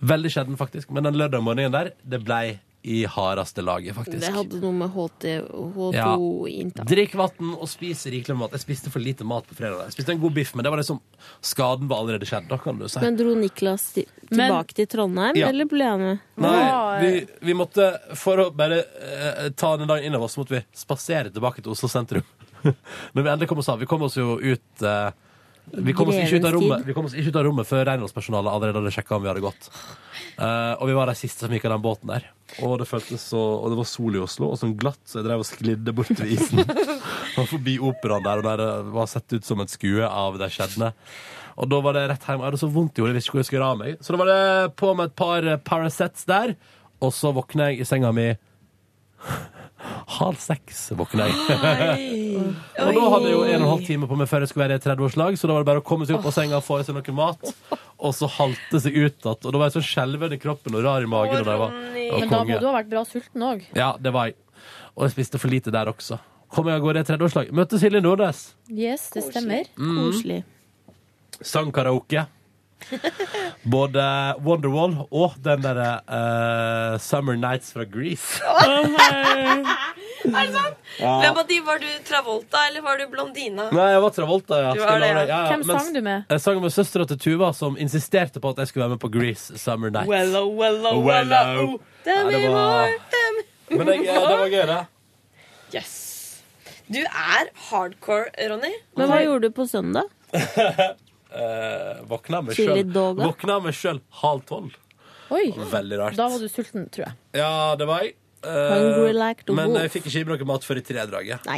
Speaker 2: Veldig sjelden, faktisk. Men den lørdag morgenen der, det blei i hardeste laget, faktisk.
Speaker 14: Det hadde noe med H2
Speaker 2: Ja.
Speaker 14: inntak
Speaker 2: Drikk vann og spis rikelig med mat. Jeg spiste for lite mat på fredag. Jeg spiste en god biff, men det var liksom skaden var allerede skjedd. Da kan du si.
Speaker 14: Men dro Niklas til,
Speaker 2: Men-
Speaker 14: tilbake til Trondheim,
Speaker 2: Ja.
Speaker 14: eller ble han med?
Speaker 2: Nei, vi, vi måtte For å bare eh, ta den dagen inn over oss, så måtte vi spasere tilbake til Oslo sentrum. Når vi endelig kom oss av. Vi kom oss jo ut eh, vi kom, oss ikke ut av
Speaker 14: Grevens tid.
Speaker 2: rommet, vi kom oss ikke ut av rommet før renholdspersonalet allerede hadde sjekka om vi hadde gått. Eh, og vi var de siste som gikk av den båten der. Og det føltes så Og det var sol i Oslo, og sånn glatt, så jeg drev og sklidde bort ved isen. Og forbi operaen der, og der det var sett ut som et skue av de skjedne. Og da var det rett hjem. Jeg hadde så vondt i hodet, jeg visste ikke hvor jeg skulle gjøre av meg. Så da var det på med et par eh, Paracets der, og så våkna jeg i senga mi halv seks. våkna jeg. og da hadde jeg jo en og en halv time på meg før jeg skulle være i 30-årslag, så da var det bare å komme seg opp av senga og få i seg noe mat. og så halte seg ut igjen. Og da var jeg så skjelven i kroppen og rar i magen. Og det var, det var
Speaker 15: Men da må
Speaker 2: konge.
Speaker 15: du ha vært bra sulten òg.
Speaker 2: Ja, det var jeg. Og jeg spiste for lite der også. Kom jeg av gårde i tredjeårslag. Møtte Silje Nordnes.
Speaker 15: Yes, det stemmer.
Speaker 2: Mm. Koselig. Sang karaoke. Både Wonderwall og den derre eh, Summer Nights fra Grease.
Speaker 9: Er det sant?
Speaker 2: Ja.
Speaker 9: Hvem av de var du? Travolta, eller var du blondina?
Speaker 2: Nei, jeg var Travolta. Ja.
Speaker 9: Du var det, ja.
Speaker 15: Hvem sang du med?
Speaker 2: Jeg sang med søstera til Tuva, som insisterte på at jeg skulle være med på Grease Summer Nights.
Speaker 9: Wello, wello,
Speaker 2: oh, Wello.
Speaker 9: wello. Dem
Speaker 2: Nei, det
Speaker 9: i
Speaker 2: var-
Speaker 9: vår, dem i
Speaker 2: Men jeg, ja, det var gøy, det.
Speaker 9: Yes. Du er hardcore, Ronny.
Speaker 14: Men hva gjorde du på søndag?
Speaker 2: Eh, våkna meg
Speaker 14: Chili
Speaker 2: sjøl-
Speaker 14: dog, da?
Speaker 2: Våkna meg sjøl halv tolv.
Speaker 15: Oi.
Speaker 2: Veldig rart.
Speaker 15: Da var du sulten, tror jeg.
Speaker 2: Ja, det var jeg. Eh,
Speaker 15: Hungry like the
Speaker 2: men
Speaker 15: wolf.
Speaker 2: jeg fikk ikke i meg noe mat før i tredraget.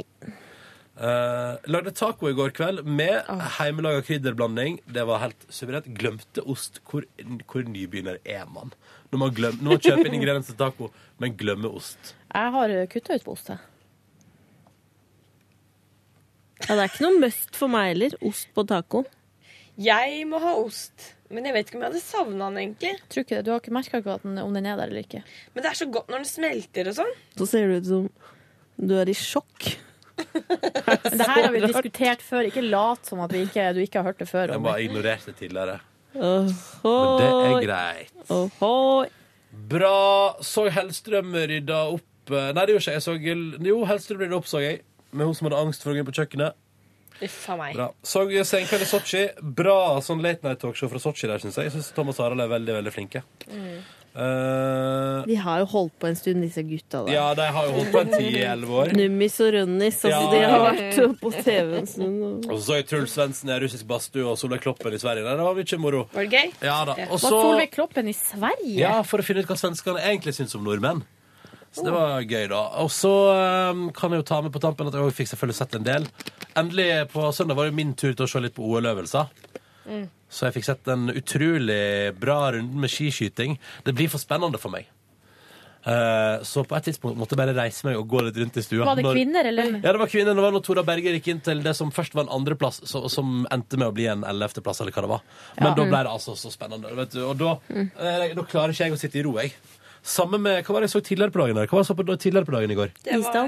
Speaker 2: Eh, lagde taco i går kveld med
Speaker 15: Ah.
Speaker 2: hjemmelaga krydderblanding. Det var helt suverent. Glemte ost. Hvor, hvor nybegynner er man? Når man, glem, når man kjøper inn ingredienser til taco, men glemmer ost.
Speaker 15: Jeg har kutta ut på ost, jeg.
Speaker 14: Ja, det er ikke noe must for meg heller. Ost på taco.
Speaker 9: Jeg må ha ost. Men jeg vet ikke om jeg hadde savna den, egentlig.
Speaker 15: Tror ikke det. Du har ikke merka om den er der eller ikke.
Speaker 9: Men det er så godt når den smelter og sånn.
Speaker 14: Så ser du ut som du er i sjokk.
Speaker 15: Men det her har vi diskutert før. Ikke lat som at vi ikke, du ikke har hørt det før.
Speaker 2: Jeg
Speaker 15: Ronny.
Speaker 2: bare ignorerte det tidligere. Men det er
Speaker 14: Ohoi.
Speaker 2: greit.
Speaker 14: Ohoi.
Speaker 2: Bra. Så Hellstrøm rydda opp eh, Nei, det gjorde ikke jeg. Så, Gull- jo, Hellstrøm rydda opp, så jeg. Med hun som hadde angst for å gå inn på kjøkkenet.
Speaker 9: Uff a meg.
Speaker 2: Bra. Så Senkveld i Sotsji. Bra sånn late night talkshow fra Sotsji der, syns jeg. Jeg syns Thomas og Harald er veldig, veldig flinke.
Speaker 9: Mm.
Speaker 2: Eh,
Speaker 14: De har jo holdt på en stund, disse gutta. Da.
Speaker 2: ja, de har jo holdt på en 10-11 år.
Speaker 14: Nummis og Rønnis, altså,
Speaker 2: Ja.
Speaker 14: de har vært på TV en stund. og-
Speaker 2: Og så så jeg Truls Svendsen i en russisk badstue og Solveig Kloppen i Sverige. Nei, det var mye moro.
Speaker 9: Var det gøy?
Speaker 2: Ja da. Og
Speaker 15: Var
Speaker 2: så
Speaker 15: Solveig Kloppen i Sverige?
Speaker 2: Ja, for å finne ut hva svenskene egentlig syns om nordmenn. Så det var gøy, da. Og så eh, kan jeg jo ta med på tampen at jeg også fikk selvfølgelig sett en del. Endelig, på søndag var det min tur til å se litt på OL-øvelser.
Speaker 9: Mm.
Speaker 2: Så jeg fikk sett en utrolig bra runde med skiskyting. Det blir for spennende for meg. Eh, så på et tidspunkt måtte jeg bare reise meg og gå litt rundt i stua.
Speaker 15: Var det
Speaker 2: Når-
Speaker 15: kvinner, eller?
Speaker 2: Ja, det var kvinner. Det var når Tora Berger gikk inn til det som først var en andreplass, så- som endte med å bli en ellevteplass, eller hva det var. Men
Speaker 13: Ja.
Speaker 2: da ble det altså så spennende. Vet du. Og da, eh, da klarer ikke jeg å sitte i ro, jeg. Sammen med, Hva var det jeg så tidligere på dagen? her? Hva var det jeg så på da- tidligere på dagen i går?
Speaker 9: Det var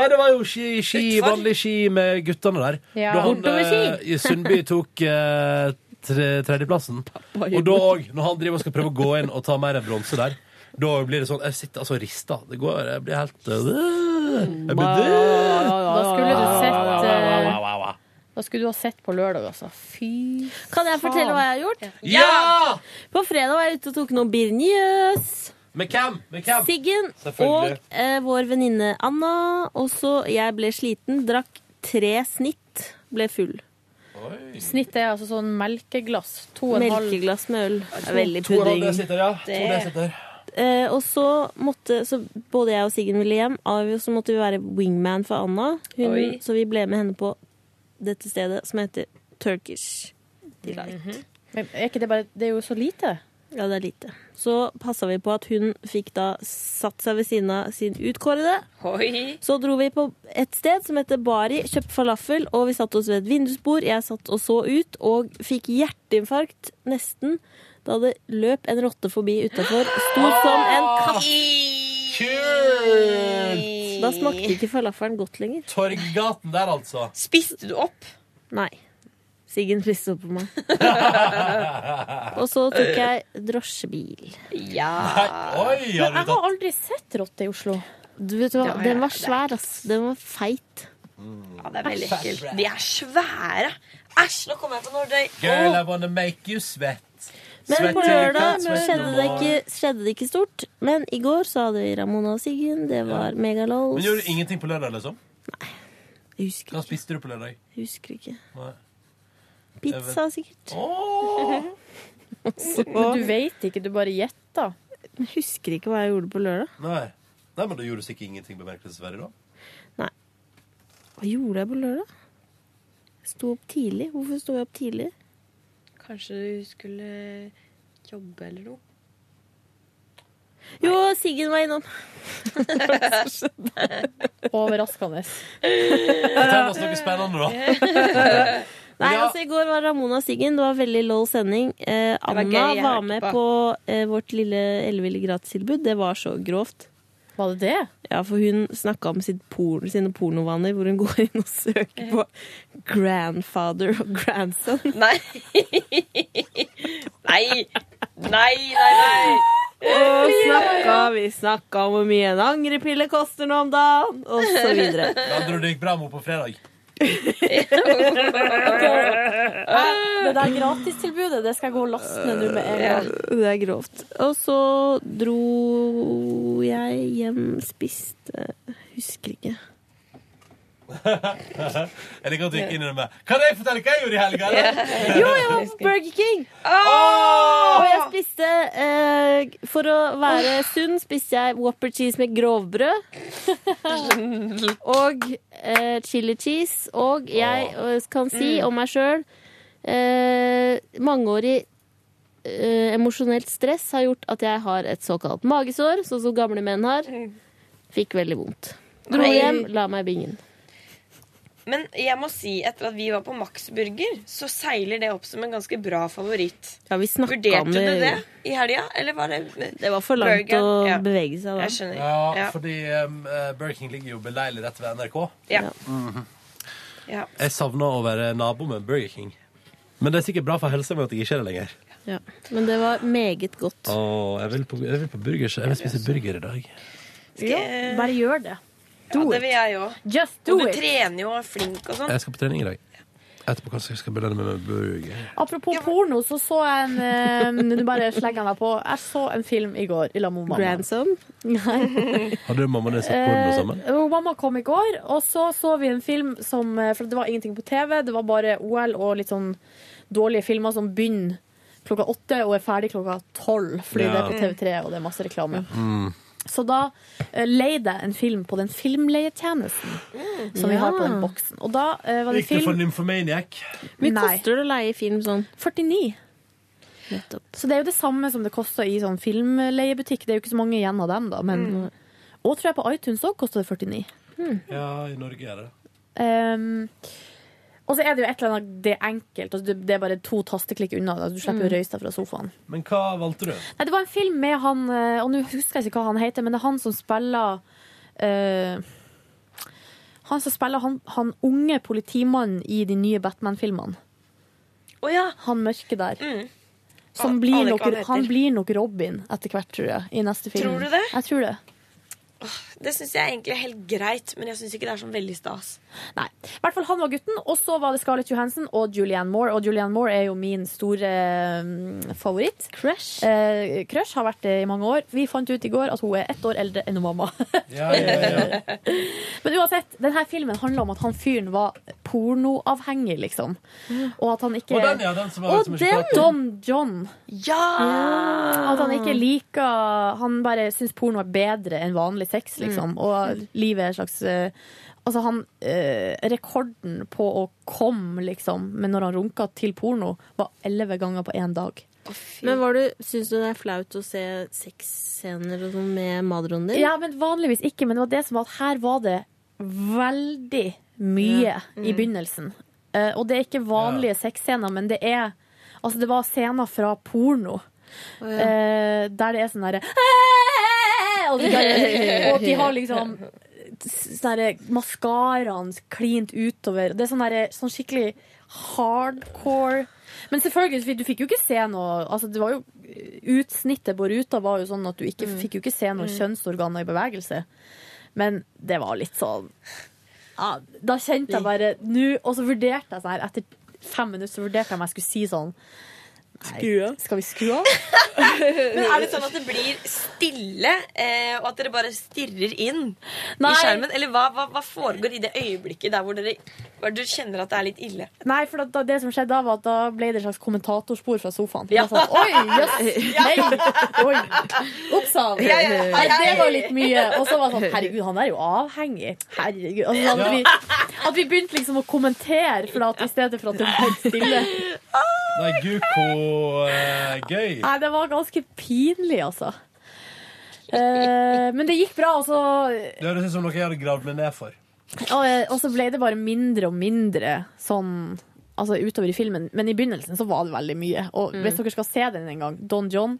Speaker 2: Nei, det var jo ski, ski vanlig ski med guttene der.
Speaker 9: Ja.
Speaker 2: Da han
Speaker 9: Bortoverski.
Speaker 2: eh, i Sundby tok eh, tre, tredjeplassen. Og da òg, når han driver og skal prøve å gå inn og ta mer enn bronse der, da blir det sånn Jeg sitter altså og rister. Det går, jeg blir helt øh, Jeg blir
Speaker 15: Da skulle du sett eh,
Speaker 2: øh.
Speaker 15: Da skulle du ha sett på lørdag, altså. Fy
Speaker 14: Kan jeg fortelle hva jeg har gjort?
Speaker 2: Ja!
Speaker 14: På fredag var jeg ute og tok noen birnies.
Speaker 2: Med hvem? Med hvem?
Speaker 14: Siggen og
Speaker 2: Selvfølgelig.
Speaker 14: eh, vår venninne Anna. Og så jeg ble sliten, drakk tre snitt, ble full.
Speaker 15: Snitt er altså sånn melkeglass. To og en halv
Speaker 14: Melkeglass med øl. Det er Veldig
Speaker 2: To og en halv
Speaker 14: pudding.
Speaker 2: desiliter, ja. To
Speaker 14: Det-
Speaker 2: desiliter.
Speaker 14: Eh, og så måtte så både jeg og Siggen ville hjem. Av og så måtte vi være wingman for Anna. Hun,
Speaker 9: Oi.
Speaker 14: så vi ble med henne på dette stedet som heter Turkish Delight.
Speaker 15: Men er ikke det bare Det er jo så lite.
Speaker 14: Ja, det er lite. Så passa vi på at hun fikk da satt seg ved siden av sin utkårede.
Speaker 9: Oi.
Speaker 14: Så dro vi på et sted som heter Bari, kjøpte falafel, og vi satt oss ved et vindusbord. Jeg satt og så ut, og fikk hjerteinfarkt, nesten, da det løp en rotte forbi utafor. Stor som en katt. Da smakte ikke falafelen godt lenger.
Speaker 2: Torggaten der, altså.
Speaker 9: Spiste du opp?
Speaker 14: Nei. Siggen spiste opp på meg. Og så tok jeg drosjebil.
Speaker 9: Ja.
Speaker 14: Oi, har du
Speaker 15: Men jeg har aldri sett rotte i Oslo.
Speaker 14: Du vet hva,
Speaker 15: Ja, ja,
Speaker 14: Den var svær, ass. Den var feit.
Speaker 9: Ja, det er veldig ekkelt. De er svære. Æsj, nå kommer jeg på Nordøy.
Speaker 2: Girl,
Speaker 9: Åh.
Speaker 2: I wanna make you sweat.
Speaker 14: Men
Speaker 2: Sweat
Speaker 14: på
Speaker 2: till you can't
Speaker 14: lørdag
Speaker 2: sweat
Speaker 14: skjedde
Speaker 2: no
Speaker 14: det,
Speaker 2: more.
Speaker 14: ikke, skjedde det ikke stort. Men i går så hadde vi Ramona og Siggen. Det var megalos.
Speaker 2: Men gjorde du ingenting på lørdag, liksom?
Speaker 14: Jeg husker
Speaker 2: Hva spiste du på lørdag?
Speaker 14: Jeg husker ikke.
Speaker 2: Nei.
Speaker 14: Pizza, sikkert. Så-
Speaker 15: Men du veit ikke, du bare gjetta.
Speaker 14: Jeg husker ikke hva jeg gjorde på lørdag.
Speaker 2: Nei. Nei, men da gjorde du sikkert ingenting bemerkelsesverdig, da.
Speaker 14: Hva gjorde jeg på lørdag? Jeg sto opp tidlig. Hvorfor sto jeg opp tidlig?
Speaker 9: Kanskje du skulle jobbe eller noe?
Speaker 14: Jo, Siggen var innom.
Speaker 15: Overraskende.
Speaker 2: Fortell oss noe spennende, da.
Speaker 14: Nei,
Speaker 2: Men ja-
Speaker 14: altså I går var Ramona Siggen. Det var en veldig lol sending. Eh,
Speaker 2: var
Speaker 14: Anna
Speaker 2: gøy, jeg
Speaker 14: var
Speaker 2: hørte
Speaker 14: med
Speaker 2: på.
Speaker 14: på, eh, vårt lille elleville gratistilbud. Det var så grovt.
Speaker 4: Var det det?
Speaker 14: Ja, for hun snakka om sitt por sine pornovaner, hvor hun går inn og søker på grandfather og grandson.
Speaker 9: Nei! Nei! Nei, nei, nei!
Speaker 14: Og snakka, vi snakka om hvor mye en angrepille koster nå om dagen, og så videre.
Speaker 2: Med andre ord, det gikk bra med henne på fredag.
Speaker 4: Det der gratistilbudet, det skal jeg gå og laste ned nå med en
Speaker 14: Ja,
Speaker 4: gang.
Speaker 14: det er grovt. Og så dro jeg hjem, spiste Husker ikke.
Speaker 2: jeg liker at du gikk inn i det med Kan jeg fortelle hva jeg gjorde i helga? eller?
Speaker 14: Jo, jeg var på Burger King! Og jeg spiste eh, For å være sunn spiste jeg Whopper cheese med grovbrød. Og eh, chili cheese. Og jeg eh, kan si
Speaker 4: Mm.
Speaker 14: om meg sjøl eh, Mangeårig eh, emosjonelt stress har gjort at jeg har et såkalt magesår, sånn som gamle menn har. Fikk veldig vondt. Dro
Speaker 9: Mm. Nei.
Speaker 14: hjem, la meg i bingen.
Speaker 9: Men jeg må si, etter at vi var på Max Burger, så seiler det opp som en ganske bra favoritt.
Speaker 14: Ja, vi snakka om
Speaker 9: Vurderte du
Speaker 14: det.
Speaker 9: det i helga, eller var det
Speaker 14: Det var for langt
Speaker 9: Burgeren,
Speaker 14: å
Speaker 9: ja.
Speaker 14: bevege seg da.
Speaker 9: Jeg skjønner.
Speaker 2: Ja,
Speaker 9: Ja.
Speaker 2: fordi um, eh, Burger King ligger jo beleilig rett ved NRK.
Speaker 9: Ja.
Speaker 2: Mhm.
Speaker 9: Ja.
Speaker 2: Jeg savna å være nabo med Burger King. Men det er sikkert bra for helsa mi at jeg ikke er det lenger.
Speaker 14: Ja. Men det var meget godt.
Speaker 2: Åh, jeg, vil på, jeg vil på burger, så jeg vil spise burger i dag.
Speaker 4: Ja, bare gjør det.
Speaker 9: Ja, det vil jeg òg.
Speaker 4: do
Speaker 9: Og du
Speaker 4: it.
Speaker 9: trener jo og er flink og sånn.
Speaker 2: Jeg skal på trening i dag. Etterpå kanskje jeg skal belønne meg med burger.
Speaker 4: Apropos porno, så så jeg en eh, Nå bare slenger jeg meg på. Jeg så en film i går i lag med mamma.
Speaker 14: Grandson?
Speaker 4: Nei.
Speaker 2: Hadde du og mamma deres sett porno sammen?
Speaker 4: Eh, og mamma kom i går, og så så vi en film som eh, For det var ingenting på TV, det var bare OL og litt sånn dårlige filmer som begynner klokka åtte og er ferdig klokka tolv, fordi
Speaker 14: Ja.
Speaker 4: det er på TV3 og det er masse reklame.
Speaker 14: Mm.
Speaker 4: Så da eh, leide jeg en film på den filmleietjenesten som vi
Speaker 14: Ja.
Speaker 4: har på den boksen. Og da eh, var det
Speaker 2: Gikk du for
Speaker 4: film
Speaker 2: Nymphomaniac?
Speaker 14: Mye koster det å leie film sånn?
Speaker 4: 49. Så det er jo det samme som det koster i sånn filmleiebutikk. Det er jo ikke så mange igjen av dem, da. Men, Og tror jeg på iTunes òg koster det 49.
Speaker 2: Ja, i Norge er det.
Speaker 4: Ehm, og så er det jo et eller annet Det er enkelt. Altså, det det er bare to tasteklikk unna. da. Du slipper å
Speaker 2: Mm.
Speaker 4: røyse deg fra sofaen.
Speaker 2: Men hva valgte du?
Speaker 4: Nei, det var en film med han eh, Og nå husker jeg ikke hva han heter, men det er han som spiller eh, Han som spiller han, han unge politimannen i de nye Batman-filmene. Han mørke der.
Speaker 9: Mm.
Speaker 4: Som
Speaker 9: An-
Speaker 4: blir
Speaker 9: aner
Speaker 4: nok,
Speaker 9: ikke hva han heter.
Speaker 4: han blir nok Robin etter hvert, tror jeg. I neste film.
Speaker 9: Tror du det?
Speaker 4: Jeg tror det.
Speaker 9: Det syns jeg egentlig er helt greit, men jeg syns ikke det er sånn veldig stas.
Speaker 4: Nei. I hvert fall han var gutten, og så var det Scarlett Johansen og Julianne Moore. Og Julianne Moore er jo min store mm, favoritt.
Speaker 14: Crush.
Speaker 4: Eh, crush har vært det i mange år. Vi fant ut i går at hun er ett år eldre enn hun mamma. Men uansett, denne filmen handler om at han fyren var pornoavhengig, liksom. Og at han ikke
Speaker 2: Og den, ja, den som var-
Speaker 4: Og
Speaker 2: som ikke
Speaker 4: den!
Speaker 2: prater.
Speaker 4: Don John.
Speaker 9: Ja!
Speaker 4: At han ikke liker Han bare syns porno er bedre enn vanlig sex,
Speaker 9: Mm.
Speaker 4: liksom. Og livet er en slags eh, Altså, han eh, Rekorden på å komme, liksom, men når han runka til porno, var elleve ganger på én dag.
Speaker 14: Men var du, syns du det er flaut å se sexscener og sånn med madronen din?
Speaker 4: Ja, men vanligvis ikke. Men det var det som var at her var det veldig mye
Speaker 14: Ja. Mm.
Speaker 4: i begynnelsen. Eh, og det er ikke vanlige sexscener, men det er Altså, det var scener fra porno.
Speaker 14: Å, ja.
Speaker 4: eh, der det er sånn derre og, de der- og de har liksom sånn derre maskaraen klint utover. Det er sånn derre sånn skikkelig hardcore Men selvfølgelig, du fikk jo ikke se noe altså det var jo, Utsnittet på ruta var jo sånn at du ikke, fikk jo ikke se noen
Speaker 14: Mm.
Speaker 4: kjønnsorganer i bevegelse. Men det var litt sånn ja, Da kjente jeg bare nå Og så vurderte jeg sånn her etter fem minutter så vurderte jeg om jeg skulle si sånn Skru av. Skal vi skru av?
Speaker 9: Men er det sånn at det blir stille, eh, og at dere bare stirrer inn
Speaker 4: Nei.
Speaker 9: i skjermen? Eller hva, hva, hva foregår i det øyeblikket der hvor dere, hvor dere kjenner at det er litt ille?
Speaker 4: Nei, for da, da, det som skjedde da, var at da ble det et slags kommentatorspor fra sofaen.
Speaker 9: Ja.
Speaker 4: Ja. Sånn, Oi, jøss!
Speaker 9: Ja.
Speaker 4: Nei! Oi! Opp, sa han.
Speaker 9: Ja, ja, hei,
Speaker 4: Nei, det
Speaker 9: hei.
Speaker 4: var litt mye. Og så var det sånn Herregud, han er jo avhengig. Herregud. Altså, at,
Speaker 9: Ja.
Speaker 4: vi, at vi begynte liksom å kommentere for at, i stedet for at det var helt stille.
Speaker 2: Nei, gud, hvor eh, gøy.
Speaker 4: Nei, det var ganske pinlig, altså. Eh, men det gikk bra, og så,
Speaker 2: Det høres ut som noe jeg hadde gravd meg ned for.
Speaker 4: og, og så ble det bare mindre og mindre sånn altså utover i filmen, men i begynnelsen så var det veldig mye.
Speaker 14: Mm.
Speaker 4: Og hvis dere skal se den en gang, Don John,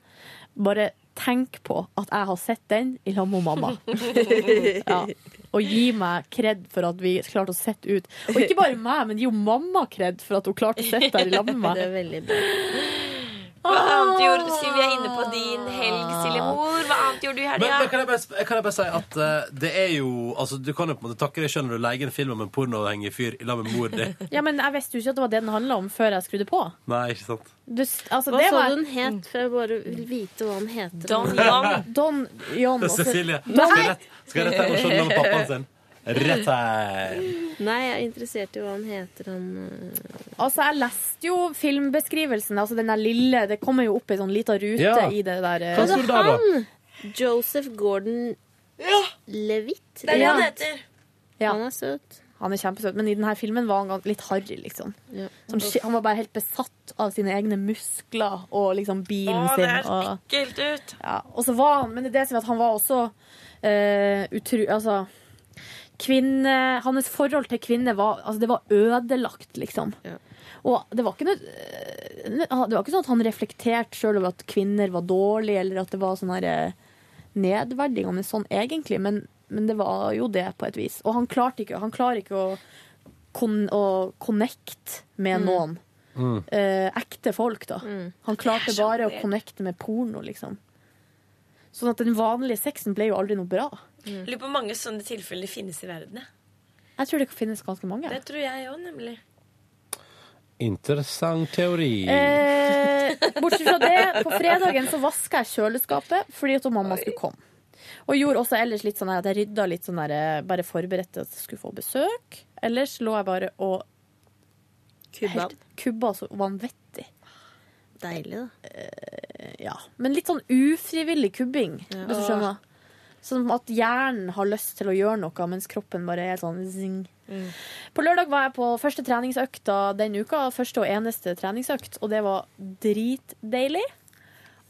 Speaker 4: bare tenk på at jeg har sett den i lag med mamma. ja. Og gi meg kred for at vi klarte å sette ut. Og ikke bare meg, men gi jo mamma kred for at hun klarte å sitte der i lag med meg. Ah.
Speaker 14: Det
Speaker 9: Hva
Speaker 14: er veldig bra.
Speaker 9: annet gjorde du? Siv, vi er inne på din helg, Siljemor. Hva annet gjorde du i
Speaker 2: Men, men
Speaker 9: helga?
Speaker 2: kan, jeg bare, sp- kan jeg bare si at eh, det er jo altså, Du kan jo på en måte takke deg selv når du leier en film om en pornoavhengig fyr i lag med mor di.
Speaker 4: Ja, men jeg visste jo ikke at det var det den handla om før jeg skrudde på.
Speaker 2: Nei, ikke sant?
Speaker 4: Du, s- altså,
Speaker 14: Hva
Speaker 4: det
Speaker 14: sa
Speaker 4: var...
Speaker 14: du den het? For jeg bare vil vite hva den heter.
Speaker 2: Don Young.
Speaker 4: Don Young.
Speaker 2: Det er
Speaker 4: også.
Speaker 2: Cecilie.
Speaker 4: Nei!
Speaker 2: Skal rett, skal rett her og skjønne med pappaen sin. Rett her.
Speaker 14: Nei, jeg er interessert i hva han heter. Han eh,
Speaker 4: Altså, jeg leste jo filmbeskrivelsen, altså den der lille Det kommer jo opp ei sånn lita rute
Speaker 14: Ja.
Speaker 4: i det der eh,
Speaker 14: Hva står det der, da? Joseph Gordon Levitt.
Speaker 4: Det er det han
Speaker 14: Ja.
Speaker 4: heter.
Speaker 14: Ja. Han er søt.
Speaker 4: Han er kjempesøt, men i denne filmen var han gan- litt harry, liksom. Sånn, ski- han var bare helt besatt av sine egne muskler og liksom bilen
Speaker 9: Å,
Speaker 4: sin.
Speaker 9: det er så
Speaker 4: og-
Speaker 9: ekkelt ut.
Speaker 4: Ja, og så var han, men det er det som er at han var også eh, utru... Altså, kvinne... Hans forhold til kvinner var Altså, det var ødelagt, liksom. Og det var ikke noe eh, Det var ikke sånn at han reflekterte sjøl over at kvinner var dårlige, eller at det var sånn her eh, nedverdigende sånn, egentlig, men, men det var jo det, på et vis. Og han klarte ikke, han klarer ikke å kon, å connect
Speaker 14: Mm.
Speaker 4: med noen. Eh, ekte folk, da. Han klarte
Speaker 14: Det er så
Speaker 4: bare å
Speaker 14: weird.
Speaker 4: connecte med porno, liksom. Sånn at den vanlige sexen ble jo aldri noe bra.
Speaker 9: Lurer på hvor mange sånne tilfeller det finnes i verden. jeg.
Speaker 4: Jeg tror det finnes ganske mange.
Speaker 9: Det tror jeg òg, nemlig.
Speaker 2: Interessant teori.
Speaker 4: Eh, bortsett fra det, på fredagen så vaska jeg kjøleskapet fordi at mamma skulle komme. Og gjorde også ellers litt sånn her at jeg rydda litt sånn her, eh, bare forberedte at jeg skulle få besøk. Ellers lå jeg bare og
Speaker 14: Kubba.
Speaker 4: helt kubba så vanvittig.
Speaker 14: Deilig, da.
Speaker 4: Ja. Men litt sånn ufrivillig kubbing, hvis du skjønner. Sånn at hjernen har lyst til å gjøre noe, mens kroppen bare er helt sånn zing. På lørdag var jeg på første treningsøkta den uka. Første og eneste treningsøkt. Og det var dritdeilig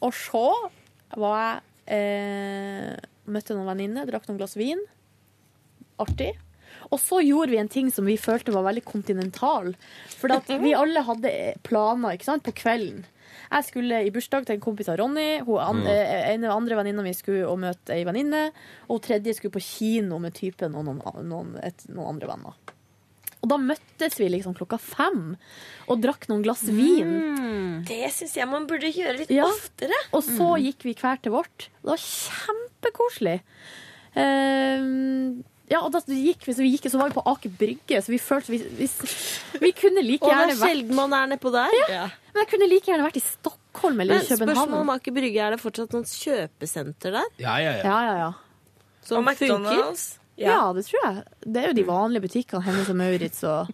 Speaker 4: å se. Var jeg eh, Møtte noen venninner, drakk noen glass vin. Artig. Og så gjorde vi en ting som vi følte var veldig kontinental. For at vi alle hadde planer ikke sant, på kvelden. Jeg skulle i bursdag til en kompis av Ronny. Hun an
Speaker 14: Mm.
Speaker 4: eh, ene andre venninna mi skulle og møte ei venninne. Og hun tredje skulle på kino med typen og noen, an- noen, et, noen andre venner. Og da møttes vi liksom klokka fem og drakk noen glass vin.
Speaker 9: Det syns jeg man burde gjøre litt
Speaker 4: Ja.
Speaker 9: oftere.
Speaker 4: Og så
Speaker 14: Mm.
Speaker 4: gikk vi hver til vårt. Det var kjempekoselig. Ehm, ja, og da gikk vi, så vi gikk, så var vi på Aker Brygge, så vi følte vi, vi, vi kunne like
Speaker 14: Og det
Speaker 4: gjerne
Speaker 14: er sjelden man er nedpå der.
Speaker 4: Ja. Men jeg kunne like gjerne vært i Stockholm eller
Speaker 14: Men
Speaker 4: i København.
Speaker 14: spørsmålet om Aker Brygge, er det fortsatt noen kjøpesenter der?
Speaker 2: Ja, ja,
Speaker 4: ja, ja, ja.
Speaker 14: Som
Speaker 4: Og
Speaker 14: McDonald's?
Speaker 4: funker? Ja. det tror jeg. Det er jo de vanlige butikkene. Hennes og Maurits og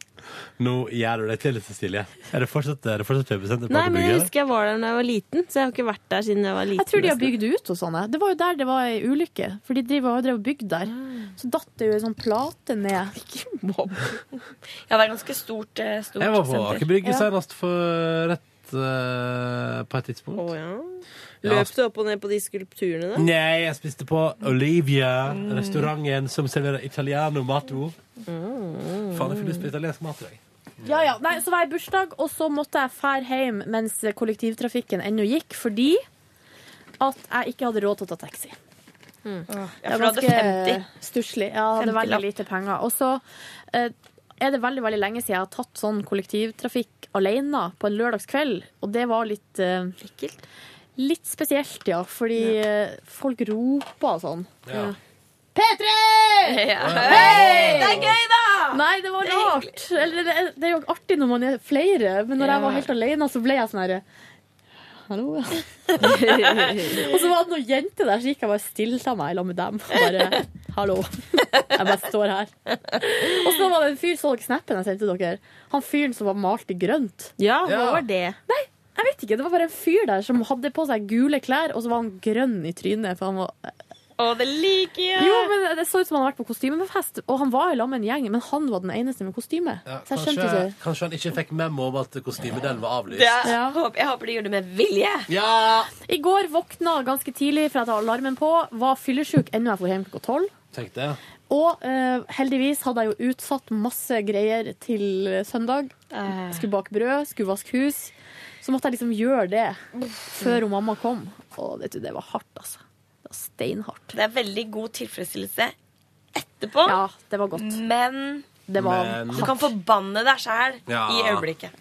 Speaker 2: Nå gjør du deg til, Cecilie. Er det fortsatt, er det fortsatt pubesenter på
Speaker 14: Nei,
Speaker 2: Aker
Speaker 14: men jeg
Speaker 2: Brygge?
Speaker 14: husker jeg var der da jeg var liten, så jeg har ikke vært der siden jeg var liten.
Speaker 4: Jeg tror de har bygd ut og sånne. Det var jo der det var ei ulykke, for de driver, har jo drevet og bygd der.
Speaker 14: Ah.
Speaker 4: Så datt det jo ei sånn plate ned.
Speaker 9: Ja, det er ganske stort, eh, stort
Speaker 2: Jeg var på
Speaker 9: senter.
Speaker 2: Aker Brygge senest for rett eh, på et tidspunkt.
Speaker 14: Å, ja.
Speaker 2: Ja.
Speaker 14: Løp du opp og ned på de skulpturene der?
Speaker 2: Nei, jeg spiste på Olivia, restauranten som serverer italiano mato.
Speaker 9: Mm.
Speaker 2: Faen, jeg får lyst på italiensk mat i dag.
Speaker 4: Ja, ja. Nei, så var jeg i bursdag, og så måtte jeg fære hjem mens kollektivtrafikken ennå gikk, fordi at jeg ikke hadde råd til å ta taxi.
Speaker 9: Ja, for du hadde 50.
Speaker 4: stusslig. Ja, jeg hadde veldig
Speaker 9: 50-lapp.
Speaker 4: lite penger. Og så eh, er det veldig, veldig lenge siden jeg har tatt sånn kollektivtrafikk alene på en lørdagskveld, og det var litt eh, Litt spesielt, ja, fordi eh, folk roper og sånn.
Speaker 2: Ja.
Speaker 4: P3!
Speaker 9: Hei! Det er gøy, da!
Speaker 4: Nei, det var rart. Eller, det, er- det er jo artig når man er flere, men når jeg var helt alene, så ble jeg sånn herre Hallo, ja. og så var det noen jenter der, så gikk jeg bare stille av meg i lag med dem. Og bare hallo. Jeg bare står her. Og så var det en fyr så dere snappen jeg sendte dere. Han fyren som var malt i grønt.
Speaker 14: Ja, hva Ja. var det?
Speaker 4: Nei, jeg vet ikke. Det var bare en fyr der som hadde på seg gule klær, og så var han grønn i trynet. For han var
Speaker 9: Å, det liker jeg!
Speaker 4: jo, men Det så ut som han hadde vært på kostymefest, og han var i lag med en gjeng, men han var den eneste med kostyme. så jeg skjønte
Speaker 2: kanskje,
Speaker 4: ikke.
Speaker 2: kanskje han ikke fikk memo om at kostymedelen var avlyst.
Speaker 9: Det er, håper, jeg håper de gjorde det med vilje.
Speaker 4: I går våkna ganske tidlig for at jeg hadde alarmen på, var fyllesyk ennå jeg dro hjem klokka tolv.
Speaker 2: Tenk det.
Speaker 4: Og eh, heldigvis hadde jeg jo utsatt masse greier til søndag. Jeg skulle bake brød, skulle vaske hus. Så måtte jeg liksom gjøre det før hun mamma kom. Og vet du, det var hardt, altså. Det var steinhardt.
Speaker 9: Det er veldig god tilfredsstillelse etterpå.
Speaker 4: Ja, det var godt.
Speaker 9: Men
Speaker 4: Det var Men-
Speaker 9: du kan forbanne deg sjæl i øyeblikket.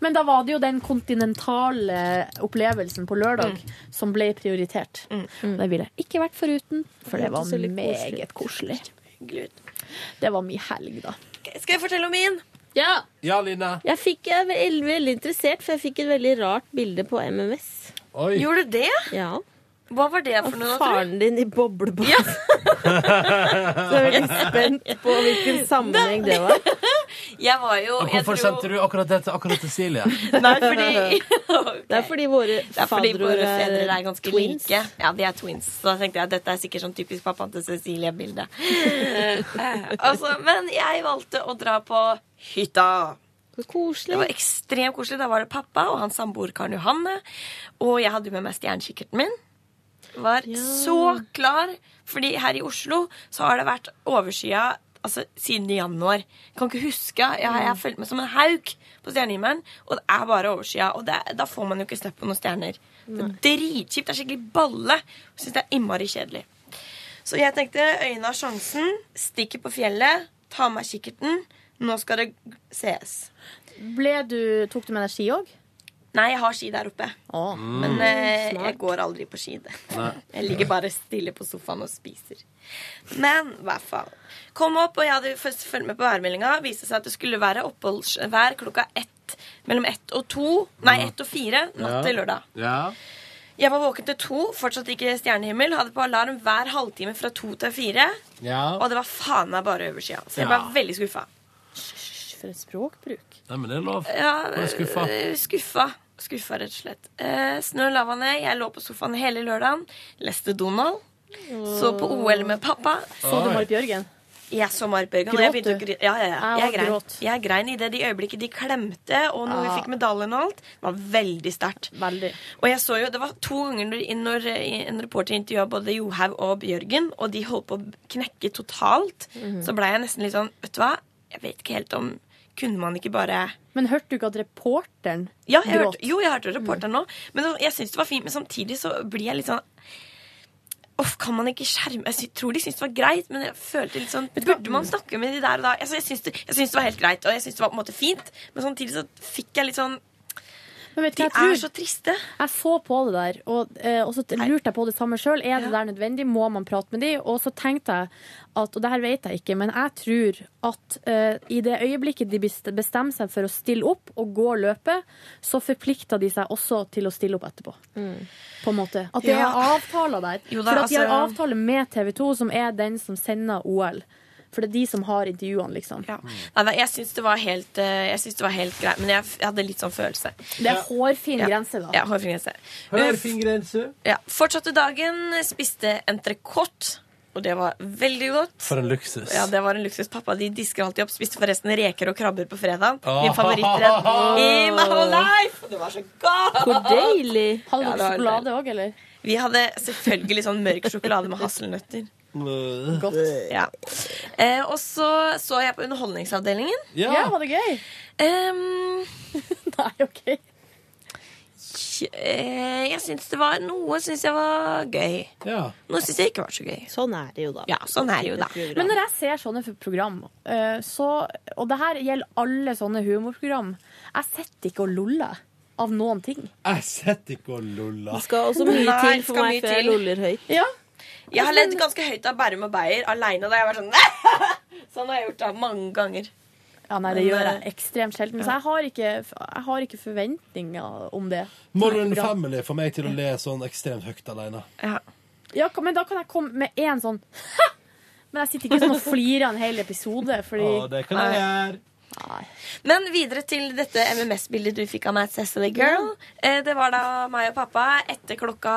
Speaker 4: Men da var det jo den kontinentale opplevelsen på lørdag som ble prioritert. Det ville jeg ikke vært foruten, for Mm. det var
Speaker 9: Hørtes veldig koselig
Speaker 4: meget koselig.
Speaker 9: Hyggelig ut.
Speaker 4: Det var min helg, da.
Speaker 9: Skal jeg fortelle om min?
Speaker 14: Ja.
Speaker 2: Ja, Line.
Speaker 14: Jeg, fikk, jeg er veldig, veldig interessert, for jeg fikk et veldig rart bilde på MMS.
Speaker 2: Oi.
Speaker 9: Gjorde du det?
Speaker 14: Ja.
Speaker 9: Hva var det for noe, tror
Speaker 14: Faren din i boblebad. Så jeg er veldig spent på hvilken sammenheng det var.
Speaker 9: Jeg var jo
Speaker 2: Og
Speaker 9: jeg
Speaker 2: hvorfor
Speaker 9: dro-
Speaker 2: sendte du akkurat det til akkurat til Silje?
Speaker 9: Nei, fordi
Speaker 14: Det er fordi våre
Speaker 9: Det er fordi
Speaker 14: fadderord
Speaker 9: våre
Speaker 14: er
Speaker 9: fedre er ganske
Speaker 14: twins.
Speaker 9: like. Ja, de er twins. Så da tenkte jeg at dette er sikkert sånn typisk pappaen til Cecilie-bilde. altså, men jeg valgte å dra på hytta.
Speaker 14: Koselig.
Speaker 9: Det var ekstremt koselig. Da var det pappa og hans samboer Karen Johanne. Og jeg hadde jo med meg stjernekikkerten min. Var så klar. Fordi her i Oslo så har det vært overskya altså, siden i januar. Kan ikke huske. Jeg, jeg har fulgt med som en hauk på stjernehimmelen, og det er bare overskya. Og det, da får man jo ikke sett på noen stjerner. Det er dritkjipt. Det er skikkelig balle. Jeg synes det er innmari kjedelig. Så jeg tenkte øynene har sjansen. Stikker på fjellet. Ta med meg kikkerten. Nå skal det sees.
Speaker 4: Ble du, tok du med deg ski òg?
Speaker 9: Nei, jeg har ski der oppe.
Speaker 2: Mm.
Speaker 9: Men eh, jeg går aldri på ski. det.
Speaker 2: Nei.
Speaker 9: Jeg ligger bare stille på sofaen og spiser. Men i hvert fall. Kom opp, og jeg hadde først fulgt med på værmeldinga. Viste seg at det skulle være oppholdsvær klokka ett. Mellom ett og to. Nei, ett og fire natt til lørdag.
Speaker 2: Mm. Ja.
Speaker 9: Jeg var våken til to, fortsatt ikke stjernehimmel. Hadde på alarm hver halvtime fra to til fire.
Speaker 2: Ja.
Speaker 9: Og det var faen meg bare øversida. Så jeg
Speaker 2: Ja.
Speaker 9: var veldig skuffa.
Speaker 4: For et språkbruk.
Speaker 2: Nei, men det er lov.
Speaker 9: Ja,
Speaker 2: Bare skuffa.
Speaker 9: eh, skuffa. Skuffa, rett og slett. Eh, snø lava ned. Jeg lå på sofaen hele lørdagen. Leste Donald. Så på OL med pappa.
Speaker 4: Så du Marit Bjørgen?
Speaker 9: Jeg så Marit Bjørgen. og
Speaker 4: Gråt
Speaker 9: jeg begynte å
Speaker 4: du?
Speaker 9: gri- Ja, ja, ja.
Speaker 4: Jeg
Speaker 9: Jeg
Speaker 4: også
Speaker 9: grein.
Speaker 4: gråt.
Speaker 9: Jeg grein i det de øyeblikket de klemte, og når vi
Speaker 4: Ja.
Speaker 9: fikk medaljen og alt. Det var veldig sterkt. Og jeg så jo, det var to ganger når, når eh, en reporter intervjua både Johaug og Bjørgen, og de holdt på å knekke totalt,
Speaker 4: Mhm.
Speaker 9: så blei jeg nesten litt sånn Vet du hva, jeg vet ikke helt om Kunne man ikke bare
Speaker 4: Men hørte du ikke at reporteren
Speaker 9: ja, jeg
Speaker 4: gråt? Mm.
Speaker 9: hørte, jo, jeg hørte reporteren nå. Men det- jeg syns det var fint. Men samtidig så blir jeg litt sånn Uff, kan man ikke skjerme Jeg sy- tror de syntes det var greit, men jeg følte litt sånn Burde man snakke med de der og da? Altså, jeg syns det, jeg syns det var helt greit, og jeg syns det var på en måte fint, men samtidig så fikk jeg litt sånn
Speaker 4: Men vet du
Speaker 9: De
Speaker 4: hva jeg tror?
Speaker 9: er så triste.
Speaker 4: Jeg så på det der, og, eh, og så lurte jeg på det samme sjøl. Er det der nødvendig? Må man prate med de? Og så tenkte jeg at, og det her vet jeg ikke, men jeg tror at eh, i det øyeblikket de best- bestemmer seg for å stille opp og gå løpet, så forplikter de seg også til å stille opp etterpå. På en måte. At det
Speaker 9: Mm. Ja.
Speaker 4: er avtaler der.
Speaker 9: Jo da,
Speaker 4: for at de har
Speaker 9: altså-
Speaker 4: avtale med TV 2, som er den som sender OL. For det er de som har intervjuene, liksom.
Speaker 9: Nei, nei, jeg syns det var helt eh, Jeg synes det var helt greit, men jeg, f- jeg hadde litt sånn følelse.
Speaker 4: Det er hårfin grense, da.
Speaker 9: Ja, hårfin grense.
Speaker 2: Hårfin grense.
Speaker 9: Ja, fortsatte dagen, spiste entrecôte, og det var veldig godt.
Speaker 2: For en luksus.
Speaker 9: Ja, det var en luksus. Pappa de disker alltid opp. Spiste forresten reker og krabber på fredag.
Speaker 14: Ah.
Speaker 9: Min
Speaker 2: Åh.
Speaker 9: favorittrett i my whole life! Det var så godt!
Speaker 14: Hvor deilig.
Speaker 9: Hadde dere sjokolade
Speaker 4: òg, eller?
Speaker 9: Vi hadde selvfølgelig sånn mørk sjokolade med hasselnøtter.
Speaker 2: Godt.
Speaker 9: Ja. Eh, og så så jeg på Underholdningsavdelingen.
Speaker 2: Ja. Ja,
Speaker 4: var det gøy?
Speaker 9: Nei,
Speaker 4: OK.
Speaker 9: eh, Jeg syns det var Noe syns jeg var gøy. Noe syns jeg ikke var så gøy.
Speaker 14: Sånn er det jo, da.
Speaker 9: Ja, sånn er det jo, da.
Speaker 4: Men når jeg ser sånne program, eh, så, og det her gjelder alle sånne humorprogram, jeg sitter ikke og loller av noen ting.
Speaker 2: Jeg sitter ikke og loller.
Speaker 14: Det skal også mye
Speaker 9: Nei,
Speaker 14: til
Speaker 9: det
Speaker 14: for
Speaker 9: skal
Speaker 14: meg
Speaker 9: mye
Speaker 14: før jeg
Speaker 9: til.
Speaker 14: loller høyt.
Speaker 4: Ja.
Speaker 9: Jeg har ledd ganske høyt av Bærum og Beyer aleine da jeg var sånn Sånn har jeg gjort da mange ganger.
Speaker 4: Ja, nei, det
Speaker 9: Men,
Speaker 4: gjør
Speaker 9: eh,
Speaker 4: jeg ekstremt sjelden. Så jeg har ikke, jeg har ikke forventninger om det.
Speaker 2: Modern
Speaker 4: Program.
Speaker 2: Family får meg til å le sånn ekstremt høyt alene.
Speaker 4: Ja, ka- men da kan jeg komme med én sånn Men jeg sitter ikke sånn og flirer en hel episode, fordi
Speaker 2: Å, det kan jeg gjøre.
Speaker 9: Men videre til dette MMS-bildet du fikk av meg. Says the girl.
Speaker 2: Mm.
Speaker 9: Eh, Det var da meg og pappa etter klokka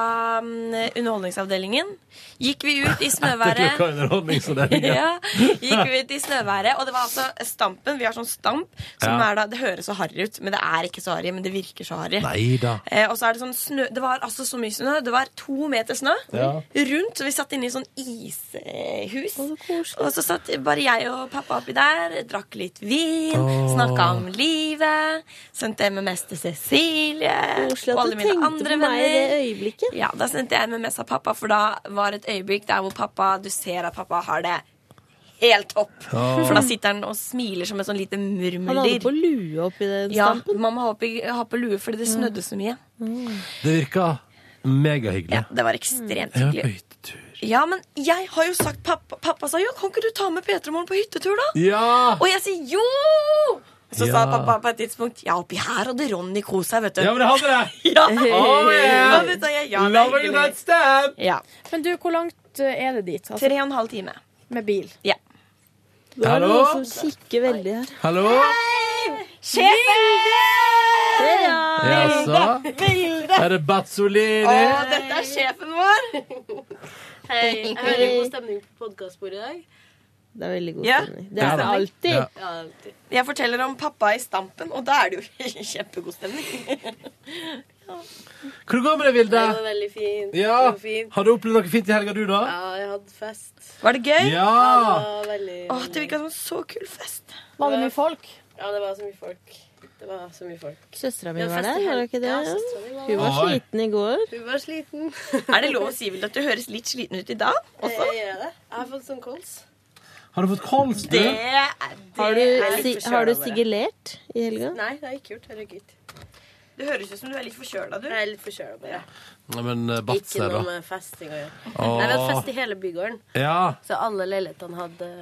Speaker 9: mm, Underholdningsavdelingen. Gikk vi ut i snøværet.
Speaker 2: Etter klokka underholdningsavdelingen.
Speaker 9: ja, gikk vi ut i snøværet, og det var altså Stampen. Vi har sånn stamp som
Speaker 2: Ja.
Speaker 9: er da Det høres så harry ut, men det er ikke så harry. Men det virker så harry.
Speaker 2: Neida.
Speaker 9: Eh, og så er det sånn snø Det var altså så mye snø. Det var to meter snø
Speaker 2: Ja.
Speaker 9: rundt. Så vi satt inne i sånn ishus. og så satt bare jeg og pappa oppi der, drakk litt vin,
Speaker 14: Åh.
Speaker 9: snakka om livet. Sendte MMS til Cecilie
Speaker 14: Koselig
Speaker 9: og
Speaker 14: at
Speaker 9: alle
Speaker 14: du
Speaker 9: mine
Speaker 14: tenkte
Speaker 9: andre
Speaker 14: på meg i
Speaker 9: venner.
Speaker 14: det øyeblikket.
Speaker 9: Ja, da sendte jeg MMS av pappa, for da var et øyeblikk der hvor pappa Du ser at pappa har det helt topp.
Speaker 14: Åh.
Speaker 9: For da sitter han og smiler som et sånn lite murmeldyr.
Speaker 14: Han hadde på lue oppi den
Speaker 9: Ja,
Speaker 14: stampen.
Speaker 9: mamma har på, har på lue fordi det snødde så mye.
Speaker 2: Det virka megahyggelig. Ja,
Speaker 9: det var ekstremt
Speaker 2: Jeg var
Speaker 9: hyggelig.
Speaker 2: på hytte.
Speaker 9: Ja, men jeg har jo sagt pappa, pappa sa jo, kan ikke du ta med Petermoren på hyttetur, da?
Speaker 2: Ja!
Speaker 9: Og jeg sier jo! Så sa
Speaker 2: Ja.
Speaker 9: pappa på et tidspunkt Ja, oppi her hadde Ronny kost seg, vet du.
Speaker 2: Ja, men det hadde det!
Speaker 9: ja.
Speaker 2: Oh, yeah.
Speaker 9: Og det sa jeg, ja, det er
Speaker 2: Love you
Speaker 9: hyggelig.
Speaker 2: that stab!
Speaker 9: Ja.
Speaker 15: Men du, hvor langt eh, er det dit?
Speaker 9: Tre og en halv time.
Speaker 15: Med bil?
Speaker 9: Ja.
Speaker 14: Det er
Speaker 2: Hallo?
Speaker 14: noen som kikker veldig her.
Speaker 2: Hallo?
Speaker 9: Sjefen!
Speaker 2: Ja, så? Er det Bazzolini?
Speaker 9: dette er sjefen vår.
Speaker 16: Hei. Jeg hører god stemning på podkastbordet i dag.
Speaker 14: Det er veldig god
Speaker 9: Ja.
Speaker 14: stemning. Det er det alltid.
Speaker 9: Ja. Jeg forteller om pappa i Stampen, og da er det jo kjempegod stemning.
Speaker 2: Hvordan går det med deg, Vilde?
Speaker 16: Det var veldig fint.
Speaker 2: Ja.
Speaker 16: Det var fint.
Speaker 2: Har du opplevd noe fint i helga, du, da?
Speaker 16: Ja, jeg hadde fest.
Speaker 9: Var det gøy?
Speaker 2: Ja.
Speaker 16: det var veldig...
Speaker 9: Åh, det virka som en så kul fest.
Speaker 16: Var det mye folk? Ja, det var så mye folk. Det var så mye folk.
Speaker 14: Søstera
Speaker 16: Vi
Speaker 14: mi
Speaker 16: hadde
Speaker 14: var
Speaker 16: fest i
Speaker 14: der, var det
Speaker 16: helg.
Speaker 14: ikke det?
Speaker 16: Ja, søsteren min var
Speaker 14: Hun var
Speaker 16: der.
Speaker 14: sliten i går.
Speaker 16: Hun var sliten.
Speaker 9: Er det lov å si Vilde, at du høres litt sliten ut i dag også?
Speaker 14: Eh,
Speaker 16: Jeg gjør det. Jeg har fått sånn kols.
Speaker 2: Har du fått kols, du?
Speaker 9: Det er
Speaker 14: Har
Speaker 9: det er
Speaker 14: du,
Speaker 9: litt
Speaker 14: si,
Speaker 9: forkjøla
Speaker 14: har du
Speaker 9: bare.
Speaker 14: sigilert i helga?
Speaker 16: Nei, det har jeg ikke gjort. Herregud.
Speaker 9: Det høres ut som du er litt forkjøla, du.
Speaker 16: Jeg er litt forkjøla bare.
Speaker 2: Nei, men eh, Batz
Speaker 16: Ikke
Speaker 2: her,
Speaker 16: noe
Speaker 2: da.
Speaker 16: med festing å gjøre.
Speaker 2: Åh.
Speaker 16: Nei, vi hadde fest i hele bygården.
Speaker 2: Ja.
Speaker 16: Så alle leilighetene hadde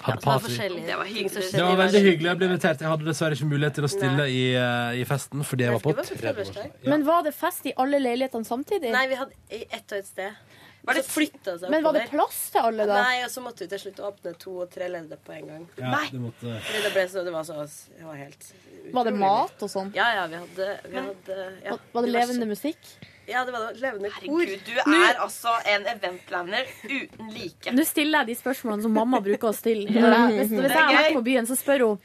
Speaker 2: Hadde
Speaker 16: så det var
Speaker 2: party.
Speaker 16: forskjellige
Speaker 9: Det var
Speaker 16: ting som
Speaker 9: hyggelig.
Speaker 16: skjedde
Speaker 2: Det
Speaker 16: i
Speaker 2: var
Speaker 16: verden.
Speaker 2: veldig hyggelig. Jeg ble invitert. Jeg hadde dessverre ikke mulighet til å stille i, eh, i festen fordi jeg var på tredje år.
Speaker 15: Men var det fest i alle leilighetene samtidig?
Speaker 16: Nei, vi hadde i ett og ett sted.
Speaker 15: det
Speaker 16: så flytta det seg
Speaker 15: Men var det
Speaker 16: oppover.
Speaker 15: plass til alle da?
Speaker 16: Nei, og så måtte vi til slutt åpne to og tre ledder på en gang.
Speaker 2: Ja, Nei. det måtte-
Speaker 16: Fordi det ble så Det var så det var helt
Speaker 15: Var det
Speaker 16: utrolig.
Speaker 15: mat og sånn?
Speaker 16: Ja, ja, vi hadde, vi hadde ja.
Speaker 15: Var det levende musikk?
Speaker 16: Ja, det var levende kor.
Speaker 9: Herregud, du er altså en eventplaner uten like.
Speaker 15: Nå stiller jeg de spørsmålene som mamma bruker å stille.
Speaker 9: Ja.
Speaker 15: Når jeg- Hvis,
Speaker 9: Det
Speaker 15: hvis
Speaker 9: er
Speaker 15: jeg har vært
Speaker 9: gøy.
Speaker 15: på byen, så spør hun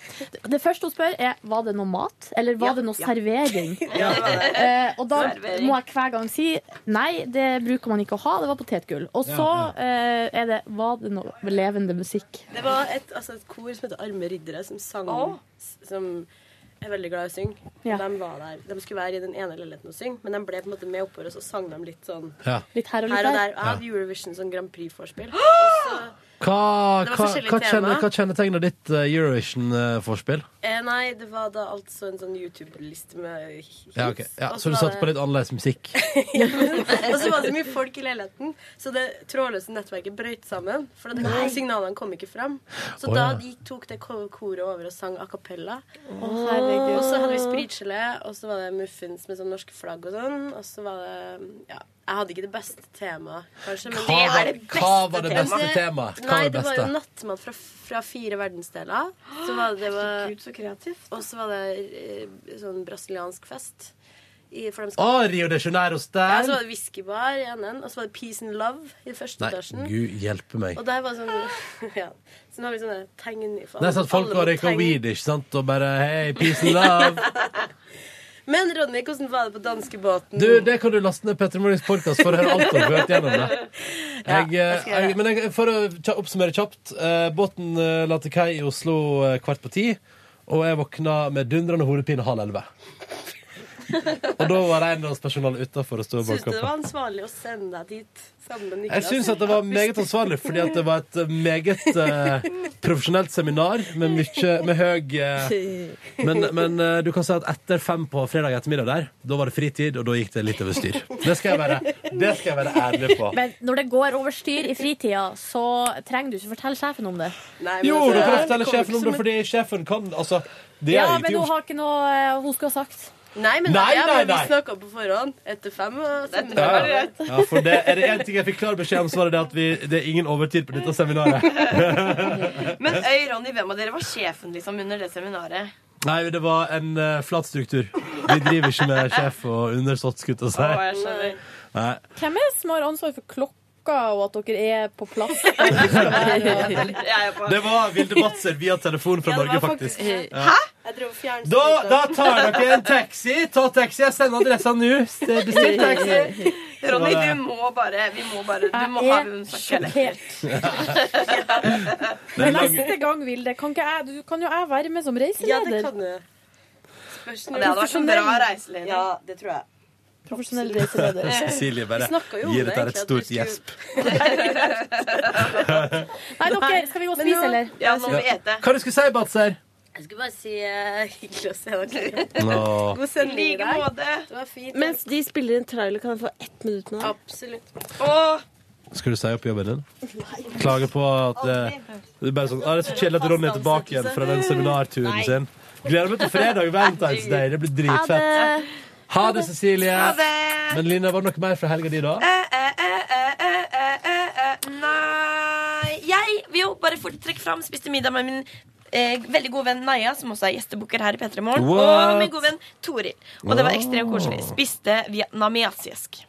Speaker 15: Det første hun spør, er var det noe mat, eller var
Speaker 9: Ja.
Speaker 15: det noe
Speaker 9: Ja.
Speaker 15: servering.
Speaker 9: Ja, det var det.
Speaker 15: Eh, og da
Speaker 9: Servering.
Speaker 15: må jeg hver gang si nei, det bruker man ikke å ha, det var potetgull. Og så
Speaker 16: Ja,
Speaker 15: eh, er det var det noe levende musikk.
Speaker 16: Det var et, altså et kor som heter Arme riddere, som sang s- Som er veldig glad i å synge.
Speaker 15: Ja.
Speaker 16: De, var der. de skulle være i den ene leiligheten og synge, men de ble på en måte med oppover, og så sang de litt sånn
Speaker 2: Ja.
Speaker 15: Litt her og litt
Speaker 16: der.
Speaker 15: der.
Speaker 16: Jeg hadde
Speaker 2: Ja.
Speaker 16: Eurovision som Grand Prix-forspill. Og så-
Speaker 2: Hva,
Speaker 16: Det
Speaker 2: hva,
Speaker 16: var forskjellige
Speaker 2: hva, kjenner,
Speaker 16: tema.
Speaker 2: hva kjennetegner ditt eh, Eurovision-forspill?
Speaker 16: Eh, nei, det var da altså en sånn YouTube-liste med hits.
Speaker 2: Ja, ok. ja,
Speaker 16: Og
Speaker 2: så du
Speaker 16: var
Speaker 2: satte
Speaker 16: det-
Speaker 2: på litt annerledes musikk?
Speaker 16: Og så var det så mye folk i leiligheten, så det trådløse nettverket brøt sammen. For det,
Speaker 2: Nei.
Speaker 16: signalene kom ikke fram. Så
Speaker 2: Å,
Speaker 16: da
Speaker 2: ja.
Speaker 16: gikk- tok det ko- koret over og sang a cappella.
Speaker 15: Å, herregud.
Speaker 16: Og så hadde vi spritgelé, og så var det muffins med sånn norske flagg og sånn. Og så var det Ja. Jeg hadde ikke det beste temaet, kanskje. Men
Speaker 2: Hva var- hva var det beste
Speaker 16: Men
Speaker 2: temaet? Hva var
Speaker 16: Nei,
Speaker 2: det
Speaker 16: det var jo
Speaker 2: beste?
Speaker 16: nattmat fra, fra fire verdensdeler. Så var det, det var,
Speaker 9: Gud, så kreativt.
Speaker 16: Og så var det eh, sånn brasiliansk fest. I, for de
Speaker 2: Å,
Speaker 16: skal-
Speaker 2: Rio de Janeiro
Speaker 16: ja, så var
Speaker 2: style!
Speaker 16: det whiskybar i enden, og så var det Peace and Love i første
Speaker 2: Nei,
Speaker 16: etasjen.
Speaker 2: gud hjelpe meg.
Speaker 16: Og der var sånn ja. Så nå har vi sånne tegn for
Speaker 2: Det er sånn at folk
Speaker 16: alle
Speaker 2: går
Speaker 16: må
Speaker 2: røyker
Speaker 16: tegne.
Speaker 2: weed, ikke sant? Og bare hei, peace and love.
Speaker 16: Men Ronny, hvordan var det på danskebåten?
Speaker 2: Du, det kan du laste ned Petter Morgens podkast for å høre alt du har hørt gjennom det. Jeg, eh,
Speaker 16: jeg skal gjøre
Speaker 2: jeg, men jeg, for å kja- oppsummere kjapt. eh, båten eh, la til kai i Oslo eh, kvart på ti, og jeg våkna med dundrende hodepine halv elleve. og da var eiendomspersonalet utafor og sto og
Speaker 16: Syns du
Speaker 2: banka
Speaker 16: det
Speaker 2: på.
Speaker 16: var ansvarlig å sende deg dit sammen med
Speaker 2: Jeg
Speaker 16: Niklas?
Speaker 2: syns at det var meget ansvarlig, fordi at det var et eh, meget eh, profesjonelt seminar med mye Med høy eh, Men, men eh, du kan si at etter fem på fredag ettermiddag der, da var det fritid, og da gikk det litt over styr. Det skal jeg være, det skal jeg være ærlig på.
Speaker 15: Men når det går over styr i fritida, så trenger du ikke fortelle sjefen om det.
Speaker 2: Jo, du kan fortelle sjefen om det, fordi sjefen kan Altså, det
Speaker 15: ja, men
Speaker 2: er ingenting
Speaker 15: hun
Speaker 2: gjort.
Speaker 15: har ikke noe eh, hun skulle ha sagt.
Speaker 16: Nei, men
Speaker 2: Nei,
Speaker 16: det er
Speaker 2: nei,
Speaker 16: bare vi
Speaker 2: nei.
Speaker 16: snakker på forhånd. Etter fem og sender
Speaker 2: Ja,
Speaker 16: det
Speaker 2: ja.
Speaker 16: greit.
Speaker 2: ja, for det er det én ting jeg fikk klar beskjed om, så var det det at vi, det er ingen overtid på dette seminaret.
Speaker 9: Men øy, Ronny, hvem av dere var sjefen liksom under det seminaret?
Speaker 2: Nei, det var en eh, flat struktur. Vi driver ikke med sjef og undersått, skutt
Speaker 9: Å,
Speaker 2: og
Speaker 9: jeg
Speaker 2: seg.
Speaker 9: skjønner.
Speaker 2: Nei.
Speaker 15: Hvem er det som har ansvar for klokka, og at dere er på plass?
Speaker 2: Det var Vilde Batzer via telefon fra Norge, faktisk. Ja.
Speaker 16: Jeg dro fjernsynet.
Speaker 2: Da, da tar dere en taxi. Ta taxi. Jeg sender adressa nå. Bestill taxi.
Speaker 9: Ronny, du må bare Vi må bare Du må ha sånn hun snakke
Speaker 2: Det er
Speaker 15: Men
Speaker 2: lang-
Speaker 15: neste gang, Vilde, kan, ikke jeg, du, kan jo jeg være med som
Speaker 16: Ja,
Speaker 15: reiseleder?
Speaker 16: det kan du. Spørsmål.
Speaker 15: Det hadde vært en bra
Speaker 14: sånn
Speaker 9: reiseleder.
Speaker 16: Ja, det tror jeg.
Speaker 15: Profesjonell reiseleder.
Speaker 2: Cecilie bare
Speaker 16: Vi snakket jo om
Speaker 2: gir dette et
Speaker 16: egentlig, at du
Speaker 2: stort
Speaker 16: skulle-
Speaker 2: gjesp.
Speaker 15: Nei, dere, skal vi gå og
Speaker 16: Men
Speaker 15: spise,
Speaker 16: nå-
Speaker 15: eller?
Speaker 16: Ja, nå må vi ete.
Speaker 2: Hva du skulle si, Batzer?
Speaker 16: Jeg skulle bare si eh, hyggelig å se dere.
Speaker 2: Nå.
Speaker 16: God sending i
Speaker 9: Like
Speaker 16: dag.
Speaker 9: måte.
Speaker 16: Det var fint.
Speaker 14: Mens de spiller en trailer, kan jeg få ett minutt nå?
Speaker 16: Absolutt.
Speaker 2: Skulle du si opp jobben din? Klage på at eh, det er bare sånn, ah, det er så kjedelig at Ronny er tilbake igjen fra den seminarturen sin. Gleder meg til fredag. Valentine's Day. Det blir
Speaker 9: Ha
Speaker 2: dritfett.
Speaker 9: det.
Speaker 2: Ha det, Cecilie.
Speaker 9: Ha det. Eh,
Speaker 2: Men Lina, var det noe mer fra helga di, da?
Speaker 9: Nei Jeg vil jo bare fort trekke fram Spiste middag med min eh, veldig gode venn Naya Som også er gjestebukker her i P3 Morgen Og
Speaker 2: What?
Speaker 9: min gode venn Toril Og det var ekstremt koselig Spiste vietnamesisk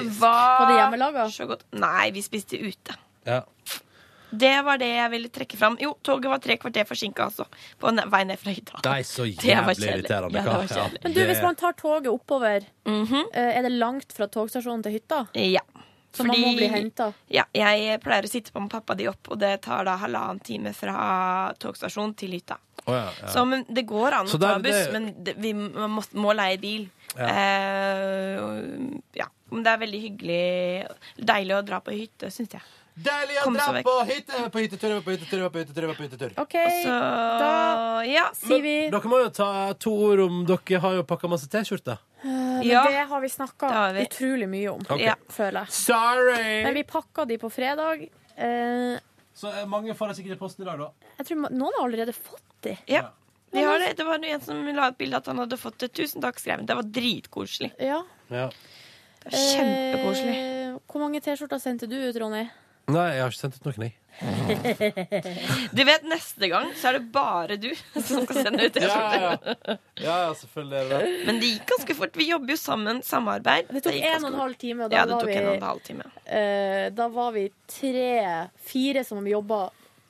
Speaker 9: Det var
Speaker 15: Var det hjemmelaga?
Speaker 9: Så godt Nei, vi spiste ute
Speaker 2: Ja.
Speaker 9: Det var det jeg ville trekke fram Jo, toget var tre kvarter forsinket altså På ne- vei ned fra hytta
Speaker 2: Nei, så
Speaker 9: Det var
Speaker 2: jævlig
Speaker 9: kjedelig.
Speaker 2: irriterende.
Speaker 9: Ja, det var
Speaker 2: Hva?
Speaker 9: kjedelig.
Speaker 15: Men du, hvis man tar toget oppover,
Speaker 9: Mhm.
Speaker 15: eh, er det langt fra togstasjonen til hytta?
Speaker 9: Ja
Speaker 15: Så man må bli hentet?
Speaker 9: Ja, jeg pleier å sitte på med pappa de opp, og det tar da halvannen time fra togstasjonen til hytta.
Speaker 2: Å, ja, ja.
Speaker 9: Så men det går an
Speaker 2: Så
Speaker 9: å ta
Speaker 2: der-
Speaker 9: buss,
Speaker 2: det-
Speaker 9: men det, vi må, må leie bil.
Speaker 2: Ja.
Speaker 9: Eh, og- ja. Men det er veldig hyggelig. Deilig å dra på hytte, syns jeg.
Speaker 2: Deilig å
Speaker 9: Kom
Speaker 2: dra
Speaker 9: så vekk.
Speaker 2: på hytte, på hyttetur, på hyttetur, på hyttetur, på hyttetur.
Speaker 15: OK,
Speaker 9: Så da ja.
Speaker 15: sier vi
Speaker 2: Dere må jo ta to ord om Dere har jo pakka masse T-skjorter.
Speaker 15: Eh, Men
Speaker 9: Ja.
Speaker 15: det har vi snakka
Speaker 9: vi.
Speaker 15: utrolig mye om,
Speaker 2: Ok. Ja.
Speaker 15: føler jeg.
Speaker 2: Sorry!
Speaker 15: Men vi pakka de på fredag. Eh,
Speaker 2: Så eh, mange får det sikkert i posten i dag, da.
Speaker 15: jeg tror ma- noen har allerede fått de.
Speaker 9: ja. Vi har det. det var en som la ut bilde at han hadde fått det. Tusen takk, skrev han. Det var dritkoselig.
Speaker 15: Ja.
Speaker 9: Det var Kjempekoselig.
Speaker 15: Eh, hvor mange T-skjorter sendte du ut, Ronny?
Speaker 2: Nei, jeg har ikke sendt ut noen, jeg.
Speaker 9: Du vet, neste gang så er det bare du som skal sende ut T-skjorter.
Speaker 2: Ja, ja. ja, ja, selvfølgelig er det det.
Speaker 9: Men det gikk ganske fort. Vi jobber jo sammen. Samarbeid.
Speaker 15: Det tok
Speaker 9: gikk ganske
Speaker 15: en og en
Speaker 9: fort.
Speaker 15: halv time, og da
Speaker 9: ja, det
Speaker 15: var
Speaker 9: tok
Speaker 15: vi-
Speaker 9: en og en halv time.
Speaker 15: Eh, da var vi tre, fire som jobba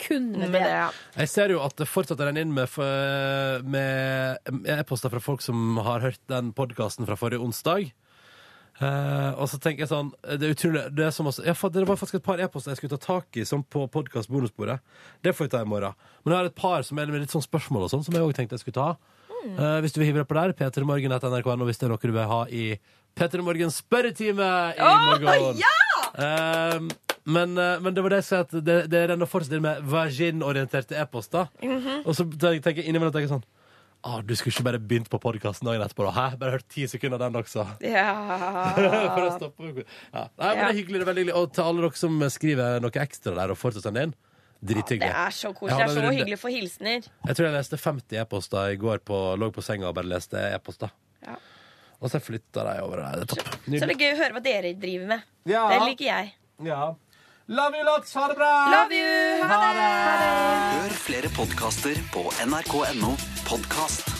Speaker 15: kun med, det.
Speaker 2: Jeg ser jo at det fortsatt renner inn med, f- med e-poster fra folk som har hørt den podkasten fra forrige onsdag. Eh, og så tenker jeg sånn Det er utrolig det, er som også, ja, fa- det var faktisk et par e-poster jeg skulle ta tak i Som på podkast-bonusbordet. Det får vi ta i morgen. Men jeg har et par som er med litt sånn spørsmål og sånn, som jeg òg tenkte jeg skulle ta. Eh, hvis du vil hive deg på der, p3morgen.nrk.no hvis det er noe du vil ha i P3 Morgens spørretime i
Speaker 9: Oh,
Speaker 2: morgen. Eh, men, eh, men det var det jeg sa, at det, det renner fortsatt inn med vagin-orienterte e-poster.
Speaker 9: Mhm.
Speaker 2: Og så tenker tenker jeg innimellom tenker jeg sånn ah, Du skulle ikke bare begynt på podkasten dagen etterpå, da? Hæ? Bare hørt ti sekunder av den også. For å
Speaker 9: Ja.
Speaker 2: stoppe ja. Nei, men Det er
Speaker 9: Ja.
Speaker 2: hyggelig, det er veldig hyggelig. Og til alle dere som skriver noe ekstra der og fortsatt sender inn, drithyggelig.
Speaker 9: Det er så
Speaker 2: Jeg
Speaker 9: koselig.
Speaker 2: har
Speaker 9: Det er
Speaker 2: en
Speaker 9: så
Speaker 2: runde.
Speaker 9: hyggelig å få hilsener.
Speaker 2: Jeg tror jeg leste 50 e-poster i går på, lå på senga og bare leste e-poster.
Speaker 9: Ja.
Speaker 2: Og så flytta de over der. Det er topp.
Speaker 9: Så det er gøy å høre hva dere driver med.
Speaker 2: Ja.
Speaker 9: Det liker jeg.
Speaker 2: Ja. Love you lots. Ha det bra!
Speaker 9: Love you! Ha det!
Speaker 17: Hør flere podkaster på nrk.no podkast.